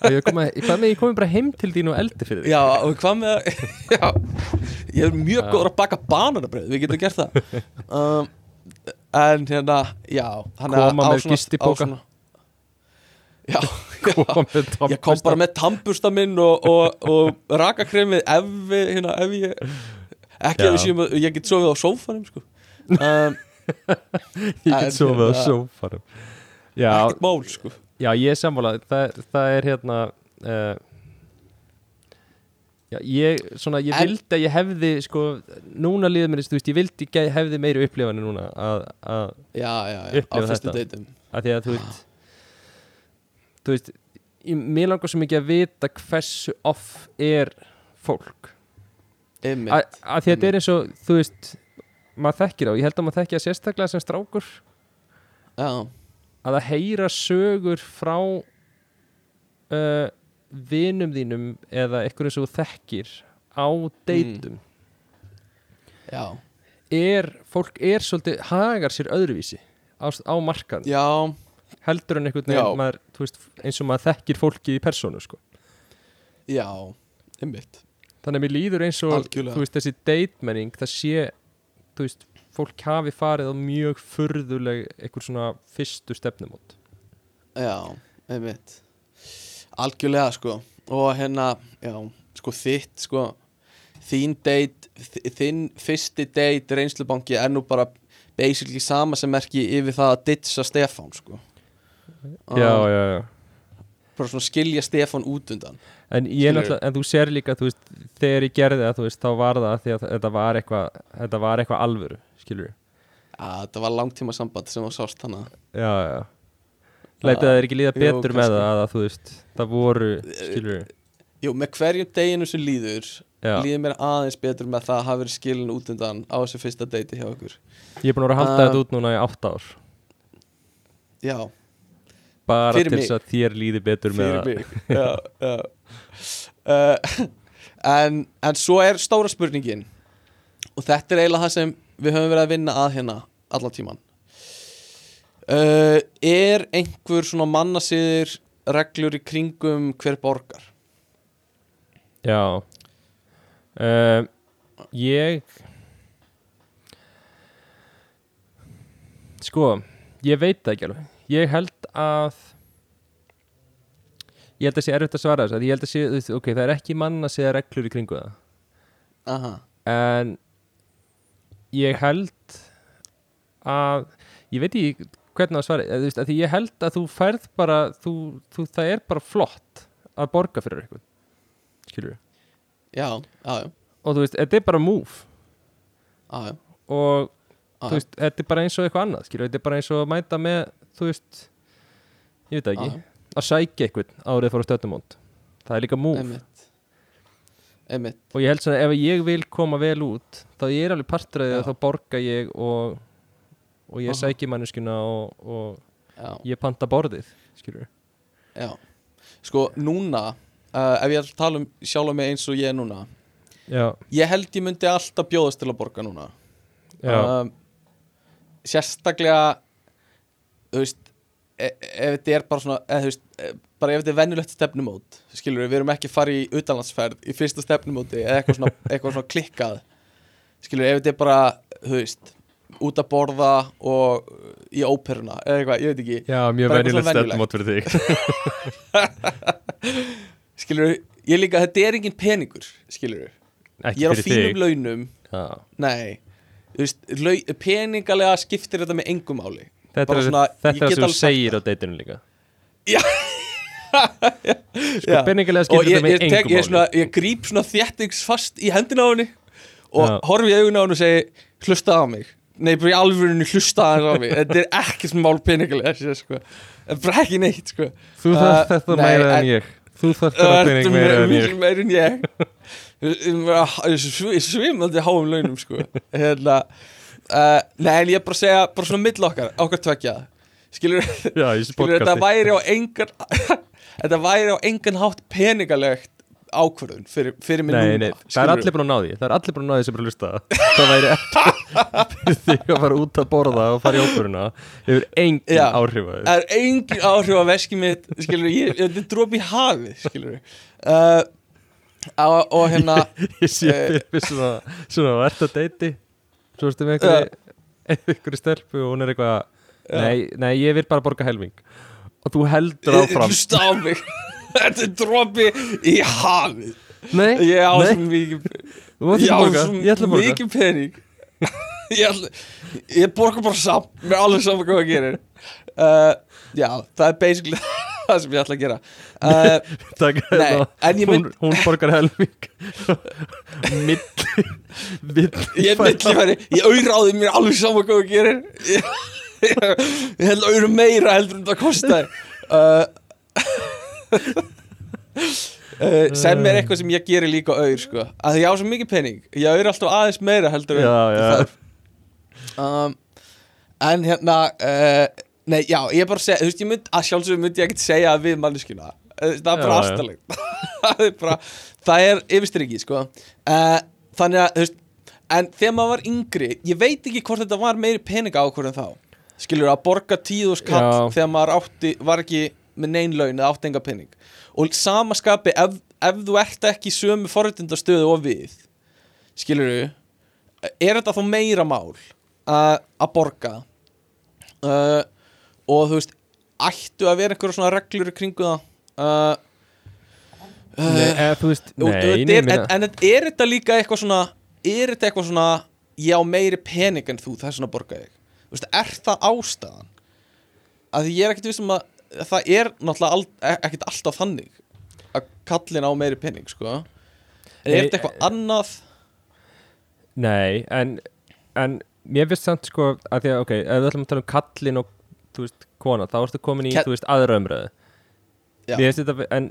A: Á ég að koma, Hvað með ég komið bara heim til þín og eldi fyrir þig?
B: Já, og hvað með að Já, ég er mjög
A: Já.
B: góður að baka bananabröð, við getum gert það um, En hérna, já hann er
A: Koma með
B: á svona- á
A: gistipoka.
B: svona- Já, já
A: Koma með
B: Ég kom
A: topplista.
B: bara með tannbursta minn og, og, og rakakremið ef, við, hérna, ef ég ekki
A: Já.
B: ef við séum að ég get sofið á sófanum sko. um,
A: Ég get sofið á
B: Hérna.
A: sófarum Já,
B: ekkert mál sko.
A: Já, ég er sammála, það, það er hérna uh, Já, ég, svona, ég
B: En-
A: vildi að ég hefði, sko, núna líður mér, þú veist, ég vildi að ég hefði meiri upplifanu núna að, að,
B: já, já, já, á
A: Upplifa
B: fyrstu
A: þetta.
B: deytum
A: að því að, þú veist, þú veist, ég, mér langar svo mikið að vita hversu off er fólk.
B: einmitt,
A: Að, að því að þetta er eins og, þú veist, maður þekkir á, ég held að maður þekkir að sérstaklega sem strákur
B: já,
A: að að heyra sögur frá uh, vinum þínum eða einhverju sem þú þekkir á deytum
B: já,
A: er, fólk er svolítið, hagar sér öðruvísi á, á markan
B: já,
A: heldur en einhvern
B: Já.
A: veginn maður, þú veist, eins og maður þekkir fólkið í persónu sko.
B: já einmitt
A: þannig að mér líður eins og
B: Algjörlega.
A: þú veist, þessi deitmenning það sé, þú veist, fólk hafi farið á mjög furðuleg einhver svona fyrstu stefnumót
B: Já, einmitt Algjörlega sko Og hérna, já, sko þitt sko Þín date þi- Þinn fyrsti date reynslubanki Er nú bara basically sama sem merki Yfir það að ditsa Stefán sko
A: já,
B: Ah,
A: já, já
B: Bara svona skilja Stefán út undan
A: En ég
B: Skilurðu?
A: náttúrulega, en þú sér líka, þú veist, þegar ég gerði það, þú veist, þá var það af því að þetta var eitthvað, þetta var eitthvað alvöru, skilur við.
B: Já, þetta var langtíma samband sem þú sást hana
A: Já, já, já. Lætið það er ekki líða
B: Ah, Jú,
A: betur með
B: kannski.
A: það að þú veist, það voru, skilur við.
B: Jú, með hverjum deginu sem líður
A: Já,
B: Líður mér aðeins betur með það að hafa verið skilin út undan Á þessu fyrsta deiti hjá okkur
A: ég er búin að vera að halda
B: Ah.
A: þetta út núna í átt ár,
B: Já,
A: bara
B: Fyrir
A: til
B: mig.
A: þess að þér líði betur með það.
B: mig já, já. Uh, en, en svo er stóra spurningin og þetta er eiginlega það sem við höfum verið að vinna að hérna allan tíman uh, er einhver svona mannasýðir reglur í kringum hver borgar
A: Já uh, Ég Sko Ég veit það ekki alveg Ég held að Ég held að sé erfitt að svara þess að ég held að sé, þú veist, ok, það er ekki mann að segja reglur í kringu það
B: Aha.
A: en ég held að ég veit ekki hvernig að svara eða, þú veist, að því ég held að þú færð bara þú, þú, það er bara flott að borga fyrir eitthvað skilur
B: já, já, já,
A: og þú veist, þetta er bara move
B: já, já,
A: og
B: Ah, já.
A: þú veist, þetta er bara eins og eitthvað annað skilur, þetta er bara eins og að mæta með þú veist, ég veit það ekki
B: Já.
A: að sækja eitthvað árið fór að stöttumónd það er líka move
B: einmitt einmitt,
A: og ég held svona, ef ég vil koma vel út þá ég er alveg partur af því
B: Já.
A: að þá borga ég og, og ég
B: Aha.
A: sæki manneskuna og, og
B: já
A: ég panta borðið skilur,
B: Já, sko núna uh, ef ég ætla að tala um sjálf mig eins og ég er núna
A: já,
B: ég held ég myndi alltaf bjóðast til að borga núna
A: já,
B: um, sérstaklega þú veist e ef þetta er bara svona eða, þú veist, e bara ef þetta er venjulegt stefnumót skilur við, við erum ekki að fara í utanlandsferð í fyrsta stefnumóti eða eitthvað svona, eitthvað svona klikkað skilur við, ef þetta er bara, þú veist út að borða og uh, í óperuna eða eitthvað, ég veit ekki
A: já, mjög
B: bara eitthvað svona
A: venjulegt
B: venjulegt.
A: stefnumót fyrir þig
B: skilur við, ég líka, þetta er engin peningur skilur við,
A: ekki
B: ég er á
A: fyrir
B: fínum
A: þig
B: launum
A: já.
B: nei, þú veist lau, peningalega skiptir þetta með engum áli
A: þetta
B: Bara
A: er
B: svona, ég
A: þetta er sem
B: get alveg
A: þú
B: sagt
A: segir á deitinu líka
B: Já.
A: sko,
B: Já.
A: peningilega
B: og
A: skiptir
B: ég,
A: þetta með
B: ég, tek,
A: engum
B: ég,
A: máli
B: svona, ég gríp svona þjættings fast í hendina á henni og
A: Já.
B: horfi í augun á henni og segi hlusta á mig nei, bara í alvörunni hlusta aðeins á mig þetta er ekkert mál peningilega sé, sko. En bara ekki neitt sko.
A: Þú
B: Uh,
A: þarf þetta
B: nei,
A: meira en
B: en-
A: ég Þú þarf þetta pening meira en ég
B: miklu meir en ég svimandi háum launum sko. hérna uh, nei, en ég er bara að segja bara svona mill okkar, okkar tvekja skilur
A: Já, ég sé
B: Skilur, þetta
A: podcasti
B: væri á engan þetta væri á engan hátt peningalegt ákvörðun fyrir, fyrir mig
A: Nei,
B: núna
A: nei, það er allir búin að ná því Það er allir búin að ná því sem er að hlusta Það væri ekki fyrir þig að fara út að borða og fara í óperuna Hefur engin
B: Já.
A: áhrif að
B: það er engin áhrif á veski mitt skilur, ég, þetta er dropi í hafið skilur uh, á, og hérna
A: því Ég sé
B: eh,
A: fyrir mig svona Svona að ert að deiti Svo ertu með einhverju einhverju stelpu og hún er eitthvað Nei, nei, ég vil bara borga helming Og þú heldur
B: Eh,
A: áfram
B: hlusta á mig þetta er dropi í hafið
A: Nei,
B: ég á
A: nei,
B: svo mikið
A: þú mátt
B: ég
A: ekki
B: á
A: borga Ég ætla
B: svo
A: að borga
B: mikið pening ég, ætla, ég borga bara samt með alveg saman hvað það gerir uh, já, það er basically það sem ég ætla að gera uh,
A: Takk,
B: Nei,
A: hérna,
B: en ég mynd-
A: hún, hún borgar helming Milli Milli
B: ég er millifæri, ég auðráði mér alveg saman hvað það gerir ég, ég, ég held auðru meira heldur en það kostar uh, Uh, sem er eitthvað sem ég gerir líka auður sko. að ég á svo mikið pening ég auður alltaf aðeins meira heldur en
A: Já, já.
B: það um, eh, en hérna uh, nei já, ég er bara að segja þú veist, ég mynd, að sjálfsögum myndi ég ekkert segja það við manneskina það er
A: Já,
B: bara
A: já.
B: astalegt það er bara, það er yfirstriki sko. uh, þannig að þú veist, en þegar maður var yngri ég veit ekki hvort þetta var meiri peninga ákvörðum þá skilur að borga tíðu skall
A: Já.
B: þegar maður átti, var ekki með neyn laun eða átti enga pening og sama skapi ef, ef þú ert ekki í sömu forréttindastöðu og við skilur er þetta þá meira mál að Eh, að borga uh, og þú veist ættu að vera einhverja svona reglur í kringu það uh,
A: Nei, eða, þú veist,
B: og,
A: nei, nei,
B: þetta er, en,
A: minna
B: en þetta- er þetta líka eitthvað svona er þetta eitthvað svona ég á meiri pening en þú þess vegna borga ég þú veist, er það ástæðan að ég er ekkert vissum að að það er náttúrulega all, e- ekkert alltaf þannig að kallin á meiri pening sko en er
A: Nei, eh,
B: þetta eitthvað annað
A: Nei, en, en mér finnst samt sko að því að, ok, ef við ætlum að tala um kallin og, þú veist, kona, þá ertu komin í,
B: Ke-
A: þú veist, aðra umræðu
B: Já.
A: Mér finnst þetta, en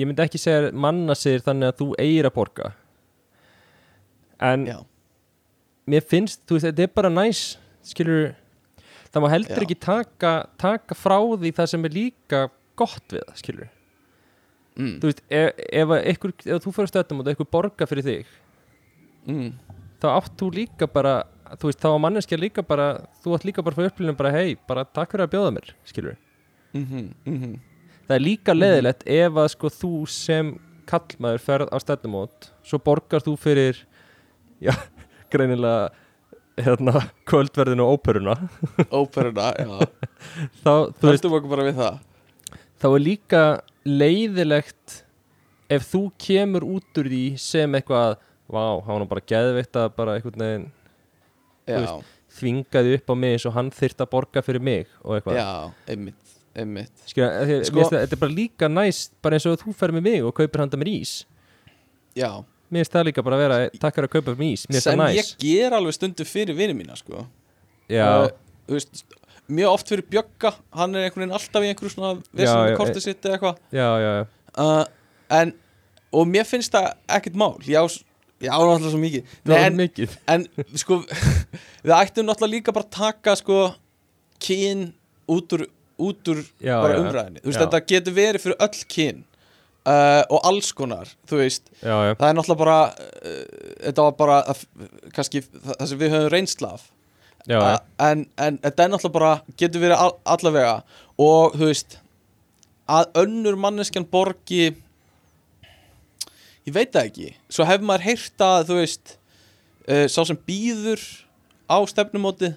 A: ég myndi ekki segja að manna sér þannig að þú eigir að borga En
B: já,
A: mér finnst, þú veist, þetta er bara næs, skilur Það má heldur
B: Já.
A: ekki taka, taka frá því það sem er líka gott við það, skilur
B: mm,
A: Þú veist, ef, ef, að einhver, ef þú fyrir stöðum og það eitthvað borga fyrir þig
B: mm,
A: þá átt þú líka bara þú veist, þá að manneskja líka bara þú átt líka bara fyrir upplýnum bara hei, bara takk fyrir að bjóða mér skilur,
B: mm -hmm, mm -hmm.
A: það er líka leðilegt ef að sko þú sem kallmaður ferð á stefnumót, svo borgar þú fyrir já, greinilega hérna, kvöldverðinu og óperuna
B: óperuna, já
A: þá, þú veist,
B: höldum okkur bara við það
A: þá er líka leiðilegt ef þú kemur út úr því sem eitthvað, vá, hann var nú bara geðveitt að bara einhvern veginn
B: já,
A: Þú þvingaði upp á mig eins og hann þyrft að borga fyrir mig og eitthvað
B: já, einmitt, einmitt
A: Skilja, af því að
B: Sko-
A: mér finnst það- þetta er bara líka næst bara eins og þú fer með mig og kaupir handa mér ís
B: já,
A: mér finnst það líka bara að vera takk fyrir að kaupa mér ís, mér finnst
B: sem
A: það
B: ég
A: næst
B: ger alveg stundu fyrir vinið mína sko
A: já,
B: Eh, þú veist, mjög oft fyrir Bjögga hann er einhvern veginn alltaf í einhverju svona
A: Já, eh-
B: vesinu
A: já,
B: kortið sitt eða eitthvað
A: já, já, já
B: uh, en, og mér finnst það ekkert mál ég á, s- ég á náttúrulega svo mikið
A: það var
B: en,
A: mikið
B: en sko við ættum náttúrulega líka bara að taka sko kyn út úr, út úr
A: já,
B: bara
A: já,
B: umræðinni, þú veist
A: já.
B: þetta getur verið fyrir öll kyn uh, og alls konar, þú veist
A: já, já,
B: það er náttúrulega bara uh, þetta var bara að, kannski það það sem við höfum reynsla af
A: já, já,
B: A- en, en þetta er náttúrulega bara getur verið all, allavega og þú veist að önnur manneskjan borgi ég veit það ekki svo hefur maður heyrt að þú veist uh, sá sem býður á stefnumóti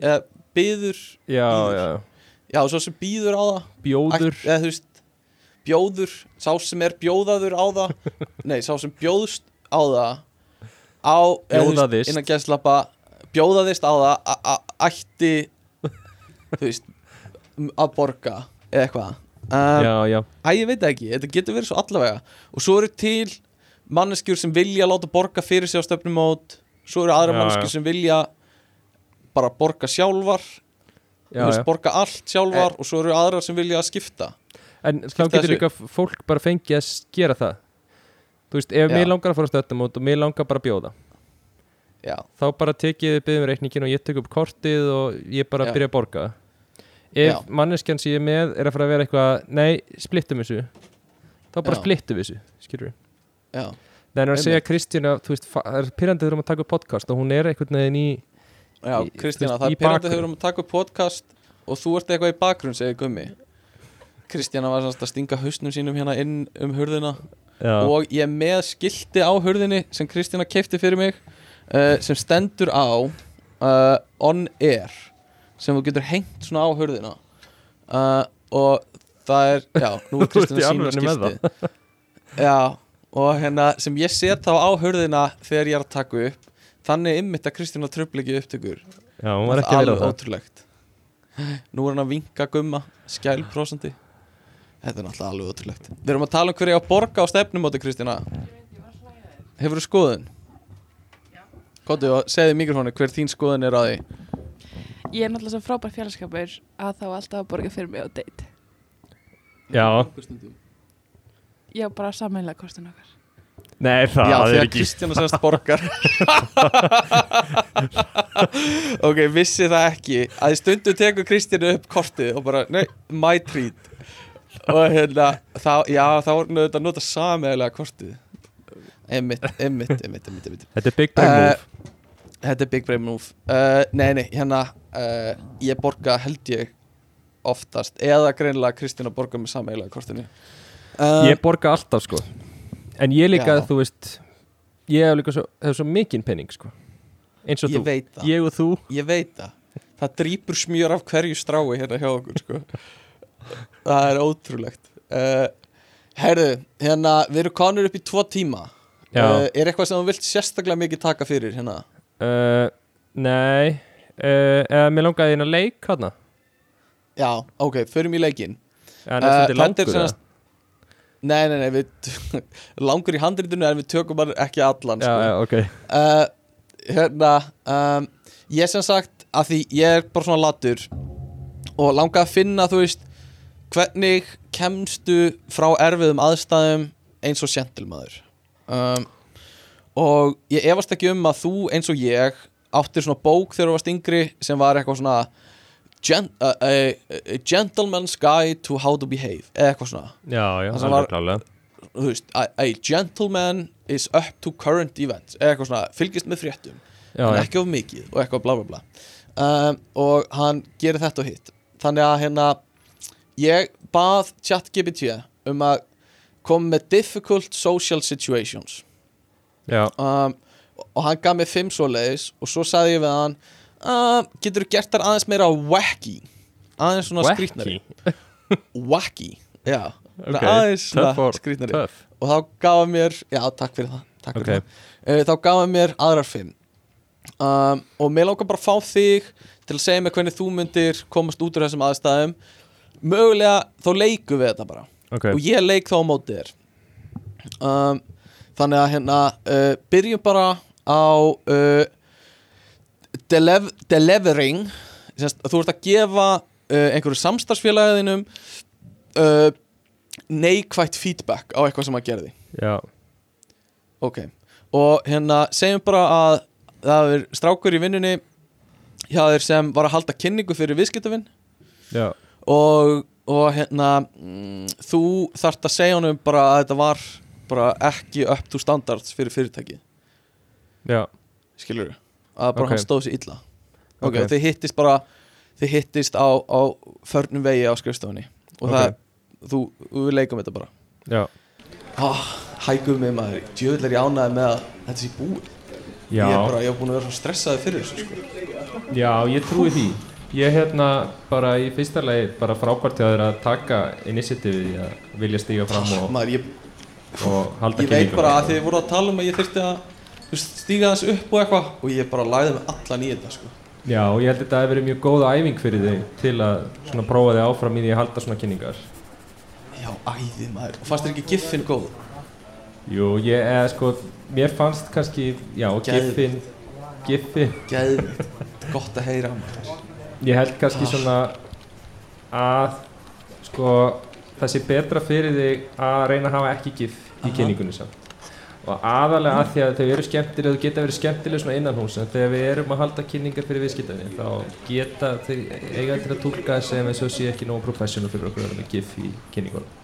B: eða býður
A: já,
B: bíður.
A: já.
B: já, sá sem býður á það
A: bjóður
B: Ætt- eða, þú veist, bjóður, sá sem er bjóðaður á það nei, sá sem bjóðst á það á, eða, þú veist,
A: Bjóðaðist.
B: innan gæstlappa bjóðaðist á það a- a- ætti þú veist, m- að borga eða eitthvað um,
A: já, já,
B: Æ, ég veit það ekki, þetta getur verið svo allavega og svo eru til manneskjur sem vilja láta borga fyrir sig á stöfnumót svo eru aðra
A: Já,
B: manneskjur
A: já.
B: sem vilja bara borga sjálfar þú
A: já,
B: veist,
A: já. Eh.
B: borga allt sjálfar og svo eru aðrar sem vilja að skipta
A: en þá
B: skipta
A: getur
B: þessu.
A: líka f- fólk bara fengið að s- gera það þú veist, ef
B: Já.
A: mér langar að fara stöðum og mér langar bara að bjóða
B: já,
A: þá bara tekið þið byggðum reikningin og ég tek upp kortið og ég bara
B: Já.
A: byrja að borga ef
B: Já.
A: manneskjan sem ég er með er að fara að vera eitthvað nei, splittum þessu þá bara
B: Já.
A: splittum þessu, skilur við
B: já
A: það er að
B: Einmitt.
A: segja Kristín að, þú veist, fa- það er pyrrandið þurfum að taka upp podcast og hún er einhvern veginn í
B: Já,
A: Í-
B: Kristína,
A: þú veist,
B: það
A: í
B: er pyrrandi
A: bakgrunn.
B: þegar við erum að taka upp podcast og þú ert eitthvað í bakgrunn, segir Gummi Kristína var sannst að stinga hausnum sínum hérna inn um hurðina
A: já,
B: og ég er með skilti á hurðinni sem Kristína keipti fyrir mig uh, sem stendur á uh, on air sem þú getur hengt svona á hurðina uh, og það er, já, nú er
A: Þú ert í
B: Kristína sína
A: alvörunni með
B: skilti Já, og hérna sem ég set þá á hurðina þegar ég er að taka upp þannig ymmit að Kristína tröfli ekki upptökur
A: já, hún var ekki að vera
B: alveg
A: það
B: ótrúlegt Nú er hann að vinka gumma Skælprósandi Þetta er náttúrulega alveg ótrúlegt Við erum að tala um hverja á að borga á stefnumóti Kristina Hefur þú skoðun? Kóti og segði mikrofónu hver þín skoðun er á því
C: Ég er náttúrulega svo frábær félagskapur að þá á alltaf að borga fyrir mig á date.
A: Já.
C: Ég á bara sammeinlega kostun okkar.
A: nei, það
B: Já,
A: er
B: þegar
A: ekki
B: Kristina semst borgar Ok, vissi það ekki að í stundu tekur Kristina upp kortið og bara, nei, my treat og hérna, þá, já, þá voru nú auðvitað að nota sameiglega kortið einmitt, einmitt, einmitt, einmitt, einmitt.
A: Þetta er big brain
B: Eh,
A: move
B: þetta er big brain move uh, nei, nei, hérna uh, ég borga held ég oftast, eða greinlega Kristina borga með sameiglega kortinu uh,
A: Ég borga alltaf sko En ég líka,
B: Já.
A: þú veist Ég hef líka svo, hef svo mikinn penning sko Eins og
B: ég
A: þú
B: veit það, ég...
A: Ég og þú
B: veit það það drýpur smjör af hverju strái hérna hjá okkur sko. það er ótrúlegt uh, herðu, hérna við erum konur upp í tvo tíma
A: Já.
B: Eh, er eitthvað sem þú vilt sérstaklega mikið taka fyrir hérna
A: uh, Nei uh, eða, Mér langaði inn að leik hana
B: já, ok, förum í leikin
A: En það er svolítið
B: Eh, þetta er
A: langur
B: sem sagt-
A: eða?
B: nei, nei, nei, við langur í handritinu en við tökum bara ekki allan
A: Já,
B: sko.
A: já, ok
B: uh, hérna um, ég sem sagt að því ég er bara svona latur og langa að finna þú veist hvernig kemstu frá erfiðum aðstæðum eins og sentilmaður um, og ég efast ekki um að þú eins og ég áttir svona bók þegar þú varst yngri sem var eitthvað svona gen, uh, uh, uh, Gentleman's Guide to How to Behave eða eitthvað svona
A: Já, já,
B: Það sem
A: alveg
B: var-
A: klálega
B: þú veist, a, a gentleman is up to current events eða eitthvað svona, fylgist með fréttum
A: Já,
B: en
A: já,
B: ekki of mikið og eitthvað bla bla bla um, og hann gerir þetta og hitt þannig að hérna ég bað ChatGPT um að koma með difficult social situations
A: já,
B: um, og hann gaf mér fimm svoleiðis og svo sagði ég við hann um, getur þú gert þar aðeins meira wacky aðeins svona
A: Wacky?
B: skrýtnari wacky, já
A: ok,
B: aðeins
A: töff
B: svona
A: orð,
B: skrýtnari
A: töff.
B: og þá gaf hann mér já, takk fyrir það, takk
A: Ok.
B: fyrir það. Uh, þá gaf hann mér aðrar fimm um, og mér langar bara að fá þig til að segja mér hvernig þú myndir komast út úr þessum aðstæðum mögulega þá leikum við þetta bara
A: ok
B: og ég leik þá á móti þér um, þannig að hérna uh, byrjum bara á uh, delev delivering semst, þú ert að gefa uh, einhverju samstarfsfélagiðinum uh, neikvætt feedback á eitthvað sem að gerði
A: Já,
B: Ok, og hérna segjum bara að það er strákur í vinnunni hjá þér sem var að halda kynningu fyrir viðskiptavinn
A: já,
B: og, og hérna mm, þú þarft að segja honum bara að þetta var bara ekki up to standards fyrir fyrirtæki
A: já
B: skilur að bara
A: Ok.
B: hann stóð sér illa ok,
A: Ok.
B: og þið hittist bara þið hittist á, á förnum vegi á skrifstofunni og það, þú, við leikum þetta bara
A: Já,
B: ah, hægum mig maður, djöðlega er ég ánæði með að þetta sé búið
A: já,
B: Ég er bara, ég hef búin að vera svo stressaði fyrir þessu sko.
A: já, ég trúi því Ég hérna bara í fyrsta lagi bara frábært hjá þér að taka initiativið í að vilja stíga fram og,
B: Maður, ég,
A: og halda
B: ég veit
A: kynninguna.
B: bara að þið voru að tala um að ég þyrfti að þú veist, stíga þess upp og eitthvað og ég bara lagði mig allan í þetta sko.
A: Já, og ég held að þetta hefur verið mjög góð æfing fyrir þig til að svona prófa þig áfram í því að halda svona kynningar.
B: Já, æði maður, og fannst þér ekki giffin góð?
A: Jú, ég, eða sko, mér fannst kannski, já,
B: Geðveikt.
A: giffin, giffin,
B: Geðvitt, gott að heyra maður
A: ég held kannski svona að, sko, það sé betra fyrir þig að reyna að hafa ekki giff í kynningunni samt. Og aðalega að því að þau eru skemmtileg, þau geta verið skemmtileg svona innan hús, en þegar við erum að halda kynningar fyrir viðskiptafinni, þá geta þeir eiga til að tólka þessi ef þessu sé ekki nógu professional fyrir okkur að vera með giff í kynningunum.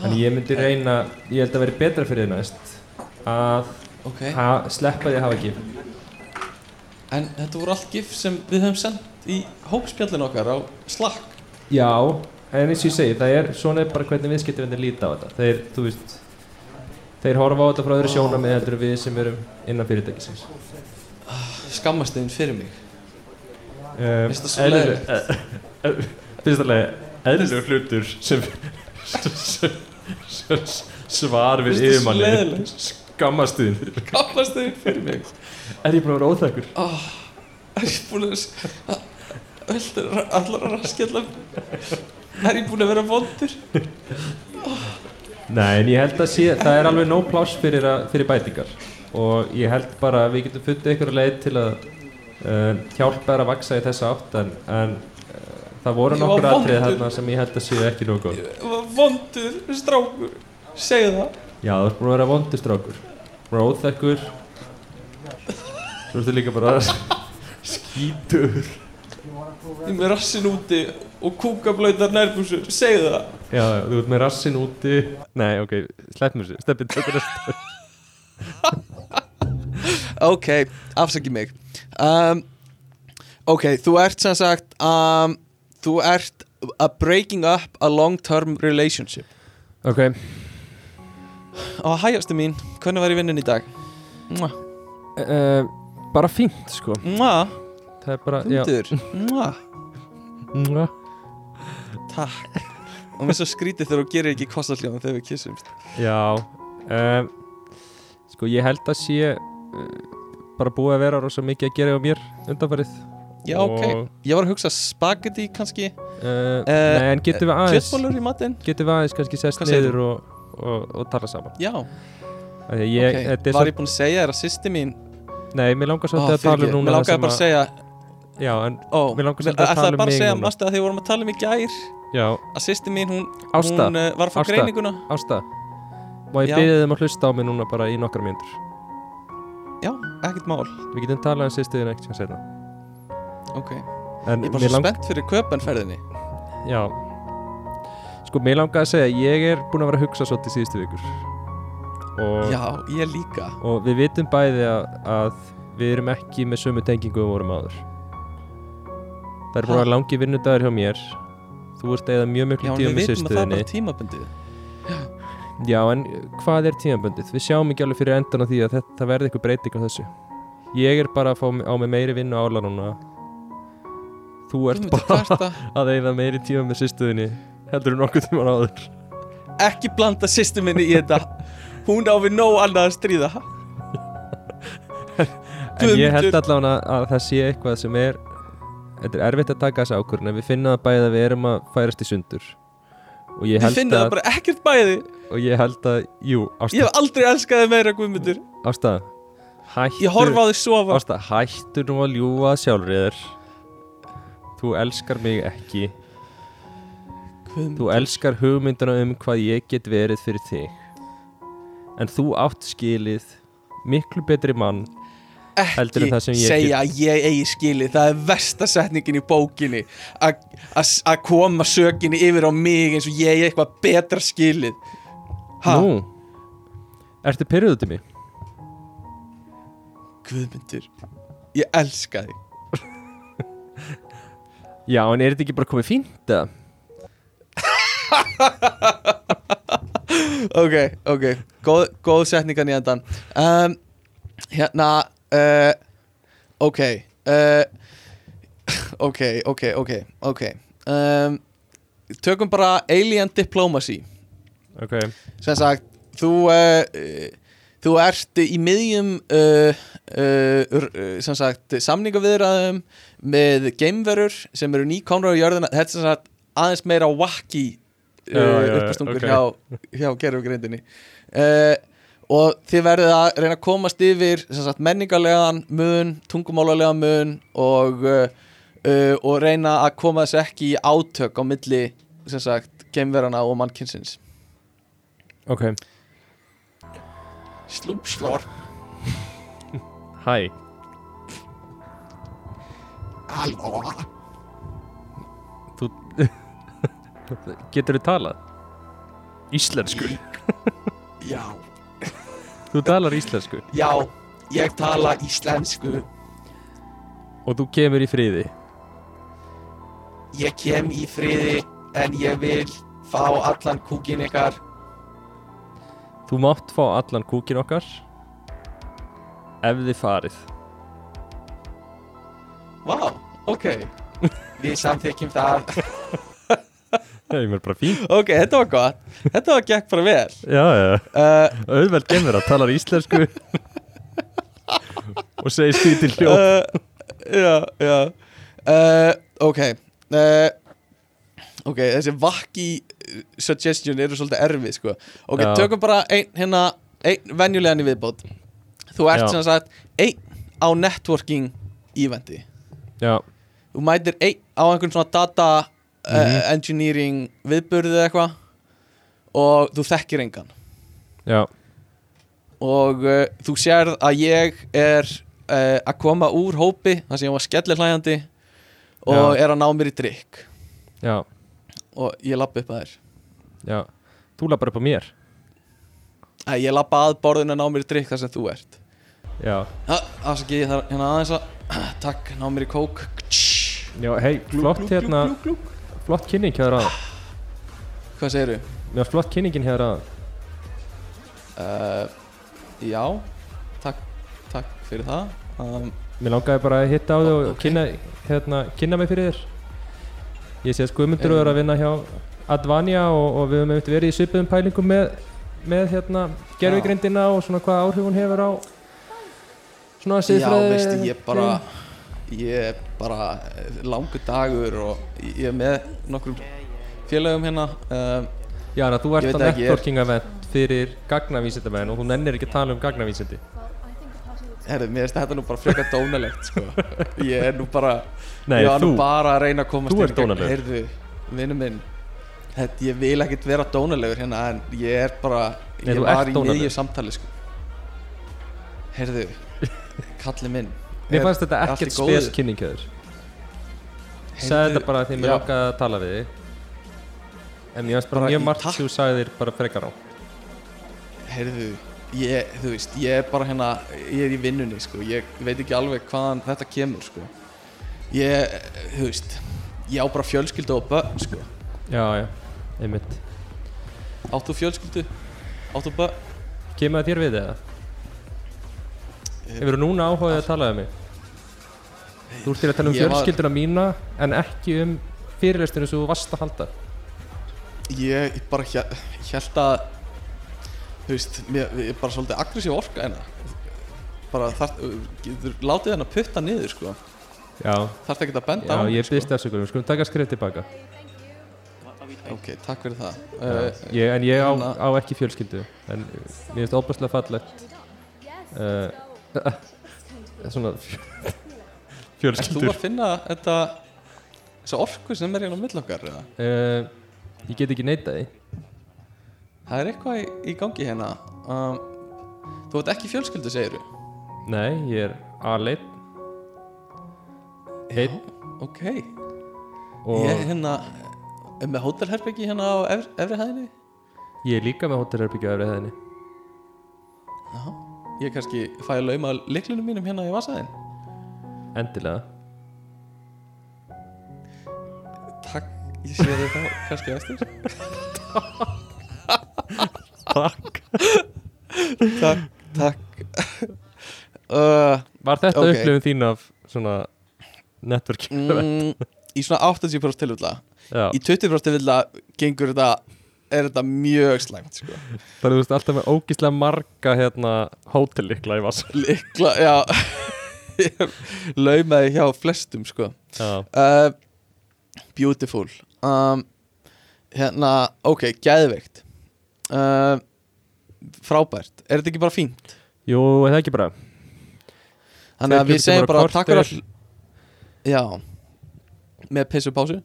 A: Þannig ég myndi reyna, ég held að veri betra fyrir þið næst að
B: Ok,
A: ha, sleppa því að hafa gifn.
B: en þetta voru allt giff sem við höfum sendt í hópspjallin okkar á Slack
A: Já, en eins og ég segi, það er svona er bara hvernig viðskiptavinnir líta á þetta. Þeir, þú veist, þeir horfa á þetta frá öðru sjóna með heldur en við sem erum innan fyrirtækisins.
B: Skammast þeim fyrir mig
A: Um,
B: Finnst það svo leiðilegt?
A: e- Fyrsta lagi, eðlilegur hlutur sem, sem, sem, sem svar við
B: Finnst það svo
A: yfirmanni.
B: leiðilegt?
A: Skammast þín.
B: Skammast þeim fyrir mig
A: Er ég bara að vera óþekkur?
B: oh, Er ég búin að Öldur allar að raskjalla Er ég búin að vera vondur
A: Nei, en ég held að sé, það er alveg nóg pláss fyrir, að, fyrir bætingar og ég held bara að við getum fundið einhverja leið til að uh, hjálpa þær að vaksa í þessa átt en, en uh, það voru
B: Ég var
A: nokkur atrið
B: vondur.
A: þarna sem ég held að séu ekki nógu góð.
B: Vondur strákur Segðu það
A: Já, þú ert búin að vera vondur strákur, bara óþekkur, svo ertu líka bara skítur.
B: Ég er með rassin úti og kúkablautar nærbúsur Segðu það
A: já, já, þú ert með rassin úti Nei, ok, slepp mér sér Steppi, tökur að
B: Ok, afsaki mig um, Ok, þú ert sem sagt um, Þú ert a breaking up a long term relationship
A: Ok,
B: Og hægastu mín, hvernig var ég vinnun í dag? Mua,
A: uh, bara fínt sko
B: mua,
A: Það er bara, já
B: hundur Mua,
A: Mua.
B: takk Og mér er svo skrítið þegar þú gerir ekki kostaljóðan þegar við kyssumst
A: Já um, Sko ég held að sé uh, bara búið að vera rosa mikið að gera á mér undanfarið
B: Já, ok,
A: Og,
B: ég var að hugsa spagetti kannski
A: uh, Nei, en getum við aðeins
B: Kjötbólur í matinn
A: Getum við aðeins kannski sest
B: Eh, Hvað segirðu?
A: niður og, og, og tala saman
B: Já,
A: Af því að ég,
B: ok,
A: þetta er
B: var
A: svo,
B: ég búinn að segja þér að sýsti mín
A: Nei, mér langar
B: Ó,
A: svolítið að tala um
B: fyrirgefðu.
A: núna
B: Mér
A: það
B: langaði
A: sem
B: bara að segja
A: Já, en,
B: Ó,
A: Mig langar
B: mér-
A: svolítið að tala
B: ætlaði
A: um
B: bara að
A: mig
B: segja
A: núna.
B: mástu að því við vorum að tala um í gær
A: já,
B: að sýsti mín, hún,
A: Ásta,
B: hún uh, var að fá
A: Ásta.
B: greininguna
A: Ásta Má ég
B: Já.
A: byrja þeim að hlusta á mig núna bara í nokkra mínútur
B: Já, ekkert mál
A: Við getum talað um sýstuðin ekkert sem segna
B: Ok, ég
A: En
B: er bara
A: mér
B: svo
A: lang-
B: spennt fyrir köpenferðinni
A: Já Sko, mér langaði að segja Ég er búin að vera að hugsa svolítið síðustu vikur og,
B: Já, ég líka
A: og við vitum bæði að, að Við erum ekki með sömu tengingu um vorum áður Það er búin að
B: Ha?
A: vera langi vinnudagur hjá mér Þú ert eða mjög
B: Já,
A: miklu
B: en
A: tíma
B: við
A: með
B: vitum að það er
A: sýstuðinni
B: bara tímabundið
A: Já, en hvað er tímaböndið? Við sjáum ekki alveg fyrir endan á því að þetta það verði eitthvað breyting á þessu Ég er bara að fá m- á mig meiri vinnu ála núna Þú ert
B: Guðmundur,
A: bara
B: hvað ertu að-
A: að eigða meiri tíma með sýstuðinni heldur en nokkuð tíma áður
B: Ekki blanda sýsti minni í þetta Hún á við nóg annað að stríða
A: En ég held
B: Guðmundur.
A: allavega að, að það sé eitthvað sem er Þetta er erfitt að taka þessi ákvörðin en við finnum það bæði að við erum að færast í sundur og ég
B: Við
A: held
B: finnum
A: að,
B: það bara ekkert bæði
A: og ég held að jú,
B: Ég
A: ástæð,
B: hef aldrei elskaði meira Guðmundur
A: ástæð hættu,
B: Ég horfa á þig sofa
A: ástæð, hættu nú að ljúga sjálfriður þú elskar mig ekki
B: Guðmundur.
A: þú elskar hugmyndina um hvað ég get verið fyrir þig en þú átt skilið miklu betri mann heldur en það sem
B: ekki
A: ég
B: segja að ég eigi skilið það er versta setningin í bókinni að að- að koma sökinni yfir á mig eins og ég eigi eitthvað betra skilið ha,
A: nú, ertu pyrruð út í mig?
B: Guðmundur ég elska þig
A: Já, en er þetta ekki bara komið fínt eða?
B: ok, ok, góð, góð setningan í endan um, hérna uh, ok uh, ok, ok, ok ok um, tökum bara Alien Diplomacy
A: Ok,
B: sem sagt þú uh, uh, þú ert í miðjum uh, uh, r- uh, sem sagt samningaviðraðum með geimverur sem eru nýkomrar á jörðina þetta er sem sagt aðeins meira wacky
A: Já, já,
B: uh,
A: já,
B: uppastungur
A: ok.
B: hjá, hjá gerfugrindinni uh, og þið verðið að reyna að komast yfir sem sagt menningarlegan mun tungumálarlegan mun og uh, uh, og reyna að koma þess ekki í átök á milli sem sagt geimverana og mannkynsins
A: ok
B: Slúpslor
A: Hæ
B: Halló
A: Þú Getur þú talað? Íslensku
B: Já,
A: Þú talar íslensku
B: já, ég tala íslensku
A: Og þú kemur í friði
B: Ég kem í friði En ég vil fá allan kúkin ykkar
A: Þú mátt fá allan kúkin okkar Ef þið farið
B: Vá, ok Við samþykjum það
A: Já, ég verð bara fín
B: Ok, þetta var gott Þetta var gekk bara vel
A: Já, já,
B: uh,
A: auðveld gemur að talar íslensku Og segir skrítin hljóð
B: uh, Já, já uh, Ok uh, Ok, þessi vakki uh, suggestion eru svolítið erfið sko. Ok,
A: Já.
B: tökum bara einn hérna, ein venjulegan í viðbót Þú ert
A: Já.
B: sem sagt einn á networking eventi
A: Já,
B: Þú mætir einn á einhvern svona data
A: Mhm.
B: uh, engineering viðburðið eða eitthvað og þú þekkir engan
A: já,
B: og uh, þú sérð að ég er uh, að koma úr hópi þar sem ég var skellir hlæjandi og
A: Já.
B: er að ná mér í drikk
A: já
B: og ég lappi upp að þér
A: já Þú lappar upp á mér
B: Æ, ég lappa að borðinu að ná mér í drikk þar sem þú ert
A: Já,
B: Afsaki, ég þarf hérna aðeins að Takk, ná mér í kók Tss.
A: já hei, flott hérna Flott kynning hér að
B: Hvað segirðu?
A: Mér var flott kynningin hér að
B: Uh, já, takk, takk fyrir það um,
A: Mér langaði bara að hitta á þig og
B: Ok.
A: kynna, hérna, kynna mig fyrir þér Ég sé að Guðmundur er að vinna hjá Advania og, og við höfum einmitt verið í svipuðum pælingum með, með hérna, gerfugrindina og svona hvaða áhrif hún hefur á svona
B: Já,
A: siðfræði
B: veistu, ég bara Ég bara eh, Langur dagur og ég er með Nokkrum félögum hérna um,
A: Já, þannig að þú
B: Ég
A: ert
B: veit
A: að
B: ekki, ég er-
A: networking event fyrir gagnavísindamenn og þú nennir ekki að tala um gagnavísindi
B: Herðu, mér finnst þetta nú bara frekar dónalegt sko. Ég er nú bara
A: Nei,
B: Ég var
A: þú,
B: nú bara að reyna að komast
A: þú
B: í
A: ert
B: gegn-
A: dónalegur.
B: Heyrðu, vinnu minn þetta, Ég vil ekkert vera dónalegur hérna En ég er bara
A: Nei,
B: Ég
A: þú
B: var
A: ert
B: í
A: dónalegur.
B: miðju samtali sko. Heyrðu, kalli minn
A: mér fannst þetta
B: er allt í
A: ekkert
B: góðu?
A: spes kynning hér Segði
B: Heyrðu,
A: þetta bara því mér
B: já.
A: langaði að tala við þig En mér finnst bara
B: Bara
A: mjög
B: í
A: margt
B: takt.
A: sem þú sagði þér bara frekar á
B: Heyrðu, ég, þú veist, ég er bara hérna, ég er í vinnunni, sko, ég veit ekki alveg hvaðan þetta kemur, sko. Ég, þú veist, ég á bara fjölskyldu og börn, sko.
A: Já, já, einmitt
B: Áttu fjölskyldu? Áttu börn?
A: Kemur það þér við eða?
B: Eh,
A: Hefur þú núna áhugaði að tala um mig? Þú ert til að tala um
B: Ég var-
A: fjölskylduna mína en ekki um fyrirlestunum sem þú varst að halda
B: Ég bara held að, þú veist, mér, ég er bara svolítið aggressív orka hérna. Bara þart, getur látið henn að putta niður, sko.
A: Já,
B: Þarft ekki að benda
A: já
B: á
A: ég byrst afsökunum, við skulum taka skrif tilbaka
B: Sko. Ok, takk fyrir það. Uh,
A: ég, En ég á,
B: hérna-
A: á ekki fjölskyldu en mér finnst óbærslega fallegt uh, Svona fjö-
B: er þú
A: fjölskyldur
B: að finna þetta, þessa orku sem er hérna á milli okkar, eða?
A: uh, Ég get ekki neita því
B: Það er eitthvað í, í gangi hérna um, Þú ert ekki í fjölskyldu, segir
A: Nei, ég er aðleitt Einn
B: Ok
A: og
B: Ég er hérna er með hótelherbyggi hérna á efri, efri hæðinni
A: ég er líka með hótelherbyggja öfrið þenni
B: Já Ég kannski fæ að lauma liklunum mínum hérna í vasaðin
A: Endilega
B: Takk, ég sé þau þá kannski á eftir
A: Takk
B: Takk, takk uh,
A: Var þetta
B: Ok.
A: okay. upplifun þín af svona networking mm.
B: mm, Í svona 80% tilvilla
A: Já,
B: Í 20% tilvilla gengur þetta er þetta mjög slæmt sko.
A: það er þú veist alltaf með ógíslega marga hérna hótellikla í vass
B: Likla, já Ég laumaði hjá flestum sko.
A: Já,
B: uh, Beautiful um, Hérna, ok, gæðveikt uh, Frábært Er þetta ekki bara fínt?
A: jú, er það ekki bara
B: Þannig
A: Tveir
B: að við
A: klukkutímar
B: segjum
A: og
B: bara
A: korter.
B: takk fyrir all Já Með pissu pásu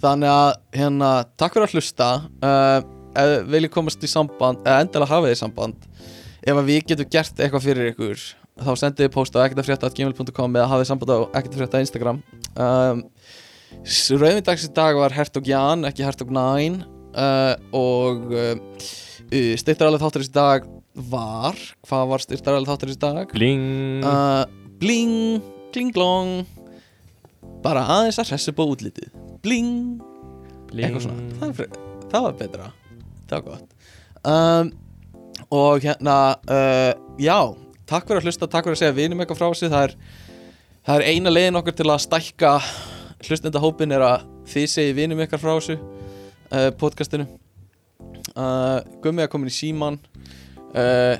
B: Þannig að, hérna, takk fyrir að hlusta uh, Ef þið viljið komast í samband Eða endilega hafið þið samband Ef að við getum gert eitthvað fyrir ykkur Þá sendið þið post á ekkertafrétta.gmail.com Eða hafið samband á ekkertafrétta Instagram um, Rauðvindags í dag var Hertog Jan, ekki Hertog Næn uh, og uh, styrtaralið þáttarins í dag var, hvað var styrtaralið þáttarins í dag?
A: Bling
B: Uh, bling, klinglong bara aðeins að hressa upp á útlitið bling,
A: Bling
B: eitthvað svona það, er fre- það var betra, það var gott um, og hérna uh, já, takk fyrir að hlusta takk fyrir að segja vinum eitthvað frá sig það er, það er eina leiðin okkur til að stækka hlustendahópin er að þið segi vinum eitthvað frá sig uh, podcastinu uh, Gummi er komin í síman uh,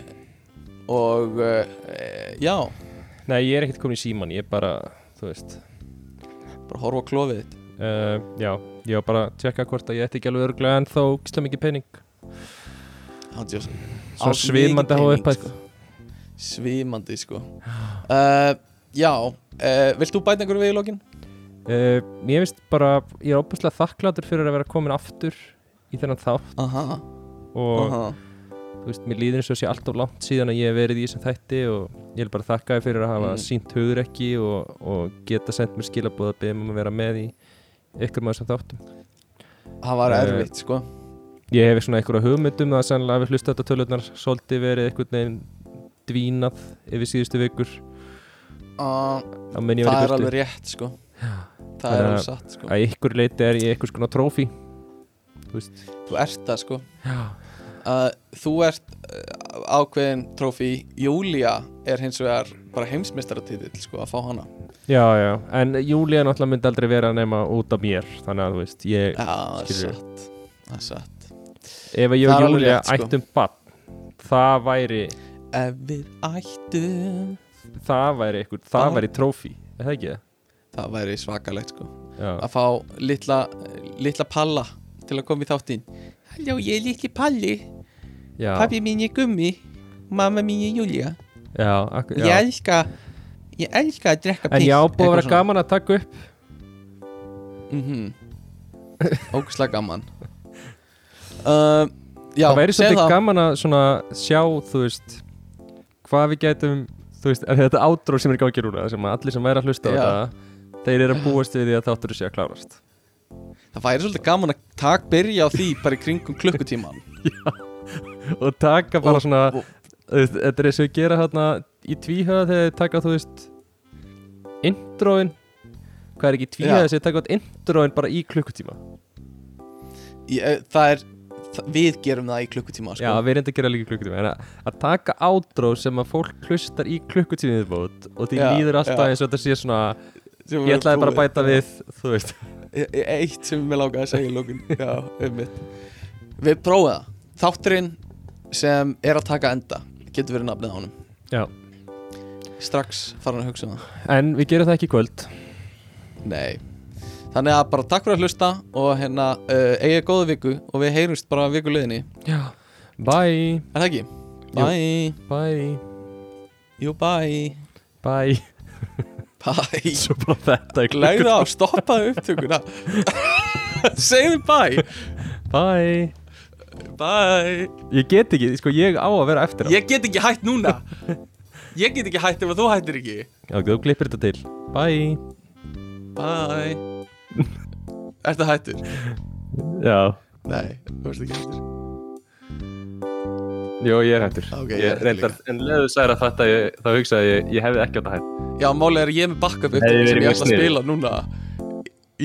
B: og uh, eh, já
A: Nei, ég er ekkert komin í síman, ég er bara, þú veist
B: bara horfa á klófið þitt
A: uh, Já, ég var bara að tjekka hvort að ég ætti ekki alveg örglega en þó gíslega mikið pening
B: Hann djósa.
A: Svo
B: Á
A: svimandi á
B: mikið pening,
A: upphæð
B: sko. svimandi sko
A: Ah.
B: uh, já, uh, vilt þú bæta einhverju við í lokin?
A: Uh, ég finnst bara, ég er óbúslega þakkláttur fyrir að vera komin aftur í þennan þátt
B: aha,
A: og
B: aha
A: þú veist, mér líður eins og sé alltof langt síðan að ég hef verið í þessum þætti og ég vil bara þakka þér fyrir að hafa
B: Mm.
A: sínt hugur ekki og, og geta sendt mér skilabóð að beða mig um að vera með í ykkur maður sem þáttum
B: það var
A: Eh,
B: erfitt sko
A: Ég hef svona einhverja hugmyndum að sennilega hafi hlusta þetta tölurnar svolítið verið einhvern veginn dvínað yfir síðustu vikur
B: uh,
A: Þá menn ég
B: það er
A: verið
B: alveg
A: burtu
B: rétt sko það
A: Þannig
B: er
A: að-
B: alveg satt sko
A: Að ykkur leiti er ég einhvers konar trófi Þú veist
B: þú ert það sko
A: Já
B: uh, þú ert uh, ákveðin trófi Júlia er hins vegar bara heimsmeistaratitill sko að fá hana
A: Já, já, en Júlía náttúrulega myndi aldrei vera nema út af mér Þannig að þú veist, ég,
B: já það er
A: Skilurðu.
B: satt það er satt
A: ef ég og
B: það er alveg
A: Júlía
B: rétt, sko.
A: ættum bann Það væri,
B: ef við ættum
A: það væri ykkur, það
B: Það-
A: væri trófi Er það ekki það?
B: það væri svakalegt sko
A: Já,
B: að fá litla, litla palla til að koma í þáttinn Halló, ég er litli palli,
A: já,
B: pabbi mín er gummi mamma mín er Júlia
A: já, akkur,
B: ég
A: já.
B: elska ég elska að drekka
A: En
B: piss
A: já, búið að
B: Eitthvað
A: vera
B: svona.
A: gaman að taka upp
B: Mhm. Ógeðslega gaman uh, Já,
A: það væri
B: segðu
A: svolítið
B: það.
A: gaman að svona sjá þú veist hvað við getum þú veist, er þetta átróð sem er í gangi núna sem að allir sem væri að hlusta á
B: Já.
A: þetta þeir eru að búast við því að þáttur sé að klárast
B: Það væri svolítið gaman að takk byrja á því bara í kringum klukkutíman
A: og taka bara
B: Og-
A: svona
B: og-
A: þú veist, þetta er eins og við gera hérna í tvíhöða þegar þeir taka þú veist introin hvað er ekki í tvíhöða
B: Já.
A: þegar þeir taka út introin bara í klukkutíma
B: ég, eh, Það er, það, við gerum það í klukkutíma sko.
A: já, við erum þetta að gera líka í klukkutíma en að, að taka átróð sem að fólk hlustar í klukkutíma viðbót og því
B: Já,
A: líður alltaf
B: já.
A: eins og þetta sé svona
B: Sem
A: ég
B: er
A: ætlaði bara að
B: búið.
A: bæta við þú veist
B: E- e- Eitt sem mér lákaði að segja í lókun Já, einmitt Við prófum það Þátturinn sem er að taka enda Getur verið nafnið á honum
A: Já.
B: Strax farin að hugsa um það
A: En við gerum það ekki í kvöld
B: Nei Þannig að bara takk fyrir að hlusta og hérna uh, eigið góða viku og við heyrumst bara viku liðinni
A: Já Bye
B: Er það ekki?
A: Jú.
B: Bye
A: Bye
B: Jú, bye
A: Bye
B: Bye
A: Svo bara þetta í
B: Legðu á, stoppaðu upptökuna Segðu bye
A: Bye
B: Bye
A: Ég get ekki, sko ég á að vera eftir á
B: Ég get ekki hætt núna Ég get ekki hætt ef að þú hættir ekki
A: Já, þú klippir þetta til Bye
B: Bye Ertu hættur?
A: Já
B: Nei, þú veist ekki hættur
A: Jó, ég er hættur
B: Ok, ég er
A: ég
B: hættur
A: reyndar, En leðu særa þetta, ég, þá hugsaði ég Ég hefði ekki átt að hætt
B: Já, málið er að ég er með backup
A: Nei, ég
B: upptöku sem
A: verið
B: ég
A: mjög
B: ætla að
A: sniðug.
B: spila núna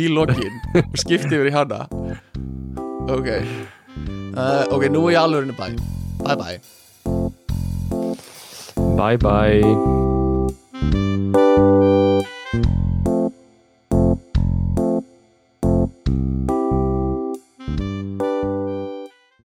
B: í lokin og skipti yfir í hana Ok uh, Ok, nú er ég alveg henni bæ Bye bye
A: Bye bye